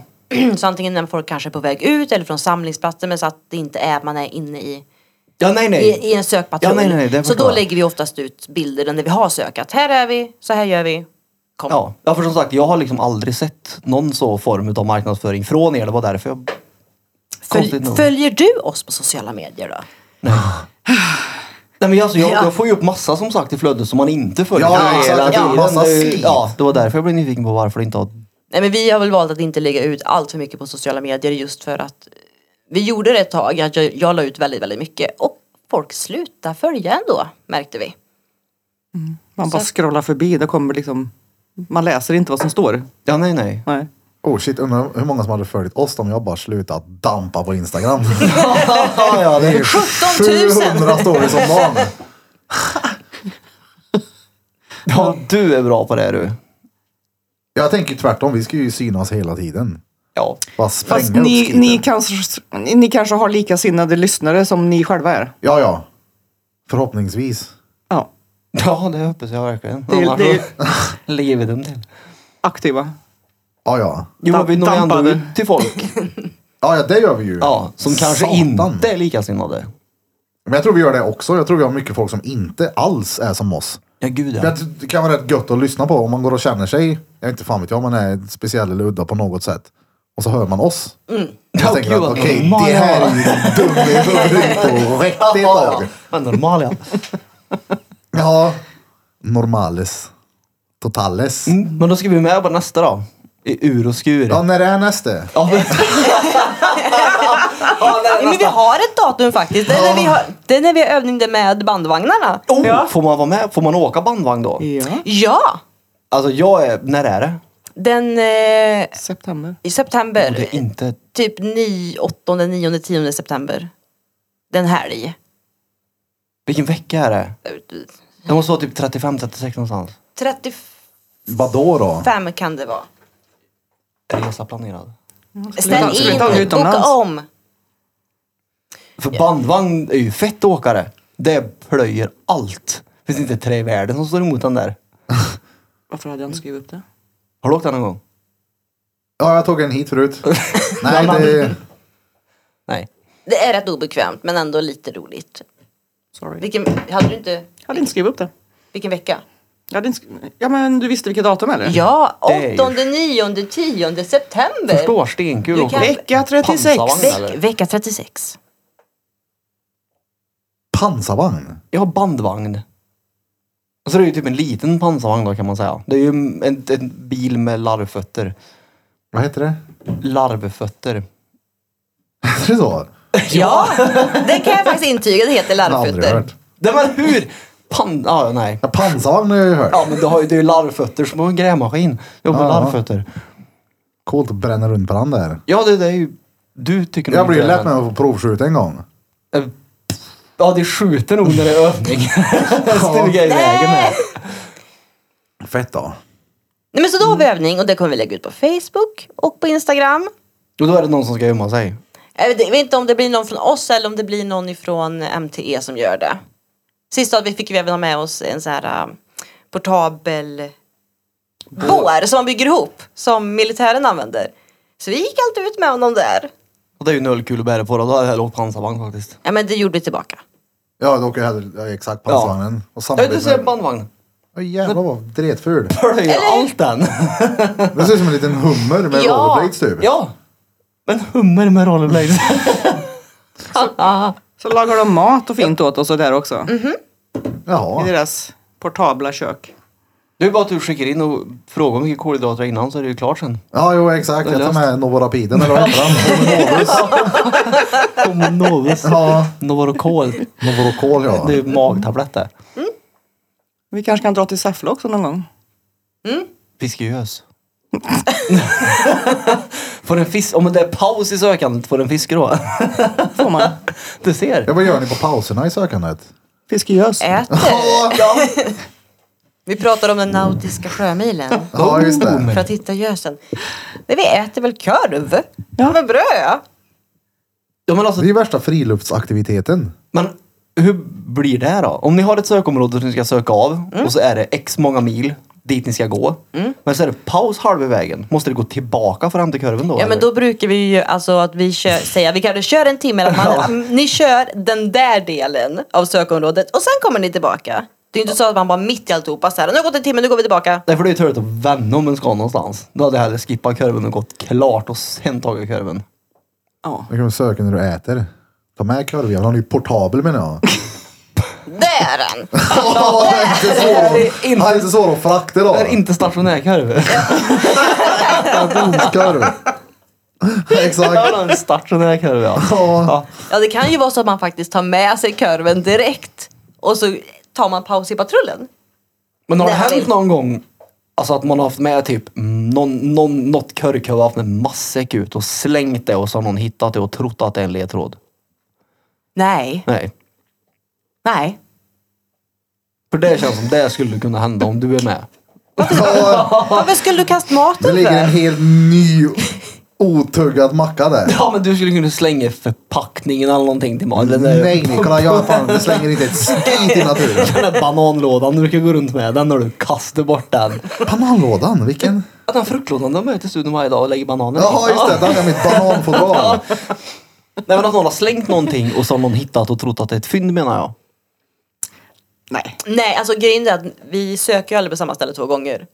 [SPEAKER 4] Så antingen när folk kanske är på väg ut eller från samlingsplatser men så att det inte är att man är inne i,
[SPEAKER 2] ja nej nej.
[SPEAKER 4] i, i en sökpatrull.
[SPEAKER 2] Ja, nej, nej, nej, det
[SPEAKER 4] så
[SPEAKER 2] förstår
[SPEAKER 4] då
[SPEAKER 2] jag.
[SPEAKER 4] lägger vi oftast ut bilder när vi har sökat. Här är vi, så här gör vi. Kom.
[SPEAKER 2] Ja. ja, för som sagt jag har liksom aldrig sett någon så form av marknadsföring från er. Det var därför jag... Konstigt
[SPEAKER 4] Följ,
[SPEAKER 2] nog.
[SPEAKER 4] följer du oss på sociala medier då?
[SPEAKER 2] Nej, men alltså, jag,
[SPEAKER 4] Ja.
[SPEAKER 2] jag får ju upp massa som sagt i flödet som man inte följer.
[SPEAKER 1] Ja,
[SPEAKER 2] hela
[SPEAKER 1] exakt.
[SPEAKER 4] Ja.
[SPEAKER 2] tiden.
[SPEAKER 1] Massa
[SPEAKER 2] Det är ju-
[SPEAKER 1] skit.
[SPEAKER 2] ja, det var därför jag blev nyfiken på varför det inte har...
[SPEAKER 4] Nej men vi har väl valt att inte lägga ut allt för mycket på sociala medier just för att vi gjorde det ett tag, att jag, jag la ut väldigt, väldigt mycket och folk slutade följa ändå märkte vi.
[SPEAKER 3] Man bara
[SPEAKER 4] Så-
[SPEAKER 3] scrollar förbi. Det kommer liksom... Man läser inte vad som står.
[SPEAKER 2] Ja, nej nej.
[SPEAKER 3] Nej.
[SPEAKER 1] Oh shit, undrar hur många som hade följt oss om jag bara slutat dampa på Instagram.
[SPEAKER 2] ja, ja, det är...
[SPEAKER 4] 17 000!
[SPEAKER 1] 700 stories om dagen.
[SPEAKER 2] ja, du är bra på det du.
[SPEAKER 1] Jag tänker tvärtom, vi ska ju synas hela tiden.
[SPEAKER 2] Ja.
[SPEAKER 1] Bara
[SPEAKER 3] Fast
[SPEAKER 1] spränga upp
[SPEAKER 3] ni,
[SPEAKER 1] skiten.
[SPEAKER 3] ni, kanske, ni kanske har likasinnade lyssnare som ni själva är.
[SPEAKER 1] Ja, ja. Förhoppningsvis.
[SPEAKER 3] Ja.
[SPEAKER 2] Ja, det hoppas jag verkligen.
[SPEAKER 3] Det är-
[SPEAKER 2] Annars
[SPEAKER 3] det är-
[SPEAKER 2] så ligger vi dem till.
[SPEAKER 3] Aktiva.
[SPEAKER 1] Ja, ja.
[SPEAKER 2] Jo, men vi når ju ändå
[SPEAKER 3] Dampade.
[SPEAKER 2] ut till folk.
[SPEAKER 1] Ja, ja det gör vi ju.
[SPEAKER 2] Ja, som kanske
[SPEAKER 1] Satan.
[SPEAKER 2] inte är likasinnade.
[SPEAKER 1] Men jag tror vi gör det också. Jag tror vi har mycket folk som inte alls är som oss.
[SPEAKER 2] Ja, gud
[SPEAKER 1] Jag tror Det kan vara rätt gött att lyssna på om man går och känner sig, jag vet inte fan vet jag, man är speciell eller udda på något sätt. Och så hör man oss. Och
[SPEAKER 2] Ja,
[SPEAKER 1] Jag tänker
[SPEAKER 2] gud,
[SPEAKER 1] att
[SPEAKER 2] vad
[SPEAKER 1] okej,
[SPEAKER 2] normal
[SPEAKER 1] det
[SPEAKER 2] jag
[SPEAKER 1] här
[SPEAKER 2] var.
[SPEAKER 1] är ju dum i huvudet på riktigt
[SPEAKER 2] Ja,
[SPEAKER 1] tag.
[SPEAKER 2] men normal ja.
[SPEAKER 1] Ja, normales. Totales.
[SPEAKER 2] Mm, Men då ska vi med på nästa då. I ur och skur.
[SPEAKER 1] Ja, när är nästa?
[SPEAKER 2] Ja, men- Ja,
[SPEAKER 4] Nej,
[SPEAKER 2] nej,
[SPEAKER 4] Men vi
[SPEAKER 2] nästa.
[SPEAKER 4] har ett datum faktiskt, det är när vi har, det är när vi har övning där med bandvagnarna.
[SPEAKER 2] Oh, Får man vara med? Får man åka bandvagn då?
[SPEAKER 3] Ja.
[SPEAKER 4] Ja!
[SPEAKER 2] Alltså jag är, när är det?
[SPEAKER 4] Den eh,
[SPEAKER 3] September.
[SPEAKER 4] i september,
[SPEAKER 2] Och det är inte...
[SPEAKER 4] typ 9, 8, 9, 10 september. Den helg.
[SPEAKER 2] Vilken vecka är det? Det måste vara typ 35, 36 någonstans.
[SPEAKER 4] 35
[SPEAKER 1] Vadå då?
[SPEAKER 4] Fem kan det vara.
[SPEAKER 2] Resa planerad.
[SPEAKER 3] Ska
[SPEAKER 4] Ställ
[SPEAKER 3] vi
[SPEAKER 4] in,
[SPEAKER 3] ta den utomlands?
[SPEAKER 4] boka om.
[SPEAKER 2] För bandvagn är ju fett åkare. Det plöjer allt. Det finns inte tre i världen som står emot den där.
[SPEAKER 3] Varför hade jag inte skrivit upp det?
[SPEAKER 2] Har du åkt den någon gång?
[SPEAKER 1] Ja, jag tog en hit förut. Nej, det...
[SPEAKER 2] Nej.
[SPEAKER 4] Det är rätt obekvämt men ändå lite roligt.
[SPEAKER 3] Sorry.
[SPEAKER 4] Vilken, hade du inte,
[SPEAKER 3] Jag hade inte skrivit upp det.
[SPEAKER 4] vilken vecka?
[SPEAKER 3] Jag hade inte skri- ja men du visste vilket datum eller?
[SPEAKER 4] Ja,
[SPEAKER 2] Det är ju-
[SPEAKER 4] 8, 9, 10
[SPEAKER 1] Eh,
[SPEAKER 4] september.
[SPEAKER 2] Förstår, stenkul
[SPEAKER 4] Du
[SPEAKER 2] åka.
[SPEAKER 4] kan-
[SPEAKER 3] Vecka 36.
[SPEAKER 2] Pansarvagn.
[SPEAKER 4] Veck, vecka 36.
[SPEAKER 1] Pansarvagn?
[SPEAKER 2] Jag har bandvagn. Alltså det är ju typ en liten pansarvagn då kan man säga. Det är ju en, en bil med larvfötter.
[SPEAKER 1] Vad heter det?
[SPEAKER 2] Larvfötter.
[SPEAKER 1] Heter det så?
[SPEAKER 4] Ja, det kan jag faktiskt intyga. Det heter
[SPEAKER 1] Jag har aldrig
[SPEAKER 4] larvfötter.
[SPEAKER 1] hört.
[SPEAKER 2] Nej men hur? Pan... Ah, nej.
[SPEAKER 1] Ja, pansarvagn har jag ju hört.
[SPEAKER 2] Ja men det, har, ju- det är ju larvfötter som en grävmaskin. Jag har
[SPEAKER 1] Ja.
[SPEAKER 2] larvfötter.
[SPEAKER 1] Coolt att bränna runt på den där.
[SPEAKER 2] Ja det, det är ju... Du tycker nog
[SPEAKER 1] Jag blev
[SPEAKER 2] inte det,
[SPEAKER 1] lätt med att få provskjuta en gång.
[SPEAKER 2] men- Eh, Ja det skjuter nog när det är övning. Stuga i vägen här.
[SPEAKER 1] Fett då.
[SPEAKER 4] Nej, men så då har vi övning och det kommer vi lägga ut på Facebook och på Instagram.
[SPEAKER 2] Och då är det någon som ska gömma sig.
[SPEAKER 4] Jag vet jag vet inte om det blir någon från oss eller om det blir någon ifrån MTE som gör det. Sist av- vi fick vi även ha med oss en sån här äh, portabel bår som man bygger ihop som militären använder. Så vi gick alltid ut med honom där.
[SPEAKER 2] Och det är ju noll kul att bära på. Då Då hade jag åkt pansarvagn faktiskt.
[SPEAKER 4] Ja men det gjorde vi tillbaka.
[SPEAKER 1] Ja, då åker jag hellre ja, exakt pansarvagnen. Och
[SPEAKER 2] Ja du
[SPEAKER 1] samarbete
[SPEAKER 2] ser
[SPEAKER 1] med...
[SPEAKER 2] bandvagn.
[SPEAKER 1] Oh, jävlar vad dretful.
[SPEAKER 2] Plöjer allt den.
[SPEAKER 1] Det ser ut som en liten hummer med
[SPEAKER 4] Ja.
[SPEAKER 1] rollerblades typ.
[SPEAKER 2] Ja. Men hummer med rollerblades.
[SPEAKER 3] Så lagar de mat och fint åt oss och där också. I
[SPEAKER 1] Jaha.
[SPEAKER 3] deras portabla kök.
[SPEAKER 2] Det är bara att du skickar in och frågar hur mycket kolhydrater innan så är det ju klart sen.
[SPEAKER 1] Ja, jo exakt. Jag tar med Novorapiden eller vad heter den?
[SPEAKER 2] Kommer Novus.
[SPEAKER 1] Ja.
[SPEAKER 2] Novorokol.
[SPEAKER 1] Novorokol ja.
[SPEAKER 2] Det är ju magtablett det.
[SPEAKER 3] Vi kanske kan dra till Säffle också någon gång.
[SPEAKER 2] Fiskegös. får en fisk, om det är paus i sökandet, får en fisk då?
[SPEAKER 3] Får man?
[SPEAKER 2] Du ser.
[SPEAKER 1] Ja, vad gör ni på pauserna i sökandet?
[SPEAKER 3] Fiskegös.
[SPEAKER 4] Äter.
[SPEAKER 2] Ja.
[SPEAKER 4] Vi pratar om den nautiska sjömilen.
[SPEAKER 1] Ja, just det.
[SPEAKER 2] oh.
[SPEAKER 4] För att hitta gösen. Nej, vi äter väl korv?
[SPEAKER 3] Ja.
[SPEAKER 4] Med bröd?
[SPEAKER 2] ja men
[SPEAKER 1] Det
[SPEAKER 2] alltså,
[SPEAKER 1] är ju värsta friluftsaktiviteten.
[SPEAKER 2] men hur blir det då? Om ni har ett sökområde som ni ska söka av och så är det x många mil dit ni ska gå. Men så är det paus halva vägen. Måste det gå tillbaka för att hämta korven då?
[SPEAKER 4] Ja men
[SPEAKER 2] eller?
[SPEAKER 4] då brukar vi ju alltså att vi kör, säga vi kanske kör en timme eller man, Mm, ni kör den där delen av sökområdet och sen kommer ni tillbaka. Det är ju inte så att man bara mitt i alltihopa så här, nu har det gått en timme, nu går vi tillbaka.
[SPEAKER 2] Nej för det är ju turligt att vända om en ska någonstans. Då hade jag hellre skippat korven och gått klart och sen tagit korven.
[SPEAKER 3] Ja.
[SPEAKER 1] Då kan man söka när du äter. Ta med korvjäveln. Han är ju portabel menar jag.
[SPEAKER 4] Där är den!
[SPEAKER 1] Han är inte svår, han är inte svår att frakta då.
[SPEAKER 2] Det är inte stationär korv.
[SPEAKER 1] Domskorv. Exakt.
[SPEAKER 2] Ja, en stationär korv ja.
[SPEAKER 1] Ja.
[SPEAKER 4] Ja det kan ju vara så att man faktiskt tar med sig kurven direkt och så tar man paus i patrullen.
[SPEAKER 2] Men har det
[SPEAKER 4] Nej, jag
[SPEAKER 2] hänt
[SPEAKER 4] vill-
[SPEAKER 2] någon gång alltså att man har haft med typ mm, någon, någon, något körköv haft med matsäck ut och slängt det och så har någon hittat det och trott att det är en ledtråd?
[SPEAKER 4] Nej,
[SPEAKER 2] Nej.
[SPEAKER 4] nej.
[SPEAKER 2] För det känns som det skulle kunna hända om du är med.
[SPEAKER 1] Ja,
[SPEAKER 4] Varför skulle du kasta
[SPEAKER 1] Det
[SPEAKER 4] maten
[SPEAKER 1] ligger en
[SPEAKER 4] för?
[SPEAKER 1] helt ny otuggad macka där.
[SPEAKER 2] Ja men du skulle kunna slänga förpackningen eller någonting till maten. Den där-
[SPEAKER 1] Nej Nikola, jag fan, du slänger inte ett skit i naturen.
[SPEAKER 2] Den där bananlådan du brukar gå runt med, den när du kastar bort den.
[SPEAKER 1] Bananlådan, vilken?
[SPEAKER 2] Den här fruktlådan den möter studion varje dag och lägger bananer i.
[SPEAKER 1] Jaha just det, där är mitt bananfodral.
[SPEAKER 2] Nej men att någon har slängt någonting och så har någon hittat och trott att det är ett fynd menar jag.
[SPEAKER 3] Nej.
[SPEAKER 4] Nej, alltså grejen är att vi söker ju aldrig på samma ställe två gånger.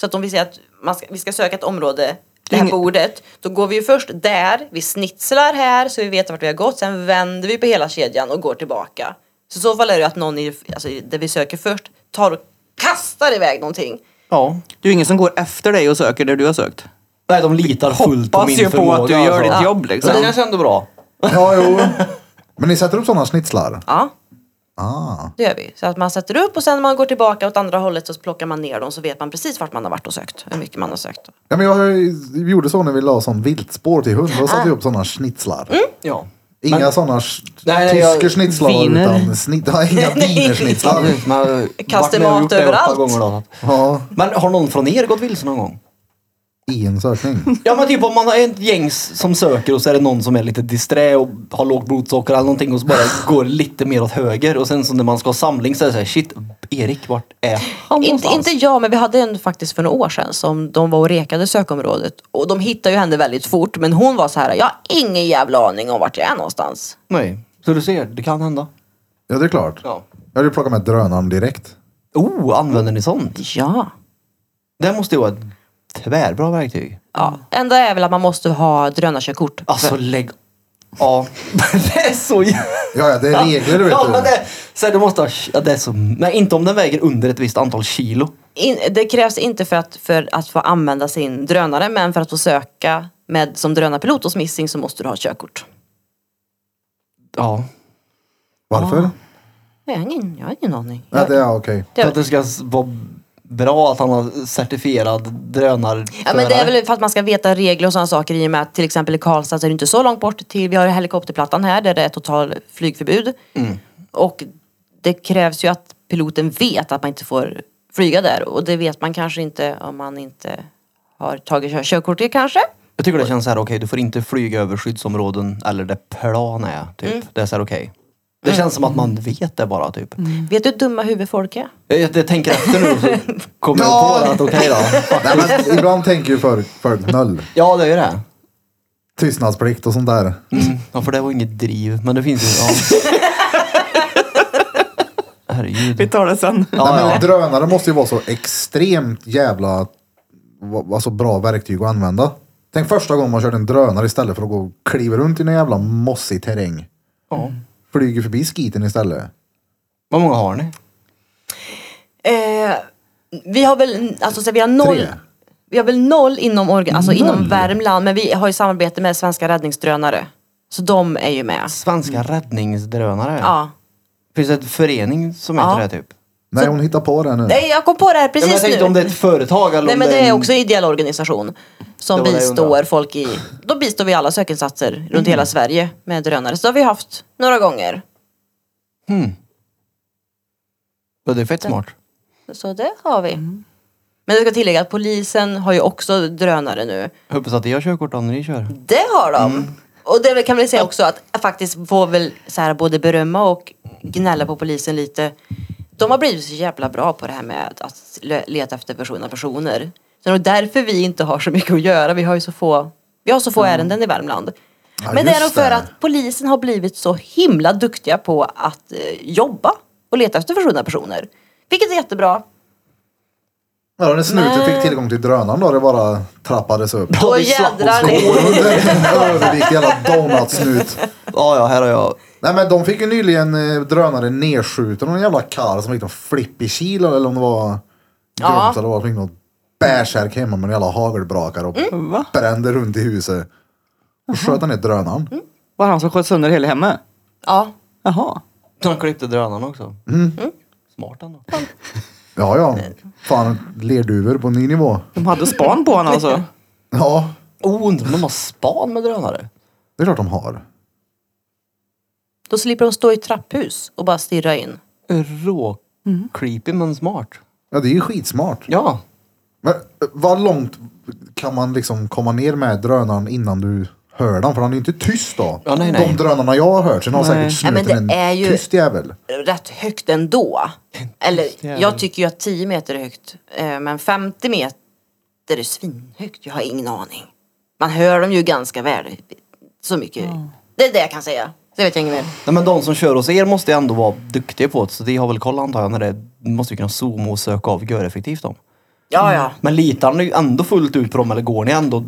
[SPEAKER 4] Så att om vi säger att man ska, vi ska söka ett område, det här
[SPEAKER 3] Ingen-
[SPEAKER 4] bordet, då går vi ju först där, vi snitslar här så vi vet vart vi har gått, sen vänder vi på hela kedjan och går tillbaka. Så i så fall är det ju att någon i, alltså, i det vi söker först tar och kastar iväg någonting.
[SPEAKER 2] Ja.
[SPEAKER 3] Det är ju ingen som går efter dig och söker där du har sökt.
[SPEAKER 2] Nej, de litar fullt på
[SPEAKER 3] Hoppas
[SPEAKER 2] min
[SPEAKER 3] ju på
[SPEAKER 2] förmåga.
[SPEAKER 3] att du gör
[SPEAKER 2] alltså.
[SPEAKER 3] ditt jobb, liksom.
[SPEAKER 2] Men Det känns ändå bra.
[SPEAKER 1] Ja jo. Men ni sätter upp sådana snitslar?
[SPEAKER 4] Ja,
[SPEAKER 1] Ah.
[SPEAKER 4] det gör vi. Så att man sätter upp och sen när man går tillbaka åt andra hållet så plockar man ner dem så vet man precis vart man har varit och sökt, hur mycket man har sökt.
[SPEAKER 2] Ah. Mm.
[SPEAKER 1] Ja, men jag har ju- gjorde så när vi la sån viltspår till hund. Då satte vi upp sådana snitslar.
[SPEAKER 2] Ja.
[SPEAKER 1] Inga sådana
[SPEAKER 2] Nej, nej,
[SPEAKER 1] tysker
[SPEAKER 2] jag-
[SPEAKER 1] schnitzlar
[SPEAKER 3] viner.
[SPEAKER 1] utan snitt, ja, inga
[SPEAKER 2] Ja,
[SPEAKER 1] wienerschnitzlar.
[SPEAKER 2] precis, men-
[SPEAKER 4] Kastar
[SPEAKER 2] vart med och
[SPEAKER 4] mat
[SPEAKER 2] gjort det ett par
[SPEAKER 4] överallt.
[SPEAKER 2] gånger då.
[SPEAKER 1] Ja,
[SPEAKER 2] Men har någon från er gått vilse någon gång?
[SPEAKER 1] i en sökning.
[SPEAKER 2] Ja men typ om man är ett gäng s- som söker och så är det någon som är lite disträ och har lågt blodsocker eller någonting och så bara går lite mer åt höger och sen så när man ska ha samling så är det såhär shit, Erik vart är han
[SPEAKER 4] Inte,
[SPEAKER 2] någonstans?
[SPEAKER 4] inte jag, men vi hade en faktiskt för några år sedan som de var och rekade sökområdet. Och de hittade ju henne väldigt fort. Men hon var så här, jag har ingen jävla aning om vart jag är någonstans.
[SPEAKER 2] Nej, så du ser, det kan hända.
[SPEAKER 1] Ja, det är klart.
[SPEAKER 2] Ja.
[SPEAKER 1] Jag hade ju plockat med drönaren direkt.
[SPEAKER 2] Oh, använder ni sånt?
[SPEAKER 4] Ja.
[SPEAKER 2] Det måste ju vara ett tvärbra verktyg.
[SPEAKER 4] ja. Enda är väl att man måste ha drönarkörkort.
[SPEAKER 2] Alltså lägg... Ja. det är så jävla...
[SPEAKER 1] Ja, ja, det är regler du vet.
[SPEAKER 2] Ja,
[SPEAKER 1] du.
[SPEAKER 2] men det, så här, du måste ha, ja, det är så, nej, inte om den väger under ett visst antal kilo.
[SPEAKER 4] In, det krävs inte för att, för att få använda sin drönare, men för att få söka med, som drönarpilot hos Missing så måste du ha körkort.
[SPEAKER 2] Ja.
[SPEAKER 1] Varför?
[SPEAKER 4] Jag har ingen, jag har ingen aning.
[SPEAKER 1] Ja, det, ja, okej.
[SPEAKER 2] För att det ska s- vara bra att han har certifierad drönarförare.
[SPEAKER 4] Ja, men det är väl för att man ska veta regler och sådana saker i och med att till exempel i Karlstad så är det inte så långt bort till, vi har helikopterplattan här där det är total flygförbud. Och det krävs ju att piloten vet att man inte får flyga där och det vet man kanske inte om man inte har tagit kör- körkortet kanske.
[SPEAKER 2] Jag tycker det känns så här, okej du får inte flyga över skyddsområden eller där plan är. Typ.
[SPEAKER 4] Mm.
[SPEAKER 2] Det är så här okej. Det känns som att man vet det bara typ.
[SPEAKER 4] Vet du hur dumma huvud folk är?
[SPEAKER 2] Jag, jag, jag tänker efter nu så kommer jag på att okej då.
[SPEAKER 1] Nej, men ibland tänker ju för, för noll.
[SPEAKER 2] Ja det är ju det.
[SPEAKER 1] Tystnadsplikt och sånt där.
[SPEAKER 2] Mm. Ja för det var inget driv men det finns ju. Ja.
[SPEAKER 3] Vi
[SPEAKER 2] Herregud.
[SPEAKER 3] tar det sen.
[SPEAKER 1] Nej, men
[SPEAKER 2] Ja, ja.
[SPEAKER 1] Drönare måste ju vara så extremt jävla va- alltså bra verktyg att använda. Tänk första gången man körde en drönare istället för att gå och kliva runt i någon jävla mossig terräng.
[SPEAKER 2] ja.
[SPEAKER 1] Flyger förbi skiten istället.
[SPEAKER 2] Vad många har ni?
[SPEAKER 4] Eh, vi har väl, alltså så vi har noll.
[SPEAKER 1] Tre.
[SPEAKER 4] Vi har väl noll inom, orga, alltså inom Värmland men vi har ju samarbete med svenska räddningsdrönare. Så de är ju med.
[SPEAKER 2] Svenska räddningsdrönare?
[SPEAKER 4] Mm. Ja.
[SPEAKER 2] Finns det en förening som heter
[SPEAKER 4] Ja.
[SPEAKER 2] det typ?
[SPEAKER 1] Nej, hon hittar på det nu.
[SPEAKER 4] Nej, jag kom på det här
[SPEAKER 2] Mm. Ja, men jag
[SPEAKER 4] precis
[SPEAKER 2] tänkte
[SPEAKER 4] nu.
[SPEAKER 2] om det är ett företag eller
[SPEAKER 4] Nej
[SPEAKER 2] om
[SPEAKER 4] men det
[SPEAKER 2] en-
[SPEAKER 4] är också en ideell organisation som
[SPEAKER 2] Det var det jag
[SPEAKER 4] bistår
[SPEAKER 2] undrade. Mm.
[SPEAKER 4] folk i, då bistår vi alla sökinsatser runt hela Sverige med drönare. Så det har vi haft några gånger.
[SPEAKER 2] Ja, det är fett smart.
[SPEAKER 4] Så det har vi.
[SPEAKER 2] Mm.
[SPEAKER 4] Men jag ska tillägga att polisen har ju också drönare nu.
[SPEAKER 2] Jag hoppas att jag har körkort när ni kör.
[SPEAKER 4] Det har de! Och det kan man väl säga också att jag faktiskt får väl så här både berömma och gnälla på polisen lite. De har blivit så jävla bra på det här med att le- leta efter försvunna personer. Så det är nog därför vi inte har så mycket att göra. Vi har ju så få, vi har så få ärenden i Värmland.
[SPEAKER 1] Ja,
[SPEAKER 4] Men det är
[SPEAKER 1] just
[SPEAKER 4] nog för
[SPEAKER 1] det.
[SPEAKER 4] att polisen har blivit så himla duktiga på att eh, jobba och leta efter försvunna personer. Vilket är jättebra.
[SPEAKER 1] Ja, då när snuten
[SPEAKER 4] Men-
[SPEAKER 1] fick tillgång till drönaren då det bara trappades upp.
[SPEAKER 4] Då
[SPEAKER 2] vi slapp
[SPEAKER 4] jädrar
[SPEAKER 2] oss
[SPEAKER 4] det.
[SPEAKER 1] Går under en övervikt jävla donutsnut.
[SPEAKER 2] Ja, ja, här har jag.
[SPEAKER 1] Nej men de fick ju nyligen eh, drönare nedskjuten av en jävla karl som fick någon flippig kil eller om det var grönt
[SPEAKER 4] Ja.
[SPEAKER 1] eller vad det var. Fick någon bärsärk hemma med en jävla hagelbrakare och
[SPEAKER 4] Mm.
[SPEAKER 3] Va?
[SPEAKER 1] brände runt i huset. Och sköt han ner drönaren.
[SPEAKER 4] Mm.
[SPEAKER 3] Var han som sköt sönder hela hemmet?
[SPEAKER 4] Ja.
[SPEAKER 3] Jaha.
[SPEAKER 2] Han klippte drönaren också.
[SPEAKER 4] Mm.
[SPEAKER 2] Smart ändå.
[SPEAKER 1] Ja ja. Fan lerduvor på ny nivå.
[SPEAKER 3] De hade span på honom alltså.
[SPEAKER 1] Ja.
[SPEAKER 2] Oh, undrar om de har span med drönare?
[SPEAKER 1] Det är klart de har.
[SPEAKER 4] Då slipper de stå i trapphus och bara stirra in.
[SPEAKER 2] Rå
[SPEAKER 4] Mm.
[SPEAKER 2] creepy men smart.
[SPEAKER 1] Ja det är ju skitsmart.
[SPEAKER 2] Ja.
[SPEAKER 1] Men eh, vad långt kan man liksom komma ner med drönaren innan du hör den? För han är ju inte tyst då.
[SPEAKER 2] Ja, nej, nej.
[SPEAKER 1] De drönarna jag har hört, sen har
[SPEAKER 3] Nej.
[SPEAKER 1] säkert
[SPEAKER 4] Ja, men
[SPEAKER 1] snuten
[SPEAKER 4] det är
[SPEAKER 1] en
[SPEAKER 4] ju-
[SPEAKER 1] tyst jävel.
[SPEAKER 4] rätt högt ändå. Eller
[SPEAKER 2] jävel.
[SPEAKER 4] jag tycker ju att 10 meter är högt. eh, Men 50 meter är svinhögt. Jag har ingen aning. Man hör dem ju ganska väl. Så mycket. Det är det jag kan säga. Det vet jag inget mer.
[SPEAKER 2] Nej, men de som kör hos er måste ju ändå vara duktiga på det. Så de har väl koll antar jag. När det, de måste ju kunna zooma och söka av göreffektivt dem.
[SPEAKER 4] Ja, ja.
[SPEAKER 2] Men litar ni ändå fullt ut på dem eller går ni ändå?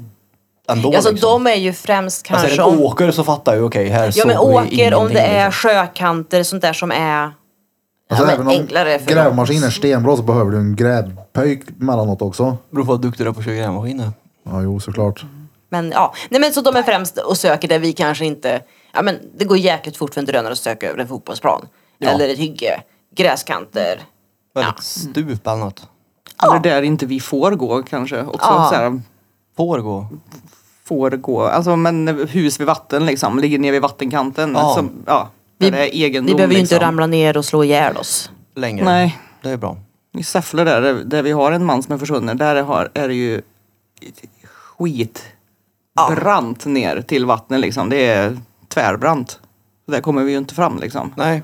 [SPEAKER 2] ändå
[SPEAKER 4] Alltså
[SPEAKER 2] liksom?
[SPEAKER 4] de är ju främst
[SPEAKER 2] alltså, är
[SPEAKER 4] kanske
[SPEAKER 2] det
[SPEAKER 4] om...
[SPEAKER 2] en åker så fattar jag okej här
[SPEAKER 4] Ja men
[SPEAKER 2] såg vi
[SPEAKER 4] åker om
[SPEAKER 2] ingenting,
[SPEAKER 4] det är
[SPEAKER 2] liksom.
[SPEAKER 4] sjökanter sånt där som är...
[SPEAKER 1] Alltså
[SPEAKER 4] ja,
[SPEAKER 1] även
[SPEAKER 4] men
[SPEAKER 1] om
[SPEAKER 4] enklare för dem.
[SPEAKER 1] grävmaskinen är stenbra så behöver du en grävpöjk mellanåt också.
[SPEAKER 2] Beror på hur duktig du är på att köra grävmaskin nu.
[SPEAKER 1] Ja, jo såklart.
[SPEAKER 4] Men ja, nej men så de är främst och söker där vi kanske inte, ja men det går jäkligt fort för en drönare att söka över en fotbollsplan. Eller ett hygge, gräskanter.
[SPEAKER 2] Väldigt stup eller något.
[SPEAKER 4] Ja.
[SPEAKER 3] Eller där inte vi får gå kanske. Också
[SPEAKER 4] Ja.
[SPEAKER 3] så här,
[SPEAKER 2] Får gå.
[SPEAKER 3] får gå, alltså men hus vid vatten liksom, ligger ner vid vattenkanten.
[SPEAKER 2] Ja.
[SPEAKER 3] Som, ja, där
[SPEAKER 4] Vi,
[SPEAKER 3] det är egendom,
[SPEAKER 4] vi behöver ju inte
[SPEAKER 3] liksom.
[SPEAKER 4] ramla ner och slå ihjäl oss.
[SPEAKER 2] längre.
[SPEAKER 3] Nej.
[SPEAKER 2] Det är bra.
[SPEAKER 3] I Säffle där, där- där vi har en man som är försvunnen, där har, är det ju skit brant ner till vattnet liksom. Det är tvärbrant. Så Där kommer vi ju inte fram liksom.
[SPEAKER 2] Nej.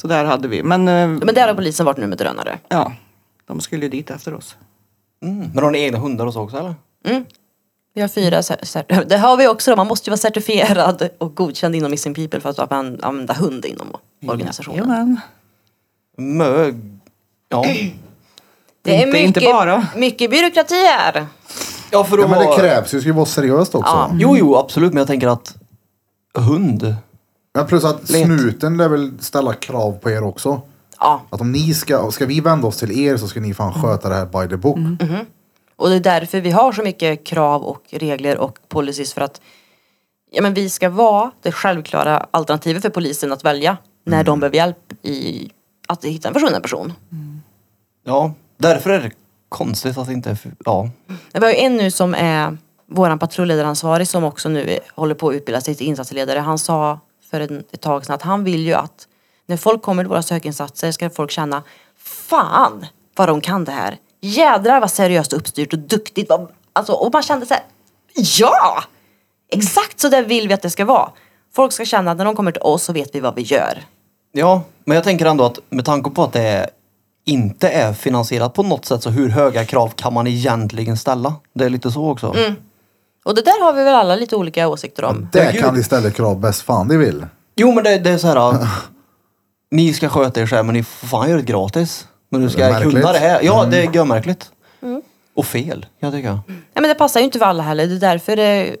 [SPEAKER 3] Så där hade vi, men, eh,
[SPEAKER 4] Men där har polisen varit nu med drönare.
[SPEAKER 3] ja, de skulle ju dit efter oss.
[SPEAKER 2] Mm. Men har ni egna hundar och så också eller?
[SPEAKER 4] Vi har fyra, cer- cer- det har vi också då. man måste ju vara certifierad och godkänd inom Missing People för att an- använda hund inom organisationen.
[SPEAKER 3] Jajamän.
[SPEAKER 2] Mög. Ja.
[SPEAKER 4] Det är
[SPEAKER 3] Inte- inte
[SPEAKER 4] mycket,
[SPEAKER 3] bara.
[SPEAKER 4] mycket byråkrati här.
[SPEAKER 2] Ja, för att
[SPEAKER 1] Ja, men det
[SPEAKER 2] vara-
[SPEAKER 1] krävs ju, det ska ju vara seriöst också.
[SPEAKER 4] Ja.
[SPEAKER 2] Jo, jo, absolut. Men jag tänker att hund.
[SPEAKER 1] Ja, plus att
[SPEAKER 2] Let.
[SPEAKER 1] snuten lär väl ställa krav på er också.
[SPEAKER 4] Ja,
[SPEAKER 1] Att om ni ska, ska vi vända oss till er så ska ni fan sköta det här by the book.
[SPEAKER 4] Mm. och det är därför vi har så mycket krav och regler och policies för att ja, men vi ska vara det självklara alternativet för polisen att välja när
[SPEAKER 3] Mm.
[SPEAKER 4] de behöver hjälp i att hitta en försvunnen person.
[SPEAKER 2] Ja, därför är det konstigt att det inte... är för- Ja.
[SPEAKER 4] Vi har ju en nu som är våran patrulledaransvarig som också nu är, håller på att utbilda sig till insatsledare. Han sa för en, ett tag sedan att han vill ju att när folk kommer till våra sökinsatser ska folk känna Fan vad de kan det här! Jädrar vad seriöst uppstyrt och duktigt! Vad- Alltså, och man kände så här, Ja! Exakt så där vill vi att det ska vara! Folk ska känna att när de kommer till oss så vet vi vad vi gör.
[SPEAKER 2] ja, men jag tänker ändå att med tanke på att det inte är finansierat på något sätt så hur höga krav kan man egentligen ställa? Det är lite så också.
[SPEAKER 4] Och det där har vi väl alla lite olika åsikter om.
[SPEAKER 1] Där
[SPEAKER 2] Herregud.
[SPEAKER 1] kan vi ställa krav bäst fan ni vill.
[SPEAKER 2] Jo, men det, det är så här... ni ska sköta er själva, men ni får fan göra det gratis. Men du
[SPEAKER 1] Det är
[SPEAKER 2] ska
[SPEAKER 1] märkligt. Mm.
[SPEAKER 2] kunna det här. Ja, det är görmärkligt. Och fel, jag tycker.
[SPEAKER 4] Ja, men det passar ju inte för alla heller. Det är därför det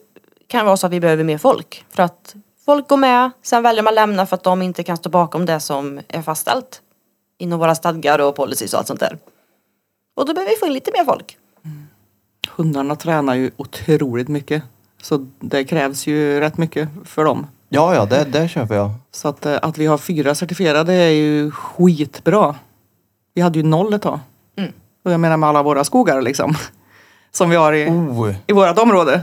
[SPEAKER 4] kan vara så att vi behöver mer folk. För att folk går med, sen väljer man lämna för att de inte kan stå bakom det som är fastställt. Inom våra stadgar och policies och allt sånt där. Och då behöver vi få in lite mer folk.
[SPEAKER 3] Hundarna tränar ju otroligt mycket. Så det krävs ju rätt mycket för dem.
[SPEAKER 2] Ja, ja, det, det köper jag.
[SPEAKER 3] Så att, eh, att vi har fyra certifierade är ju skitbra. Vi hade ju noll ett tag.
[SPEAKER 2] Mm.
[SPEAKER 3] Och jag menar med alla våra skogar liksom. Som vi har i,
[SPEAKER 2] Oh,
[SPEAKER 3] i vårt område.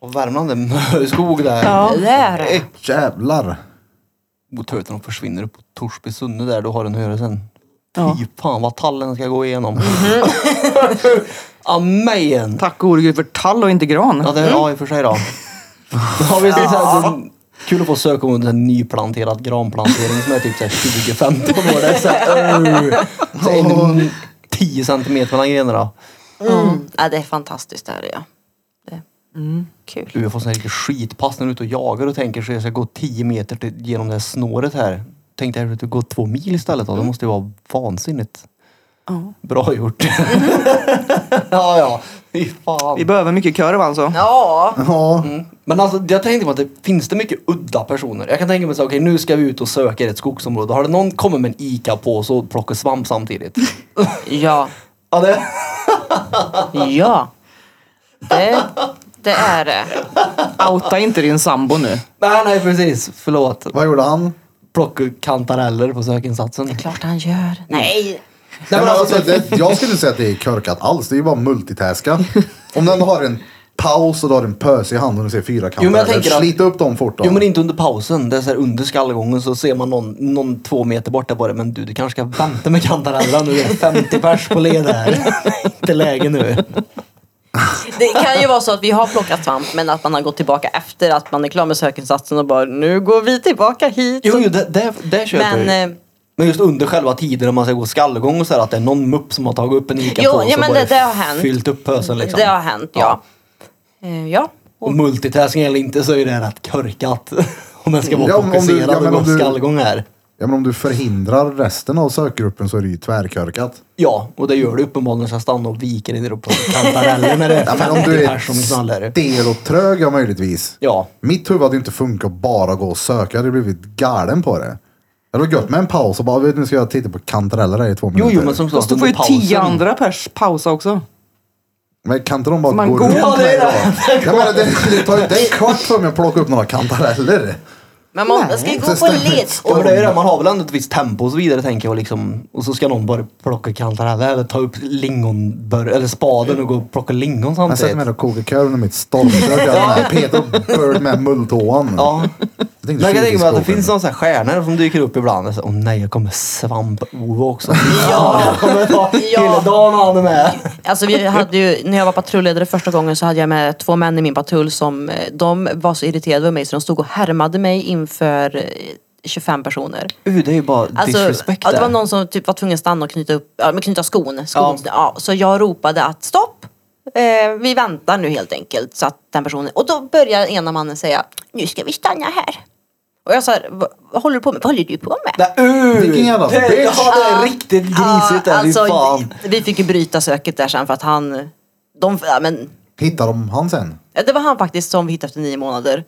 [SPEAKER 2] och Värmland är mö- skog där.
[SPEAKER 4] Det Där.
[SPEAKER 1] Jävlar.
[SPEAKER 2] Och tur att de försvinner upp på Torsby Sunne där, då har den höre sen.
[SPEAKER 3] Ja.
[SPEAKER 2] Fy fan vad tallen ska gå igenom. Amen!
[SPEAKER 3] Tack gode gud för tall och inte gran.
[SPEAKER 2] Ja, det är ja, i och för sig då. Ja, visst, det är så här, så, kul att få söka om en nyplanterad granplantering som är typ 20-15 år. Det är så här, "Ugh." så en 10 centimeter mellan grenarna.
[SPEAKER 4] Mm. Ja, det är fantastiskt det här ja. Det är kul.
[SPEAKER 2] Du, jag får sån här riktig skitpass när du är ute och jagar och tänker så jag ska gå 10 meter till, genom det här snåret här. Tänk dig att du går två mil istället
[SPEAKER 1] Mm.
[SPEAKER 2] då. Det måste ju vara vansinnigt. Bra gjort. ja, ja. Fy fan.
[SPEAKER 3] Vi behöver mycket kurv alltså.
[SPEAKER 4] Ja,
[SPEAKER 1] Ja,
[SPEAKER 4] Mm.
[SPEAKER 2] Men alltså, jag tänkte på att det finns det mycket udda personer. Jag kan tänka mig så här, okej nu ska vi ut och söka i ett skogsområde. Har det någon kommit med en ICA-påse och plockat svamp samtidigt?
[SPEAKER 4] ja,
[SPEAKER 2] ja, det...
[SPEAKER 4] ja. Det, det är det.
[SPEAKER 3] Outa inte din sambo nu.
[SPEAKER 2] Nej, nej precis. Förlåt.
[SPEAKER 1] vad gjorde han?
[SPEAKER 2] Plocka kantareller på sökinsatsen. Nej,
[SPEAKER 4] Klart han gör. Nej,
[SPEAKER 1] Nej, men alltså, det, jag skulle inte säga att det är körkat alls. Det är ju bara multitaska. Om den har en paus och du har en pöse i handen och du ser fyra
[SPEAKER 2] Jo, men jag
[SPEAKER 1] kantareller.
[SPEAKER 2] tänker att-
[SPEAKER 1] Slita upp dem fort då.
[SPEAKER 2] Jo men inte under pausen. Det är så här, under skallgången så ser man någon, någon två meter borta bara. Men du, du kanske ska vänta med kantarellen. Nu är det 50 pers på led här. inte läge nu.
[SPEAKER 4] Det kan ju vara så att vi har plockat svamp men att man har gått tillbaka efter att man är klar med sökinsatsen och bara nu går vi tillbaka hit.
[SPEAKER 2] Jo, jo det, det, det köper jag ju.
[SPEAKER 4] men eh,
[SPEAKER 2] Men just under själva tiden när man ska gå skallgång och så här, att det är någon mupp som har tagit upp en ICA-påse
[SPEAKER 4] Jo,
[SPEAKER 2] och
[SPEAKER 4] ja, men
[SPEAKER 2] bara
[SPEAKER 4] det- det har hänt.
[SPEAKER 2] fyllt upp pösen liksom.
[SPEAKER 4] det har hänt ja. Eh, ja.
[SPEAKER 2] Och multitasking eller inte så är det rätt körkat. om man ska vara
[SPEAKER 1] Ja, om- om du-
[SPEAKER 2] fokuserad
[SPEAKER 1] ja, men
[SPEAKER 2] och
[SPEAKER 1] om
[SPEAKER 2] gå
[SPEAKER 1] du-
[SPEAKER 2] skallgång här.
[SPEAKER 1] Ja, men om du förhindrar resten av sökgruppen så är det ju tvärkörkat.
[SPEAKER 2] Ja, och det gör du uppenbarligen så jag stannar och viker ner upp på kantareller när det är
[SPEAKER 1] Ja, men om
[SPEAKER 2] 50
[SPEAKER 1] du är
[SPEAKER 2] pers som knallar.
[SPEAKER 1] stel och trög, ja möjligtvis.
[SPEAKER 2] Ja,
[SPEAKER 1] Mitt huvud hade ju inte funkat att bara gå och söka. Jag hade blivit galen på det. Det hade varit gött med en paus och bara, vet du, nu ska jag titta på kantareller här i två
[SPEAKER 2] jo,
[SPEAKER 1] minuter.
[SPEAKER 2] jo, men som
[SPEAKER 3] Fast
[SPEAKER 2] sagt
[SPEAKER 3] då får
[SPEAKER 2] under
[SPEAKER 3] ju tio
[SPEAKER 2] pausen.
[SPEAKER 3] andra pers pausa också.
[SPEAKER 1] Men kan inte de bara
[SPEAKER 3] Man
[SPEAKER 1] gå
[SPEAKER 3] går-
[SPEAKER 1] runt
[SPEAKER 2] Ja, det
[SPEAKER 1] mig
[SPEAKER 2] är
[SPEAKER 1] då? Jag menar, det, det tar ju inte en kvart för mig att plocka upp några kantareller.
[SPEAKER 4] Men man
[SPEAKER 3] Nej.
[SPEAKER 4] ska ju gå
[SPEAKER 1] Det
[SPEAKER 4] på en
[SPEAKER 1] stämmer.
[SPEAKER 4] led.
[SPEAKER 2] Ja, men det är ju det, man har väl ändå ett visst tempo och så vidare tänker jag. och Liksom, och så ska någon bara plocka kantareller eller ta upp lingonbör, eller spaden och gå och plocka lingon
[SPEAKER 1] Jag sätter mig
[SPEAKER 2] samtidigt.
[SPEAKER 1] där och kokar korv under mitt stormkök. Ja. Peter Bird med mulltåan.
[SPEAKER 2] Ja.
[SPEAKER 1] Jag tänkte
[SPEAKER 2] Men jag kan tänka mig att det
[SPEAKER 1] kylskåpen.
[SPEAKER 2] finns några så här stjärnor som dyker upp ibland. Och så, Åh nej, jag kommer svamp-Ove också.
[SPEAKER 4] Ja.
[SPEAKER 2] Jag kommer ta hela dagen och han är med.
[SPEAKER 4] Alltså vi hade ju, när jag var patrulledare första gången så hade jag med två män i min patrull som eh, de var så irriterade över mig så de stod och härmade mig inför eh, 25 personer.
[SPEAKER 2] Uh, det är ju bara disrespect
[SPEAKER 4] ja, Alltså, det var
[SPEAKER 2] där.
[SPEAKER 4] någon som typ var tvungen att stanna och knyta, upp, ja, men knyta skon. skon ja.
[SPEAKER 2] Ja.
[SPEAKER 4] så jag ropade att stopp, eh, vi väntar nu helt enkelt. Så att den personen, och då börjar ena mannen säga, nu ska vi stanna här. Och jag sa, "Vad- vad håller du på med? Vad håller du på med?
[SPEAKER 2] Det, uh,
[SPEAKER 1] Vilken jävla
[SPEAKER 2] det,
[SPEAKER 1] bitch.
[SPEAKER 2] ja, det är riktigt
[SPEAKER 4] Ah,
[SPEAKER 2] grisigt där, fy fan.
[SPEAKER 4] alltså, vi, vi fick ju bryta söket där sen för att han, de, ja, men,
[SPEAKER 1] Hittar de han sen?
[SPEAKER 4] Ja, Det var han faktiskt som vi hittade efter nio månader.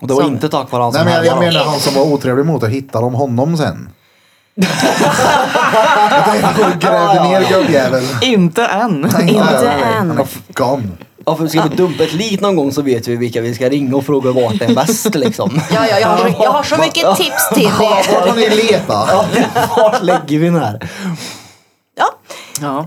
[SPEAKER 2] Och det var
[SPEAKER 4] Som-
[SPEAKER 2] inte tack vare han
[SPEAKER 1] Nej,
[SPEAKER 2] som
[SPEAKER 1] men jag, jag
[SPEAKER 2] härdade.
[SPEAKER 1] menar han som var otrevlig mot dig. Hittar de honom sen? jag tänkte gå och gräva ner gubbjäveln.
[SPEAKER 3] Inte än.
[SPEAKER 1] Ja,
[SPEAKER 4] Inte
[SPEAKER 1] ja, ja.
[SPEAKER 4] än.
[SPEAKER 1] Han är gone.
[SPEAKER 2] Ja, för ska vi dumpa ett lik någon gång så vet vi vilka vi ska ringa och fråga vart det är bäst liksom.
[SPEAKER 4] Ja, ja, jag, har så, jag har så mycket tips till
[SPEAKER 1] Ja,
[SPEAKER 4] er.
[SPEAKER 1] Vart har ni letat?
[SPEAKER 2] Vart lägger vi den här?
[SPEAKER 4] Ja.
[SPEAKER 3] Ja.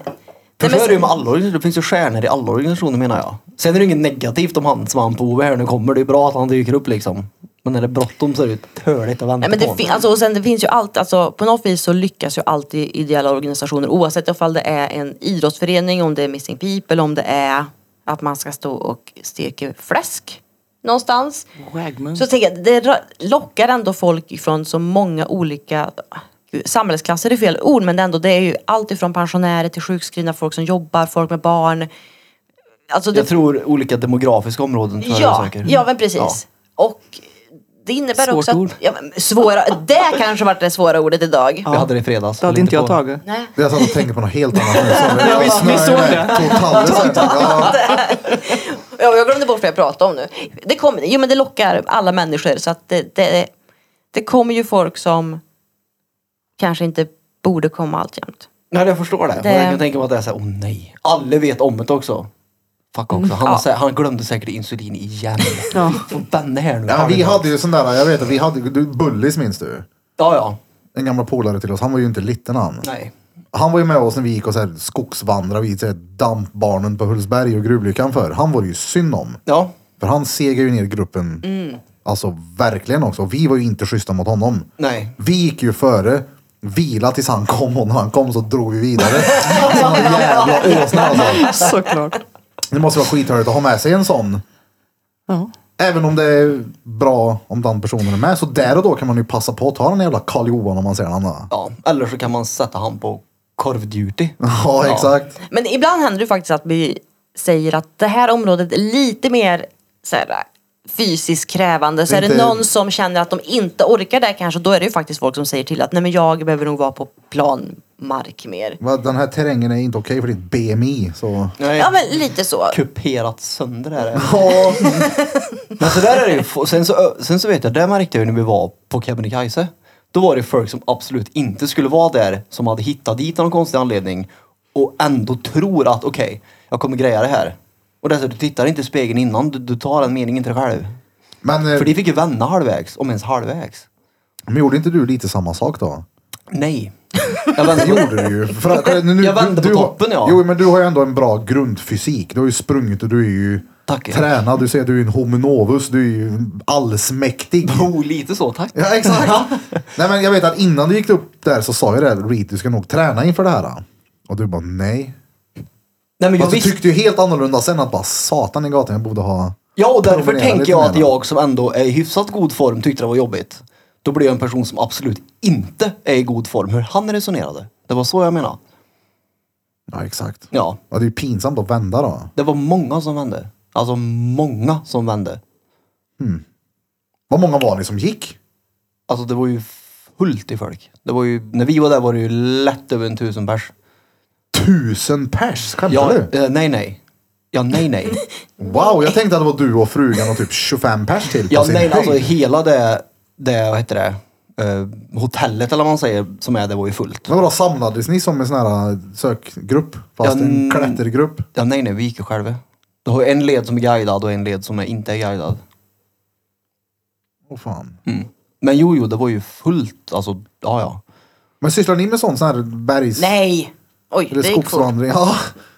[SPEAKER 2] För så
[SPEAKER 4] Nej, men
[SPEAKER 2] är det ju
[SPEAKER 4] så-
[SPEAKER 2] med alla organisationer. Det finns ju stjärnor i alla organisationer menar jag. Sen är det ju inget negativt om han Svamp-Ove här nu kommer. Det är bra att han dyker upp liksom. Men när det är bråttom så är det ju töligt att vänta
[SPEAKER 4] Nej, men det
[SPEAKER 2] på
[SPEAKER 4] fin-
[SPEAKER 2] honom.
[SPEAKER 4] alltså, och sen det finns ju allt, alltså, på något vis så lyckas ju alltid ideella organisationer oavsett om det är en idrottsförening, om det är Missing People, eller om det är att man ska stå och steka fläsk någonstans.
[SPEAKER 3] Mm. Wagmans.
[SPEAKER 4] Så tänker jag, det ra- lockar ändå folk från så många olika Gud, samhällsklasser är fel ord men det är ändå det är ju allt ifrån pensionärer till sjukskrivna, folk som jobbar, folk med barn. Alltså det
[SPEAKER 2] Jag tror olika demografiska områden tror jag
[SPEAKER 4] Ja,
[SPEAKER 2] det är säkert.
[SPEAKER 4] ja men precis.
[SPEAKER 2] Ja.
[SPEAKER 4] Och det innebär
[SPEAKER 2] Svårt
[SPEAKER 4] också att...
[SPEAKER 2] ord.
[SPEAKER 4] Ja, men svåra, det kanske varit det svåra ordet idag.
[SPEAKER 2] Vi hade det i fredags.
[SPEAKER 3] Det hade inte jag tagit.
[SPEAKER 4] Nej.
[SPEAKER 1] Jag satt och tänkte på något helt annat nu. Sorry.
[SPEAKER 3] Ja, visst, vi såg det.
[SPEAKER 1] Totalt. Ja.
[SPEAKER 4] Ja, jag glömde bort vad jag pratade om nu. Det, kommer, jo, men det lockar alla människor så att det, det, det kommer ju folk som kanske inte borde komma alltjämt.
[SPEAKER 2] Nej, jag förstår det.
[SPEAKER 4] Det-
[SPEAKER 2] Men Jag kan tänka mig att det är såhär, åh nej. Alla vet om det också. Fuck också. Han, har
[SPEAKER 4] Ja.
[SPEAKER 2] sä- han glömde säkert insulin igen.
[SPEAKER 3] Ja.
[SPEAKER 2] Och den är här nu.
[SPEAKER 1] Ja, vi hade ju sån där, jag vet att vi hade, du, Bullis minns du?
[SPEAKER 2] Ja, ja.
[SPEAKER 1] En gammal polare till oss, han var ju inte liten han.
[SPEAKER 2] Nej.
[SPEAKER 1] Han var ju med oss när vi gick och så här skogsvandrade vid så här dampbarnen på Hultsberg och gruvlyckan för. Han var det ju synd om.
[SPEAKER 2] Ja.
[SPEAKER 1] För han segade ju ner gruppen,
[SPEAKER 2] Mm.
[SPEAKER 1] alltså verkligen också. Och vi var ju inte schyssta mot honom.
[SPEAKER 2] Nej.
[SPEAKER 1] Vi gick ju före, vila tills han kom och när han kom så drog vi vidare. Såna jävla åsna alltså.
[SPEAKER 3] Såklart.
[SPEAKER 1] Det måste vara skithörigt att ha med sig en sån.
[SPEAKER 3] Ja.
[SPEAKER 1] Även om det är bra om den personen är med. Så där och då kan man ju passa på att ta den jävla Karl Johan om man ser den. då.
[SPEAKER 2] Ja, eller så kan man sätta han på korvduty.
[SPEAKER 1] Ja, exakt.
[SPEAKER 4] Men ibland händer det faktiskt att vi säger att det här området är lite mer så här, äh, fysiskt krävande. Så
[SPEAKER 1] Det
[SPEAKER 4] är
[SPEAKER 1] är
[SPEAKER 4] det
[SPEAKER 1] inte-
[SPEAKER 4] någon som känner att de inte orkar det kanske, då är det ju faktiskt folk som säger till att nej men jag behöver nog vara på planmark mer.
[SPEAKER 1] Va, Den här terrängen är inte okej för ditt BMI. Så.
[SPEAKER 2] Nej.
[SPEAKER 4] Ja men lite så.
[SPEAKER 2] Kuperat sönder är det.
[SPEAKER 1] Ja,
[SPEAKER 2] Men så där är det ju. F- Sen så, sen så vet jag, det märkte jag ju när vi var på Kebnekaise. Då var det folk som absolut inte skulle vara där, som hade hittat dit av någon konstig anledning och ändå tror att okej, jag kommer greja det här. Och det är så, du tittar inte i spegeln innan, du, du tar den meningen till dig själv.
[SPEAKER 1] men eh,
[SPEAKER 2] För de fick ju vända halvvägs, om ens halvvägs.
[SPEAKER 1] men gjorde inte du lite samma sak då?
[SPEAKER 2] Nej. Jag vände
[SPEAKER 1] Det gjorde du ju. För att, kolla, nu,
[SPEAKER 2] Jag
[SPEAKER 1] du,
[SPEAKER 2] vände på
[SPEAKER 1] du har-
[SPEAKER 2] toppen, ja.
[SPEAKER 1] Jo, men du har ju ändå en bra grundfysik. Du har ju sprungit och du är ju
[SPEAKER 2] Tack.
[SPEAKER 1] tränad. Du ser, du är ju en hominovus. Du är ju allsmäktig.
[SPEAKER 2] Jo, lite så tack.
[SPEAKER 1] Ja, exakt. nej, men jag vet att innan du gick upp där så sa jag det, här, Reed, du ska nog träna inför det här. Och du bara nej.
[SPEAKER 2] Nej, men jag
[SPEAKER 1] Fast du
[SPEAKER 2] visste
[SPEAKER 1] tyckte ju helt annorlunda sen att bara satan i gatan, jag borde ha.
[SPEAKER 2] Ja, och därför
[SPEAKER 1] Promenera
[SPEAKER 2] tänker
[SPEAKER 1] lite
[SPEAKER 2] jag
[SPEAKER 1] mer
[SPEAKER 2] att
[SPEAKER 1] då.
[SPEAKER 2] jag som ändå är i hyfsat god form tyckte det var jobbigt. Då blir jag en person som absolut inte är i god form. Hur han resonerade. Det var så jag menade.
[SPEAKER 1] Ja, exakt.
[SPEAKER 2] Ja,
[SPEAKER 1] Ja, det är ju pinsamt att vända då.
[SPEAKER 2] det var många som vände. Alltså många som vände.
[SPEAKER 1] Vad många var ni som gick?
[SPEAKER 2] Alltså det var ju fullt i folk. Det var ju, när vi var där var det ju lätt över en tusen pers.
[SPEAKER 1] Tusen pers, skämtar
[SPEAKER 2] Ja,
[SPEAKER 1] du?
[SPEAKER 2] eh, nej nej. Ja, nej nej.
[SPEAKER 1] Wow, jag tänkte att det var du och frugan och typ 25 pers till på
[SPEAKER 2] Ja,
[SPEAKER 1] sin
[SPEAKER 2] nej,
[SPEAKER 1] höjd.
[SPEAKER 2] alltså hela det, det, vad heter det, eh, hotellet eller vad man säger som är, det var ju fullt.
[SPEAKER 1] Men vadå, samlades ni som en sån här äh, sökgrupp? Fast
[SPEAKER 2] Ja,
[SPEAKER 1] en
[SPEAKER 2] mm.
[SPEAKER 1] klättergrupp?
[SPEAKER 2] Ja, nej, nej, vi gick ju själva. Du har en led som är guidad och en led som är inte är guidad.
[SPEAKER 1] Åh fan.
[SPEAKER 2] Mm. Men jo, jo, det var ju fullt. Alltså, ja, ja.
[SPEAKER 1] Men sysslar ni med sån, sån här bergs...
[SPEAKER 4] Nej! Oj,
[SPEAKER 1] Eller
[SPEAKER 4] det gick fort.
[SPEAKER 1] skogsvandring? Ja.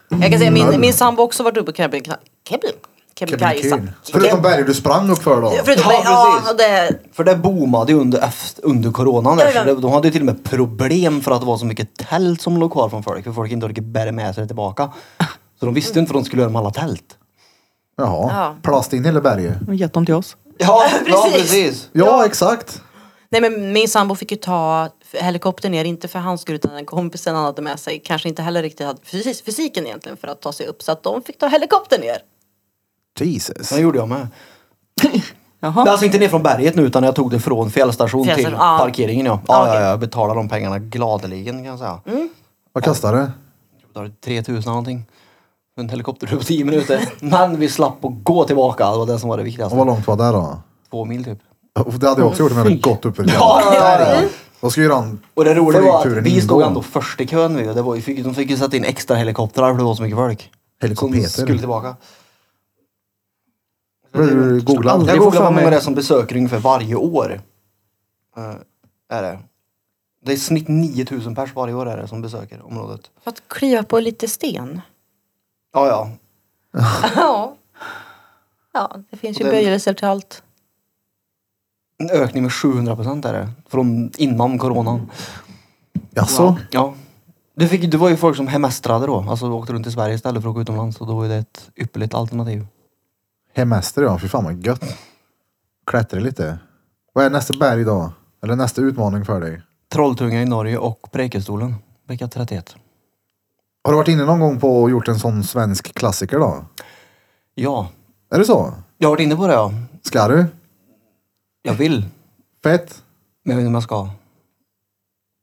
[SPEAKER 4] Jag kan säga
[SPEAKER 1] Nej.
[SPEAKER 4] min, min sambo också varit uppe i Kebnekaise. Kebne- Kebnekaise.
[SPEAKER 1] Förutom berg du sprang upp för då?
[SPEAKER 4] Förutom
[SPEAKER 2] Ja,
[SPEAKER 4] det, ja,
[SPEAKER 2] precis.
[SPEAKER 4] och det,
[SPEAKER 2] För det boomade ju under, efter- under coronan där.
[SPEAKER 4] Ja, ja.
[SPEAKER 2] Så det, de hade ju till och med problem för att det var så mycket tält som låg kvar från folk. För folk inte orkade bära med sig det tillbaka. Så de visste ju inte vad de skulle göra med alla tält.
[SPEAKER 1] Jaha.
[SPEAKER 4] Ja.
[SPEAKER 1] Plast in hela berget.
[SPEAKER 3] De har gett dem till oss.
[SPEAKER 2] Ja,
[SPEAKER 4] precis.
[SPEAKER 1] Ja, exakt.
[SPEAKER 4] nej men min sambo fick ju ta helikoptern ner, inte för hans skull utan den kompisen han hade med sig kanske inte heller riktigt hade fys- fysiken egentligen för att ta sig upp så att de fick ta helikoptern ner.
[SPEAKER 1] Jesus.
[SPEAKER 2] Det gjorde jag med. Men
[SPEAKER 3] Jaha.
[SPEAKER 2] alltså inte ner från berget nu utan jag tog det från fjällstation till
[SPEAKER 4] Fjällstation, ja.
[SPEAKER 2] parkeringen ja. Ja,
[SPEAKER 4] okej. Mm.
[SPEAKER 2] ja, jag betalar de pengarna gladeligen kan jag säga.
[SPEAKER 1] Vad kastar det?
[SPEAKER 2] Då var det 3000 någonting. En helikopter på 10 minuter. Men vi slapp att gå tillbaka. Det var det som var det
[SPEAKER 1] Och vad
[SPEAKER 2] viktigaste.
[SPEAKER 1] långt var det då?
[SPEAKER 2] Två mil typ.
[SPEAKER 1] Och Det hade jag också gjort om jag hade gått upp för
[SPEAKER 2] Ja,
[SPEAKER 1] jävla
[SPEAKER 2] ja,
[SPEAKER 1] berg.
[SPEAKER 2] ja.
[SPEAKER 1] Då ska ju den
[SPEAKER 2] Och det roliga var
[SPEAKER 1] flygturen
[SPEAKER 2] att vi
[SPEAKER 1] ingå.
[SPEAKER 2] stod ändå först i kön. Vi, och det var, ju- fick, de fick ju sätta in extra helikoptrar för det var så mycket folk.
[SPEAKER 1] Helikopter.
[SPEAKER 2] Som skulle tillbaka.
[SPEAKER 1] Du googlar.
[SPEAKER 3] aldrig-
[SPEAKER 2] Jag
[SPEAKER 3] går
[SPEAKER 2] googlar
[SPEAKER 3] för
[SPEAKER 2] vad många
[SPEAKER 3] mig.
[SPEAKER 2] det är som besöker ungefär varje år. Eh, är det. Det är i snitt 9000 pers varje år är det som besöker området.
[SPEAKER 4] För att kliva på lite sten.
[SPEAKER 2] Ja, ja.
[SPEAKER 4] Ja. Ja, det finns ju
[SPEAKER 2] Och den-
[SPEAKER 4] böjelser till allt.
[SPEAKER 2] En ökning med 700 procent är det. Från innan coronan.
[SPEAKER 1] Jaså?
[SPEAKER 2] Ja. Det, fick, det var ju folk som hemestrade då. Alltså åkte runt i Sverige istället för att åka utomlands. Och då var ju det ett ypperligt alternativ.
[SPEAKER 1] Hemester ja, fy fan vad gött. Klättra lite. Vad är nästa berg då? Eller nästa utmaning för dig?
[SPEAKER 2] Trolltunga i Norge och Preikestolen. Vecka 31.
[SPEAKER 1] Har du varit inne någon gång på och gjort en sån svensk klassiker då?
[SPEAKER 2] Ja.
[SPEAKER 1] Är det så?
[SPEAKER 2] Jag har varit inne på det ja.
[SPEAKER 1] Ska du?
[SPEAKER 2] Jag vill.
[SPEAKER 1] Fett?
[SPEAKER 2] Men jag vet inte om jag ska.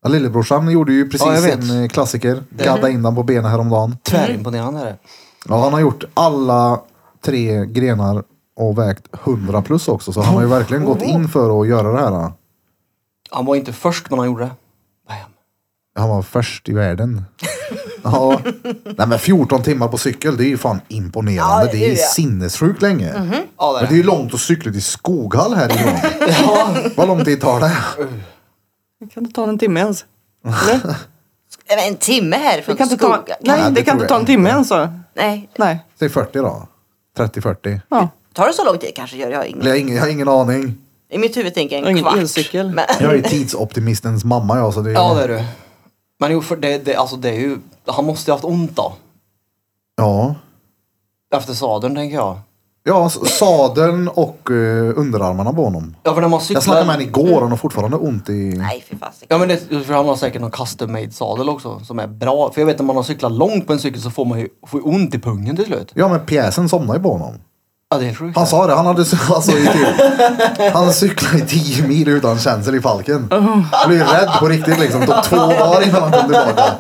[SPEAKER 1] Ja, lillebrorsan gjorde ju
[SPEAKER 2] Ja, jag
[SPEAKER 1] precis
[SPEAKER 2] vet. Mhm.
[SPEAKER 1] en eh, klassiker. Gadda in den på benen häromdagen.
[SPEAKER 2] Tvärimponerande är det.
[SPEAKER 1] Ja, han har gjort alla tre grenar och vägt 100 plus också. Så han har ju verkligen gått in för att göra det här.
[SPEAKER 2] Han var inte först men han gjorde det. Bam.
[SPEAKER 1] Han var först i världen. Ja. Nej men 14 timmar på cykel, det är ju fan imponerande.
[SPEAKER 4] Ja, det är
[SPEAKER 1] det är ju
[SPEAKER 4] det.
[SPEAKER 1] sinnessjukt länge.
[SPEAKER 2] Ja, det
[SPEAKER 1] Men
[SPEAKER 2] är
[SPEAKER 1] det är ju
[SPEAKER 2] det.
[SPEAKER 1] långt att cykla till Skoghall härifrån.
[SPEAKER 2] Ja.
[SPEAKER 1] Vad lång tid tar det?
[SPEAKER 3] Det kan inte ta en timme ens. Eller?
[SPEAKER 4] Nej, men En timme här
[SPEAKER 3] Det
[SPEAKER 4] från
[SPEAKER 3] kan inte ta,
[SPEAKER 4] skogen.
[SPEAKER 1] Nej,
[SPEAKER 3] nej,
[SPEAKER 1] det
[SPEAKER 3] det kan
[SPEAKER 1] tror
[SPEAKER 3] inte ta
[SPEAKER 1] jag
[SPEAKER 3] en timme ens. så.
[SPEAKER 4] Nej.
[SPEAKER 3] Nej.
[SPEAKER 1] Säg 40 då. 30-40.
[SPEAKER 3] Ja.
[SPEAKER 4] Tar det så lång tid kanske gör
[SPEAKER 1] Eller
[SPEAKER 4] jag inget.
[SPEAKER 1] Jag, har ingen- jag har ingen aning.
[SPEAKER 4] I mitt huvud tänker jag en
[SPEAKER 3] Ingen
[SPEAKER 4] kvart.
[SPEAKER 3] elcykel.
[SPEAKER 4] Men,
[SPEAKER 1] Jag är ju tidsoptimistens mamma jag. Så det är...
[SPEAKER 2] ja det är du. Eh, Men jo, för det, det, alltså, det är ju... Han måste ju haft ont då.
[SPEAKER 1] Ja.
[SPEAKER 2] Efter sadeln tänker jag.
[SPEAKER 1] Ja, s- sadeln och eh, underarmarna på honom.
[SPEAKER 2] Ja för när man
[SPEAKER 1] Jag snackade
[SPEAKER 2] cyklar...
[SPEAKER 1] med honom igår, han har fortfarande ont i...
[SPEAKER 4] nej fy fasiken.
[SPEAKER 2] Ja men det, för han har säkert någon custom made sadel också som är bra. För jag vet när man har cyklat långt på en cykel så får man ju får ju ont i pungen till slut.
[SPEAKER 1] Ja, men pjäsen somnade ju på honom.
[SPEAKER 2] Ja det är sjukt.
[SPEAKER 1] Han sa det, han hade alltså, i typ, Han cyklade i 10 mil utan känsel i falken. Han blev ju rädd på riktigt liksom. Det tog två dagar innan han kom tillbaka.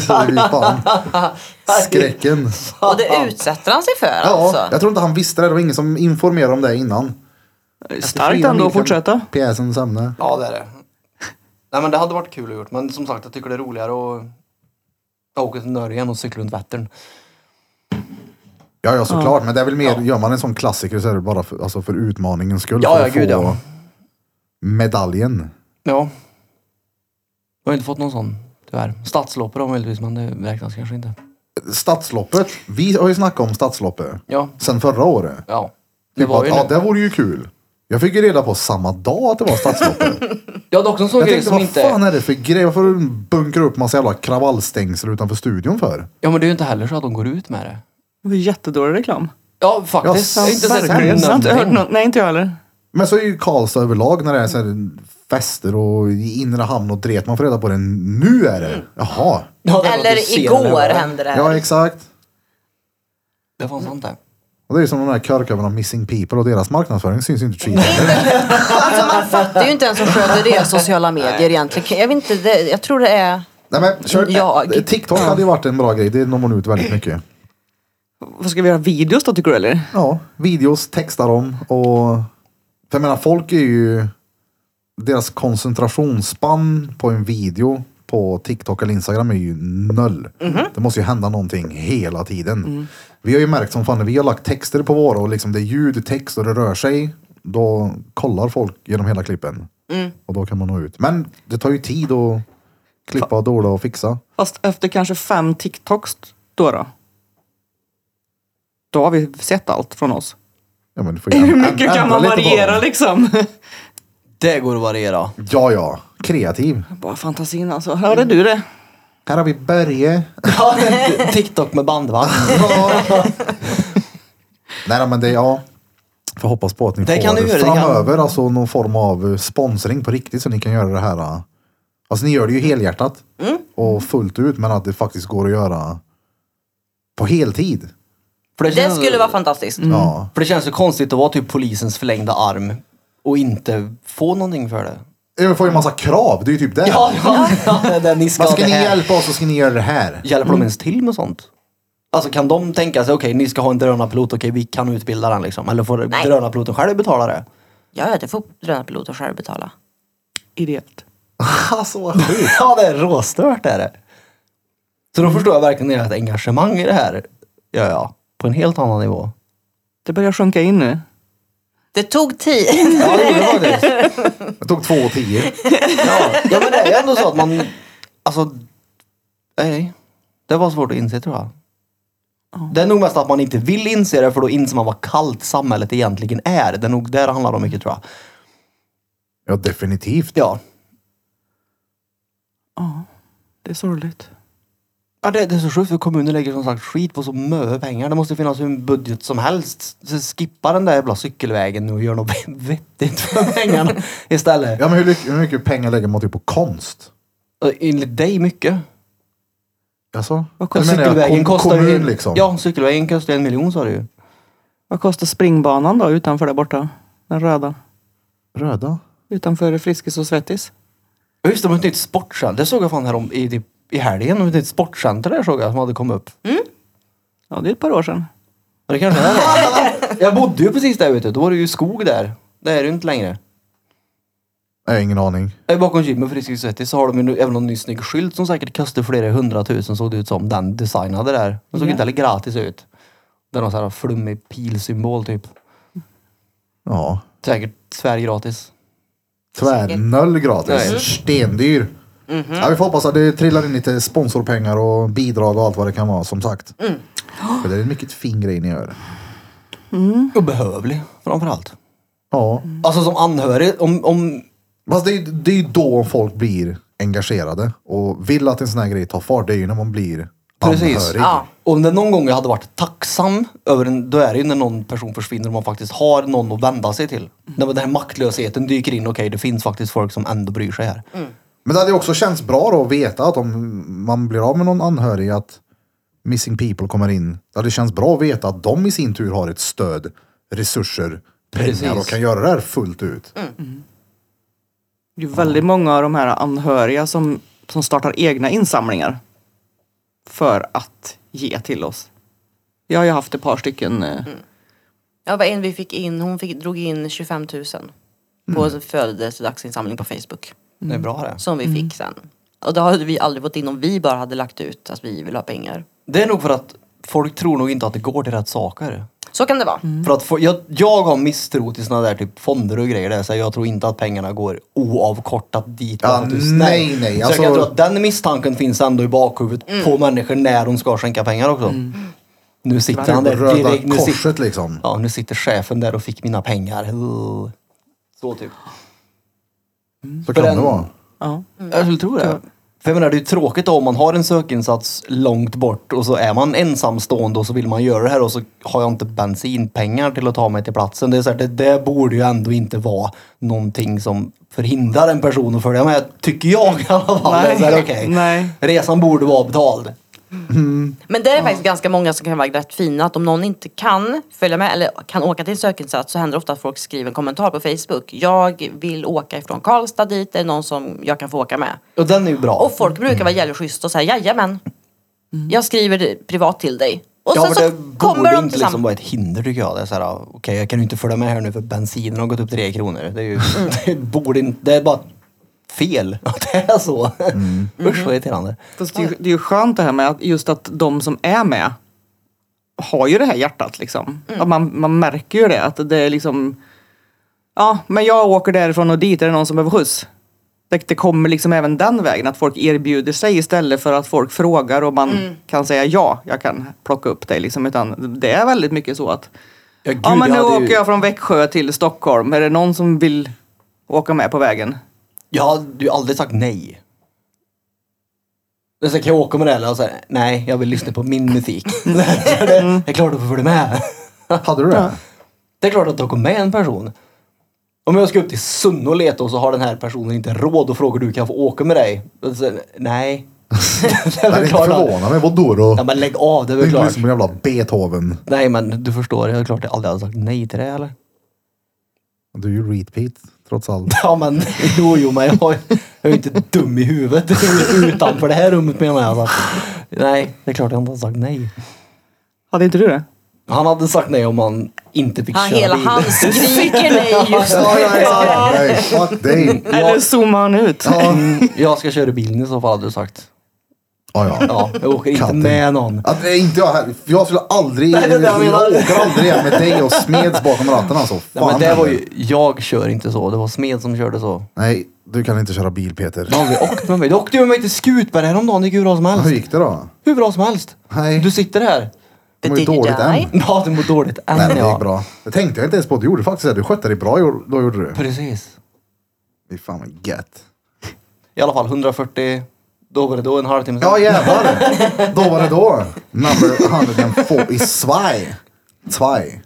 [SPEAKER 1] så det är fan skräcken.
[SPEAKER 4] Och det utsätter han sig för
[SPEAKER 1] Ja,
[SPEAKER 4] alltså.
[SPEAKER 1] jag tror inte han visste det. Det var ingen som informerade om det innan.
[SPEAKER 3] Starkt ändå att fortsätta.
[SPEAKER 1] Pjäsen sömne.
[SPEAKER 2] Ja det är det. Nej men det hade varit kul att gjort men som sagt jag tycker det är roligare att att åka till Norge än att cykla runt Vättern.
[SPEAKER 1] Ja, ja såklart. Men det är väl mer, gör man en sån klassiker så är det bara för, alltså, för utmaningens skull.
[SPEAKER 2] Ja,
[SPEAKER 1] för
[SPEAKER 2] ja,
[SPEAKER 1] att
[SPEAKER 2] gud,
[SPEAKER 1] få
[SPEAKER 2] ja.
[SPEAKER 1] medaljen.
[SPEAKER 2] Ja. Jag har inte fått någon sån tyvärr. Stadsloppor då möjligtvis men det räknas kanske inte.
[SPEAKER 1] Stadsloppet. Vi har ju snackat om stadsloppet.
[SPEAKER 2] Ja.
[SPEAKER 1] Sen förra året.
[SPEAKER 2] Ja.
[SPEAKER 1] Det
[SPEAKER 2] Det var ju
[SPEAKER 1] ja,
[SPEAKER 2] nu.
[SPEAKER 1] det vore ju kul. Jag fick ju reda på samma dag att det var stadsloppet.
[SPEAKER 2] Jag hade också en sån
[SPEAKER 1] jag
[SPEAKER 2] grej
[SPEAKER 1] tänkte,
[SPEAKER 2] som
[SPEAKER 1] vad
[SPEAKER 2] inte...
[SPEAKER 1] fan är det för grej? Varför bunkrar upp massa jävla kravallstängsel utanför studion för?
[SPEAKER 2] Ja men det är ju inte heller så att de går ut med det.
[SPEAKER 3] Det var jättedålig reklam.
[SPEAKER 2] Ja faktiskt.
[SPEAKER 1] Ja,
[SPEAKER 2] jag har inte sett
[SPEAKER 3] Verkligen. Jag har inte hört
[SPEAKER 2] någonting.
[SPEAKER 3] någon. Nej, inte jag heller.
[SPEAKER 1] Men så är ju Karlstad överlag när det är så här fester och i inre hamn och dret. Man får reda på det nu är det. Jaha.
[SPEAKER 2] Ja, det var att du
[SPEAKER 4] Eller
[SPEAKER 2] ser
[SPEAKER 4] igår
[SPEAKER 2] Mm. det.
[SPEAKER 4] hände det
[SPEAKER 1] Ja,
[SPEAKER 4] här.
[SPEAKER 1] exakt.
[SPEAKER 2] Det var sant det.
[SPEAKER 1] Och det är ju som de där körkövarna Missing People och deras marknadsföring syns ju inte skit.
[SPEAKER 2] Mm.
[SPEAKER 4] Alltså man fattar ju inte ens som sköter det i sociala medier egentligen. Jag vet inte, det, jag tror det är...
[SPEAKER 1] Nej men kör. Eh,
[SPEAKER 4] Jag.
[SPEAKER 1] TikTok hade ju varit en bra grej. Det når man ut väldigt mycket.
[SPEAKER 3] Vad ska vi göra? Videos då tycker du eller?
[SPEAKER 1] Ja, videos, textar om och... För jag menar, folk är ju... Deras koncentrationsspann på en video på TikTok eller Instagram är ju noll.
[SPEAKER 3] Mhm.
[SPEAKER 1] Det måste ju hända någonting hela
[SPEAKER 3] Mm.
[SPEAKER 1] tiden. Vi har ju märkt som fan när vi har lagt texter på våra och liksom det är ljud, text och det rör sig. Då kollar folk genom hela klippen.
[SPEAKER 3] Mm.
[SPEAKER 1] Och då kan man nå ut. Men det tar ju tid att klippa och dola och fixa.
[SPEAKER 3] Fast efter kanske fem TikToks då då? Då har vi sett allt från oss.
[SPEAKER 1] Ja, men du får
[SPEAKER 3] Hur
[SPEAKER 1] ändra-
[SPEAKER 3] mycket
[SPEAKER 1] ändra
[SPEAKER 3] kan man
[SPEAKER 1] lite på
[SPEAKER 3] variera
[SPEAKER 1] dem.
[SPEAKER 3] liksom?
[SPEAKER 2] Det går att variera.
[SPEAKER 1] Ja, ja. Kreativ.
[SPEAKER 3] Bara fantasin alltså. Hörde du det?
[SPEAKER 1] Här har vi Börje.
[SPEAKER 2] TikTok med bandvagn.
[SPEAKER 1] Nej, men det, ja. Får hoppas på att ni
[SPEAKER 2] Det
[SPEAKER 1] får
[SPEAKER 2] kan du göra, det kan-
[SPEAKER 1] framöver alltså någon form av eh, sponsring på riktigt så ni kan göra det här. eh. Alltså ni gör det ju helhjärtat
[SPEAKER 2] Mm.
[SPEAKER 1] och fullt ut men att det faktiskt går att göra på heltid.
[SPEAKER 2] För
[SPEAKER 4] Det
[SPEAKER 2] känns-
[SPEAKER 4] skulle vara fantastiskt.
[SPEAKER 1] Ja.
[SPEAKER 2] För det känns ju konstigt att vara typ polisens förlängda arm och inte få någonting för det.
[SPEAKER 1] Vi får ju en massa krav, det är ju typ det.
[SPEAKER 2] Ja, ja, ja det är det ni ska,
[SPEAKER 1] Vad ska
[SPEAKER 2] det
[SPEAKER 1] ni
[SPEAKER 2] här.
[SPEAKER 1] hjälpa oss så ska ni göra det här.
[SPEAKER 2] Hjälper de ens till med sånt? Alltså kan de tänka sig, okej ni ska ha en drönarpilot, okej vi kan utbilda den liksom. Eller får
[SPEAKER 4] Nej.
[SPEAKER 2] drönarpiloten själv betala det?
[SPEAKER 4] Ja, ja, det får drönarpiloten själv betala.
[SPEAKER 3] Ideellt.
[SPEAKER 1] Alltså vad sjukt.
[SPEAKER 2] Ja det är råstört är det. Så då förstår jag verkligen ert engagemang i det här. Ja, ja. På en helt annan nivå.
[SPEAKER 3] Det börjar sjunka in nu.
[SPEAKER 4] Det tog tid.
[SPEAKER 2] Ja, det är det faktiskt.
[SPEAKER 1] Det tog två och tio.
[SPEAKER 2] Ja. ja men det är ju ändå så att man, alltså, nej. Det var svårt att inse tror jag. Det är nog mest att man inte vill inse det för då inser man vad kallt samhället egentligen är. Det är nog där det handlar om mycket tror jag.
[SPEAKER 1] Ja definitivt.
[SPEAKER 2] Ja,
[SPEAKER 3] Ja, det är sorgligt.
[SPEAKER 2] Ja, det, det är så sjukt för kommunen lägger som sagt skit på så mycket pengar. Det måste finnas hur en budget som helst. Så skippa den där jävla cykelvägen nu och gör något vettigt för pengarna istället.
[SPEAKER 1] Ja men hur, lyck- hur mycket pengar lägger man typ på konst?
[SPEAKER 2] Och Enligt dig mycket.
[SPEAKER 1] Alltså?
[SPEAKER 3] Vad
[SPEAKER 1] Jag
[SPEAKER 3] kostar
[SPEAKER 1] menar,
[SPEAKER 2] cykelvägen
[SPEAKER 1] kom-
[SPEAKER 2] kostar
[SPEAKER 1] kommun
[SPEAKER 2] ju...
[SPEAKER 1] liksom.
[SPEAKER 2] Ja, cykelvägen kostar en miljon sa du ju.
[SPEAKER 3] Vad kostar springbanan då utanför där borta? Den röda.
[SPEAKER 1] Röda?
[SPEAKER 3] Utanför Friskis och Svettis.
[SPEAKER 2] Och Just det, de har ett nytt sportcenter. Det såg jag fan här om i, typ i helgen. De har ett nytt sportcenter där såg jag som hade kommit upp.
[SPEAKER 3] Ja, det är ett par år sedan.
[SPEAKER 2] Ja, Det kanske är det. Jag bodde ju precis där ute. Då var det ju skog där. Det är det ju inte längre.
[SPEAKER 1] Jag har ingen aning.
[SPEAKER 2] Där Bakom gymmen Friskis och Svettis så har de ju nu även någon ny snygg skylt som säkert kostar flera hundratusen såg det ut som. Den designade där. Den såg
[SPEAKER 3] Ja.
[SPEAKER 2] inte heller gratis ut. Det är någon sån här flummig pilsymbol typ.
[SPEAKER 1] Ja.
[SPEAKER 2] Säkert Sverige gratis.
[SPEAKER 1] Tvärnoll gratis.
[SPEAKER 2] Nej. Mhm.
[SPEAKER 1] Stendyr. Ja, vi får hoppas att det trillar in lite sponsorpengar och bidrag och allt vad det kan vara som sagt.
[SPEAKER 2] Mm.
[SPEAKER 1] För det är en mycket fin grej ni gör.
[SPEAKER 2] Och behövlig framförallt.
[SPEAKER 1] Ja.
[SPEAKER 2] Alltså som anhörig, om, om
[SPEAKER 1] Fast det är, det är ju då folk blir engagerade och vill att en sån här grej tar fart. Det är ju när man blir anhörig.
[SPEAKER 2] Precis.
[SPEAKER 4] Ja.
[SPEAKER 2] Och om det någon gång jag hade varit tacksam över en, då är det ju när någon person försvinner och man faktiskt har någon att vända sig till. När den här maktlösheten dyker in, okej det finns faktiskt folk som ändå bryr sig här.
[SPEAKER 1] Men det hade ju också känts bra då att veta att om man blir av med någon anhörig att Missing People kommer in. Det hade känts bra att veta att de i sin tur har ett stöd, resurser, pengar
[SPEAKER 2] Precis.
[SPEAKER 1] och kan göra det här fullt ut.
[SPEAKER 3] Det är ju väldigt många av de här anhöriga som, som startar egna insamlingar. För att ge till oss. Jag har ju haft ett par stycken. eh,
[SPEAKER 4] Ja, vad en vi fick in. Hon fick, drog in 25 000 på en födelsedagsinsamling på Facebook.
[SPEAKER 2] Det är bra det.
[SPEAKER 4] Som vi fick sen. Och det hade vi aldrig fått in om vi bara hade lagt ut att vi vill ha pengar.
[SPEAKER 2] Det är nog för att folk tror nog inte att det går till rätt saker.
[SPEAKER 4] Så kan det vara.
[SPEAKER 2] För att få- jag, jag har misstro till såna där typ fonder och grejer där, så jag tror inte att pengarna går oavkortat dit.
[SPEAKER 1] Ja,
[SPEAKER 2] bara för att du är snäll.
[SPEAKER 1] nej, nej,
[SPEAKER 2] Så
[SPEAKER 1] alltså-
[SPEAKER 2] jag kan tro att den misstanken finns ändå i bakhuvudet på människor när de ska skänka pengar också. Nu sitter han där
[SPEAKER 1] Typ Röda
[SPEAKER 2] direkt. Nu sitter,
[SPEAKER 1] korset liksom.
[SPEAKER 2] ja, nu sitter chefen där och fick mina pengar. Uh. Så typ.
[SPEAKER 1] Så kan
[SPEAKER 2] För
[SPEAKER 1] det
[SPEAKER 2] en-
[SPEAKER 1] vara.
[SPEAKER 3] Ja.
[SPEAKER 2] Jag skulle tro det. För jag menar, det är ju tråkigt då om man har en sökinsats långt bort och så är man ensamstående och så vill man göra det här och så har jag inte bensinpengar till att ta mig till platsen. Det, är så här, det, det borde ju ändå inte vara någonting som förhindrar en person att följa med, tycker jag i alla fall. Det är så här,
[SPEAKER 3] Nej.
[SPEAKER 2] okej.
[SPEAKER 3] Nej.
[SPEAKER 2] Resan borde vara betald.
[SPEAKER 4] Men det är faktiskt ganska många som kan vara rätt fina. Att om någon inte kan följa med eller kan åka till en sökinsats så händer det ofta att folk skriver en kommentar på Facebook. Jag vill åka ifrån Karlstad dit. Är det någon som jag kan få åka med?
[SPEAKER 2] Och den är ju bra.
[SPEAKER 4] Och folk brukar vara jävligt schysst och säga jajamän. Jag skriver det privat till dig. Och
[SPEAKER 2] Mm. ja,
[SPEAKER 4] sen
[SPEAKER 2] men det
[SPEAKER 4] så kommer
[SPEAKER 2] borde
[SPEAKER 4] de
[SPEAKER 2] inte liksom
[SPEAKER 4] tillsammans.
[SPEAKER 2] vara ett hinder tycker jag. Det är så här, ah, okej, jag kan ju inte följa med här nu för bensinen har gått upp tre kronor. Det är ju,
[SPEAKER 4] Mm.
[SPEAKER 2] det borde inte, det är bara fel att det är så. Usch vad irriterande.
[SPEAKER 3] Fast det, är ju- det är ju skönt det här med att just att de som är med
[SPEAKER 2] Mm.
[SPEAKER 3] har ju det här hjärtat liksom. Att man, man märker ju det. Att det är liksom Ja, men jag åker därifrån och dit. Är det någon som behöver skjuts? Det, det kommer liksom även den vägen. Att folk erbjuder sig istället för att folk frågar och man
[SPEAKER 2] Mm.
[SPEAKER 3] kan säga ja, jag kan plocka upp dig. Liksom, utan det är väldigt mycket så att
[SPEAKER 2] Ja, gud,
[SPEAKER 3] ja, men
[SPEAKER 2] jag
[SPEAKER 3] nu
[SPEAKER 2] hade
[SPEAKER 3] åker
[SPEAKER 2] ju-
[SPEAKER 3] jag från Växjö till Stockholm. Är det någon som vill åka med på vägen?
[SPEAKER 2] Jag hade ju aldrig sagt nej. Men sen kan jag åka med det eller och säga nej, jag vill lyssna på min musik. det är klart att du följer med.
[SPEAKER 1] Hade du det?
[SPEAKER 2] Det är klart att du kommer med en person. Om jag ska upp till Sunne och leta och så har den här personen inte råd och frågar du kan jag få åka med dig. Och så, nej. det
[SPEAKER 1] Jag är
[SPEAKER 2] väl
[SPEAKER 1] inte
[SPEAKER 2] klart att-
[SPEAKER 1] förvånad mig. Vadå då?
[SPEAKER 2] Ja men lägg av, det
[SPEAKER 1] Det
[SPEAKER 2] är
[SPEAKER 1] är
[SPEAKER 2] väl
[SPEAKER 1] inte
[SPEAKER 2] klart.
[SPEAKER 1] liksom en jävla Beethoven.
[SPEAKER 2] Nej men du förstår, jag är klart jag aldrig hade sagt nej till det eller?
[SPEAKER 1] Du är ju repeat trots allt.
[SPEAKER 2] Ja men jo jo men jag, jag är inte dum i huvudet. Utanför det här rummet menar jag. Alltså. Nej, det är klart jag inte hade sagt nej.
[SPEAKER 3] Hade inte du det?
[SPEAKER 2] Han hade sagt nej om han inte fick
[SPEAKER 4] Han,
[SPEAKER 2] köra
[SPEAKER 4] hela
[SPEAKER 2] bil.
[SPEAKER 4] han skriker nej just nu.
[SPEAKER 1] Ja, ja, exakt. Nej, fuck dig.
[SPEAKER 3] Eller zoomar han ut?
[SPEAKER 2] Mm, Jag ska köra bilen i så fall hade du sagt.
[SPEAKER 1] Ja, ja.
[SPEAKER 2] Ja, jag åker inte
[SPEAKER 1] Katten.
[SPEAKER 2] med någon.
[SPEAKER 1] Att, nej, inte jag heller. Jag skulle aldrig...
[SPEAKER 2] Nej, det är det jag menar.
[SPEAKER 1] jag åker aldrig igen med dig och Smeds bakom ratten alltså.
[SPEAKER 2] Nej, men
[SPEAKER 1] Fan
[SPEAKER 2] det var
[SPEAKER 1] heller.
[SPEAKER 2] ju, jag kör inte så, det var Smed som körde så.
[SPEAKER 1] Nej, du kan inte köra bil Peter.
[SPEAKER 2] Du har aldrig åkt med mig. Du åkte ju med mig till Skutberg häromdagen, det gick hur bra som
[SPEAKER 1] Hur
[SPEAKER 2] helst.
[SPEAKER 1] gick det då?
[SPEAKER 2] Hur bra som helst.
[SPEAKER 1] Nej.
[SPEAKER 2] Du sitter här.
[SPEAKER 1] Det var ju
[SPEAKER 4] Did you
[SPEAKER 1] dåligt
[SPEAKER 4] die?
[SPEAKER 1] än.
[SPEAKER 2] Ja, du mår dåligt än
[SPEAKER 1] Nej, men det gick
[SPEAKER 2] ja.
[SPEAKER 1] bra. Det tänkte jag inte ens på. Du gjorde faktiskt det. Du skötte dig bra. gjorde- Då gjorde du.
[SPEAKER 2] Precis.
[SPEAKER 1] Fy fan vad gött.
[SPEAKER 2] I alla fall 140, då var det då en halvtimme
[SPEAKER 1] Ja jävlar. då var det då. Number 104 i Svaj. Svaj.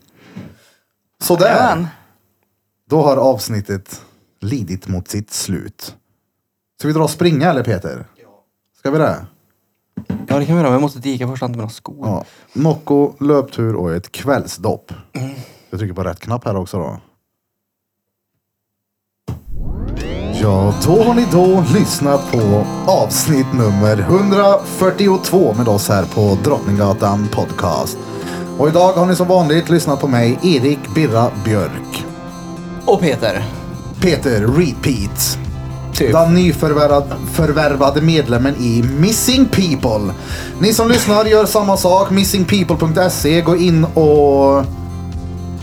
[SPEAKER 1] Sådär.
[SPEAKER 3] Jajamän.
[SPEAKER 1] Då har avsnittet lidit mot sitt slut. Ska vi dra och springa eller Peter? Ska vi det?
[SPEAKER 2] ja, det kan vi göra, men jag måste dika först, hämta mina skor.
[SPEAKER 1] Ja. Nocco, löptur och ett kvällsdopp. Jag trycker på rätt knapp här också då. Ja, då har ni då lyssnat på avsnitt nummer 142 med oss här på Drottninggatan Podcast. Och idag har ni som vanligt lyssnat på mig, Erik Birra Björk.
[SPEAKER 2] Och Peter.
[SPEAKER 1] Peter Repeat.
[SPEAKER 2] Typ.
[SPEAKER 1] Den nyförvärvad- förvärvade medlemmen i Missing People. Ni som lyssnar gör samma sak. Missingpeople.se. Gå in och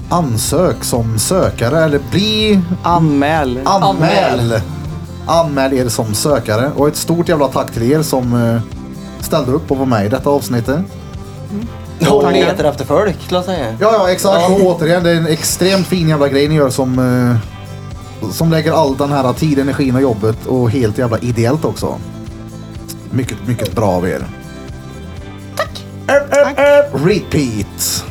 [SPEAKER 1] ansök som sökare eller bli
[SPEAKER 3] Anmäl.
[SPEAKER 1] anmäl. Anmäl er som sökare. Och ett stort jävla tack till er som eh, ställde upp och var med i detta avsnittet.
[SPEAKER 2] Och han letar efter folk, skulle jag säga.
[SPEAKER 1] Ja, ja, exakt. Och återigen, det är en extremt fin jävla grej ni gör som, eh, som lägger all den här tid, energin och jobbet och helt jävla ideellt också. Mycket, mycket bra av er. Tack! Repeat.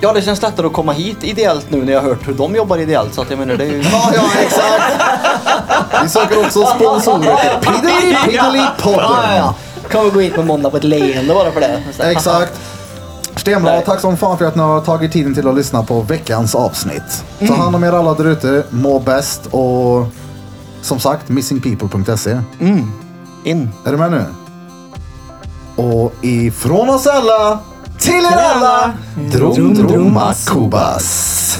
[SPEAKER 2] Ja, det känns lättare att komma hit ideellt nu när jag har hört hur de jobbar ideellt. Så att jag menar, det är ju...
[SPEAKER 1] Ja, ja, exakt. Vi söker också sponsorer till Piddly Piddly
[SPEAKER 2] Ja,
[SPEAKER 1] Podden.
[SPEAKER 2] ja. Kan vi gå hit på måndag på ett leende bara för det? Så här,
[SPEAKER 1] Exakt. Stenbra,
[SPEAKER 2] Nej.
[SPEAKER 1] tack som fan för att ni har tagit tiden till att lyssna på veckans avsnitt. Ta
[SPEAKER 2] Mm.
[SPEAKER 1] hand om er alla där ute, må bäst och som sagt missingpeople.se.
[SPEAKER 2] In.
[SPEAKER 1] Är du med nu? Och ifrån oss alla till er alla, Drum Druma Kubas.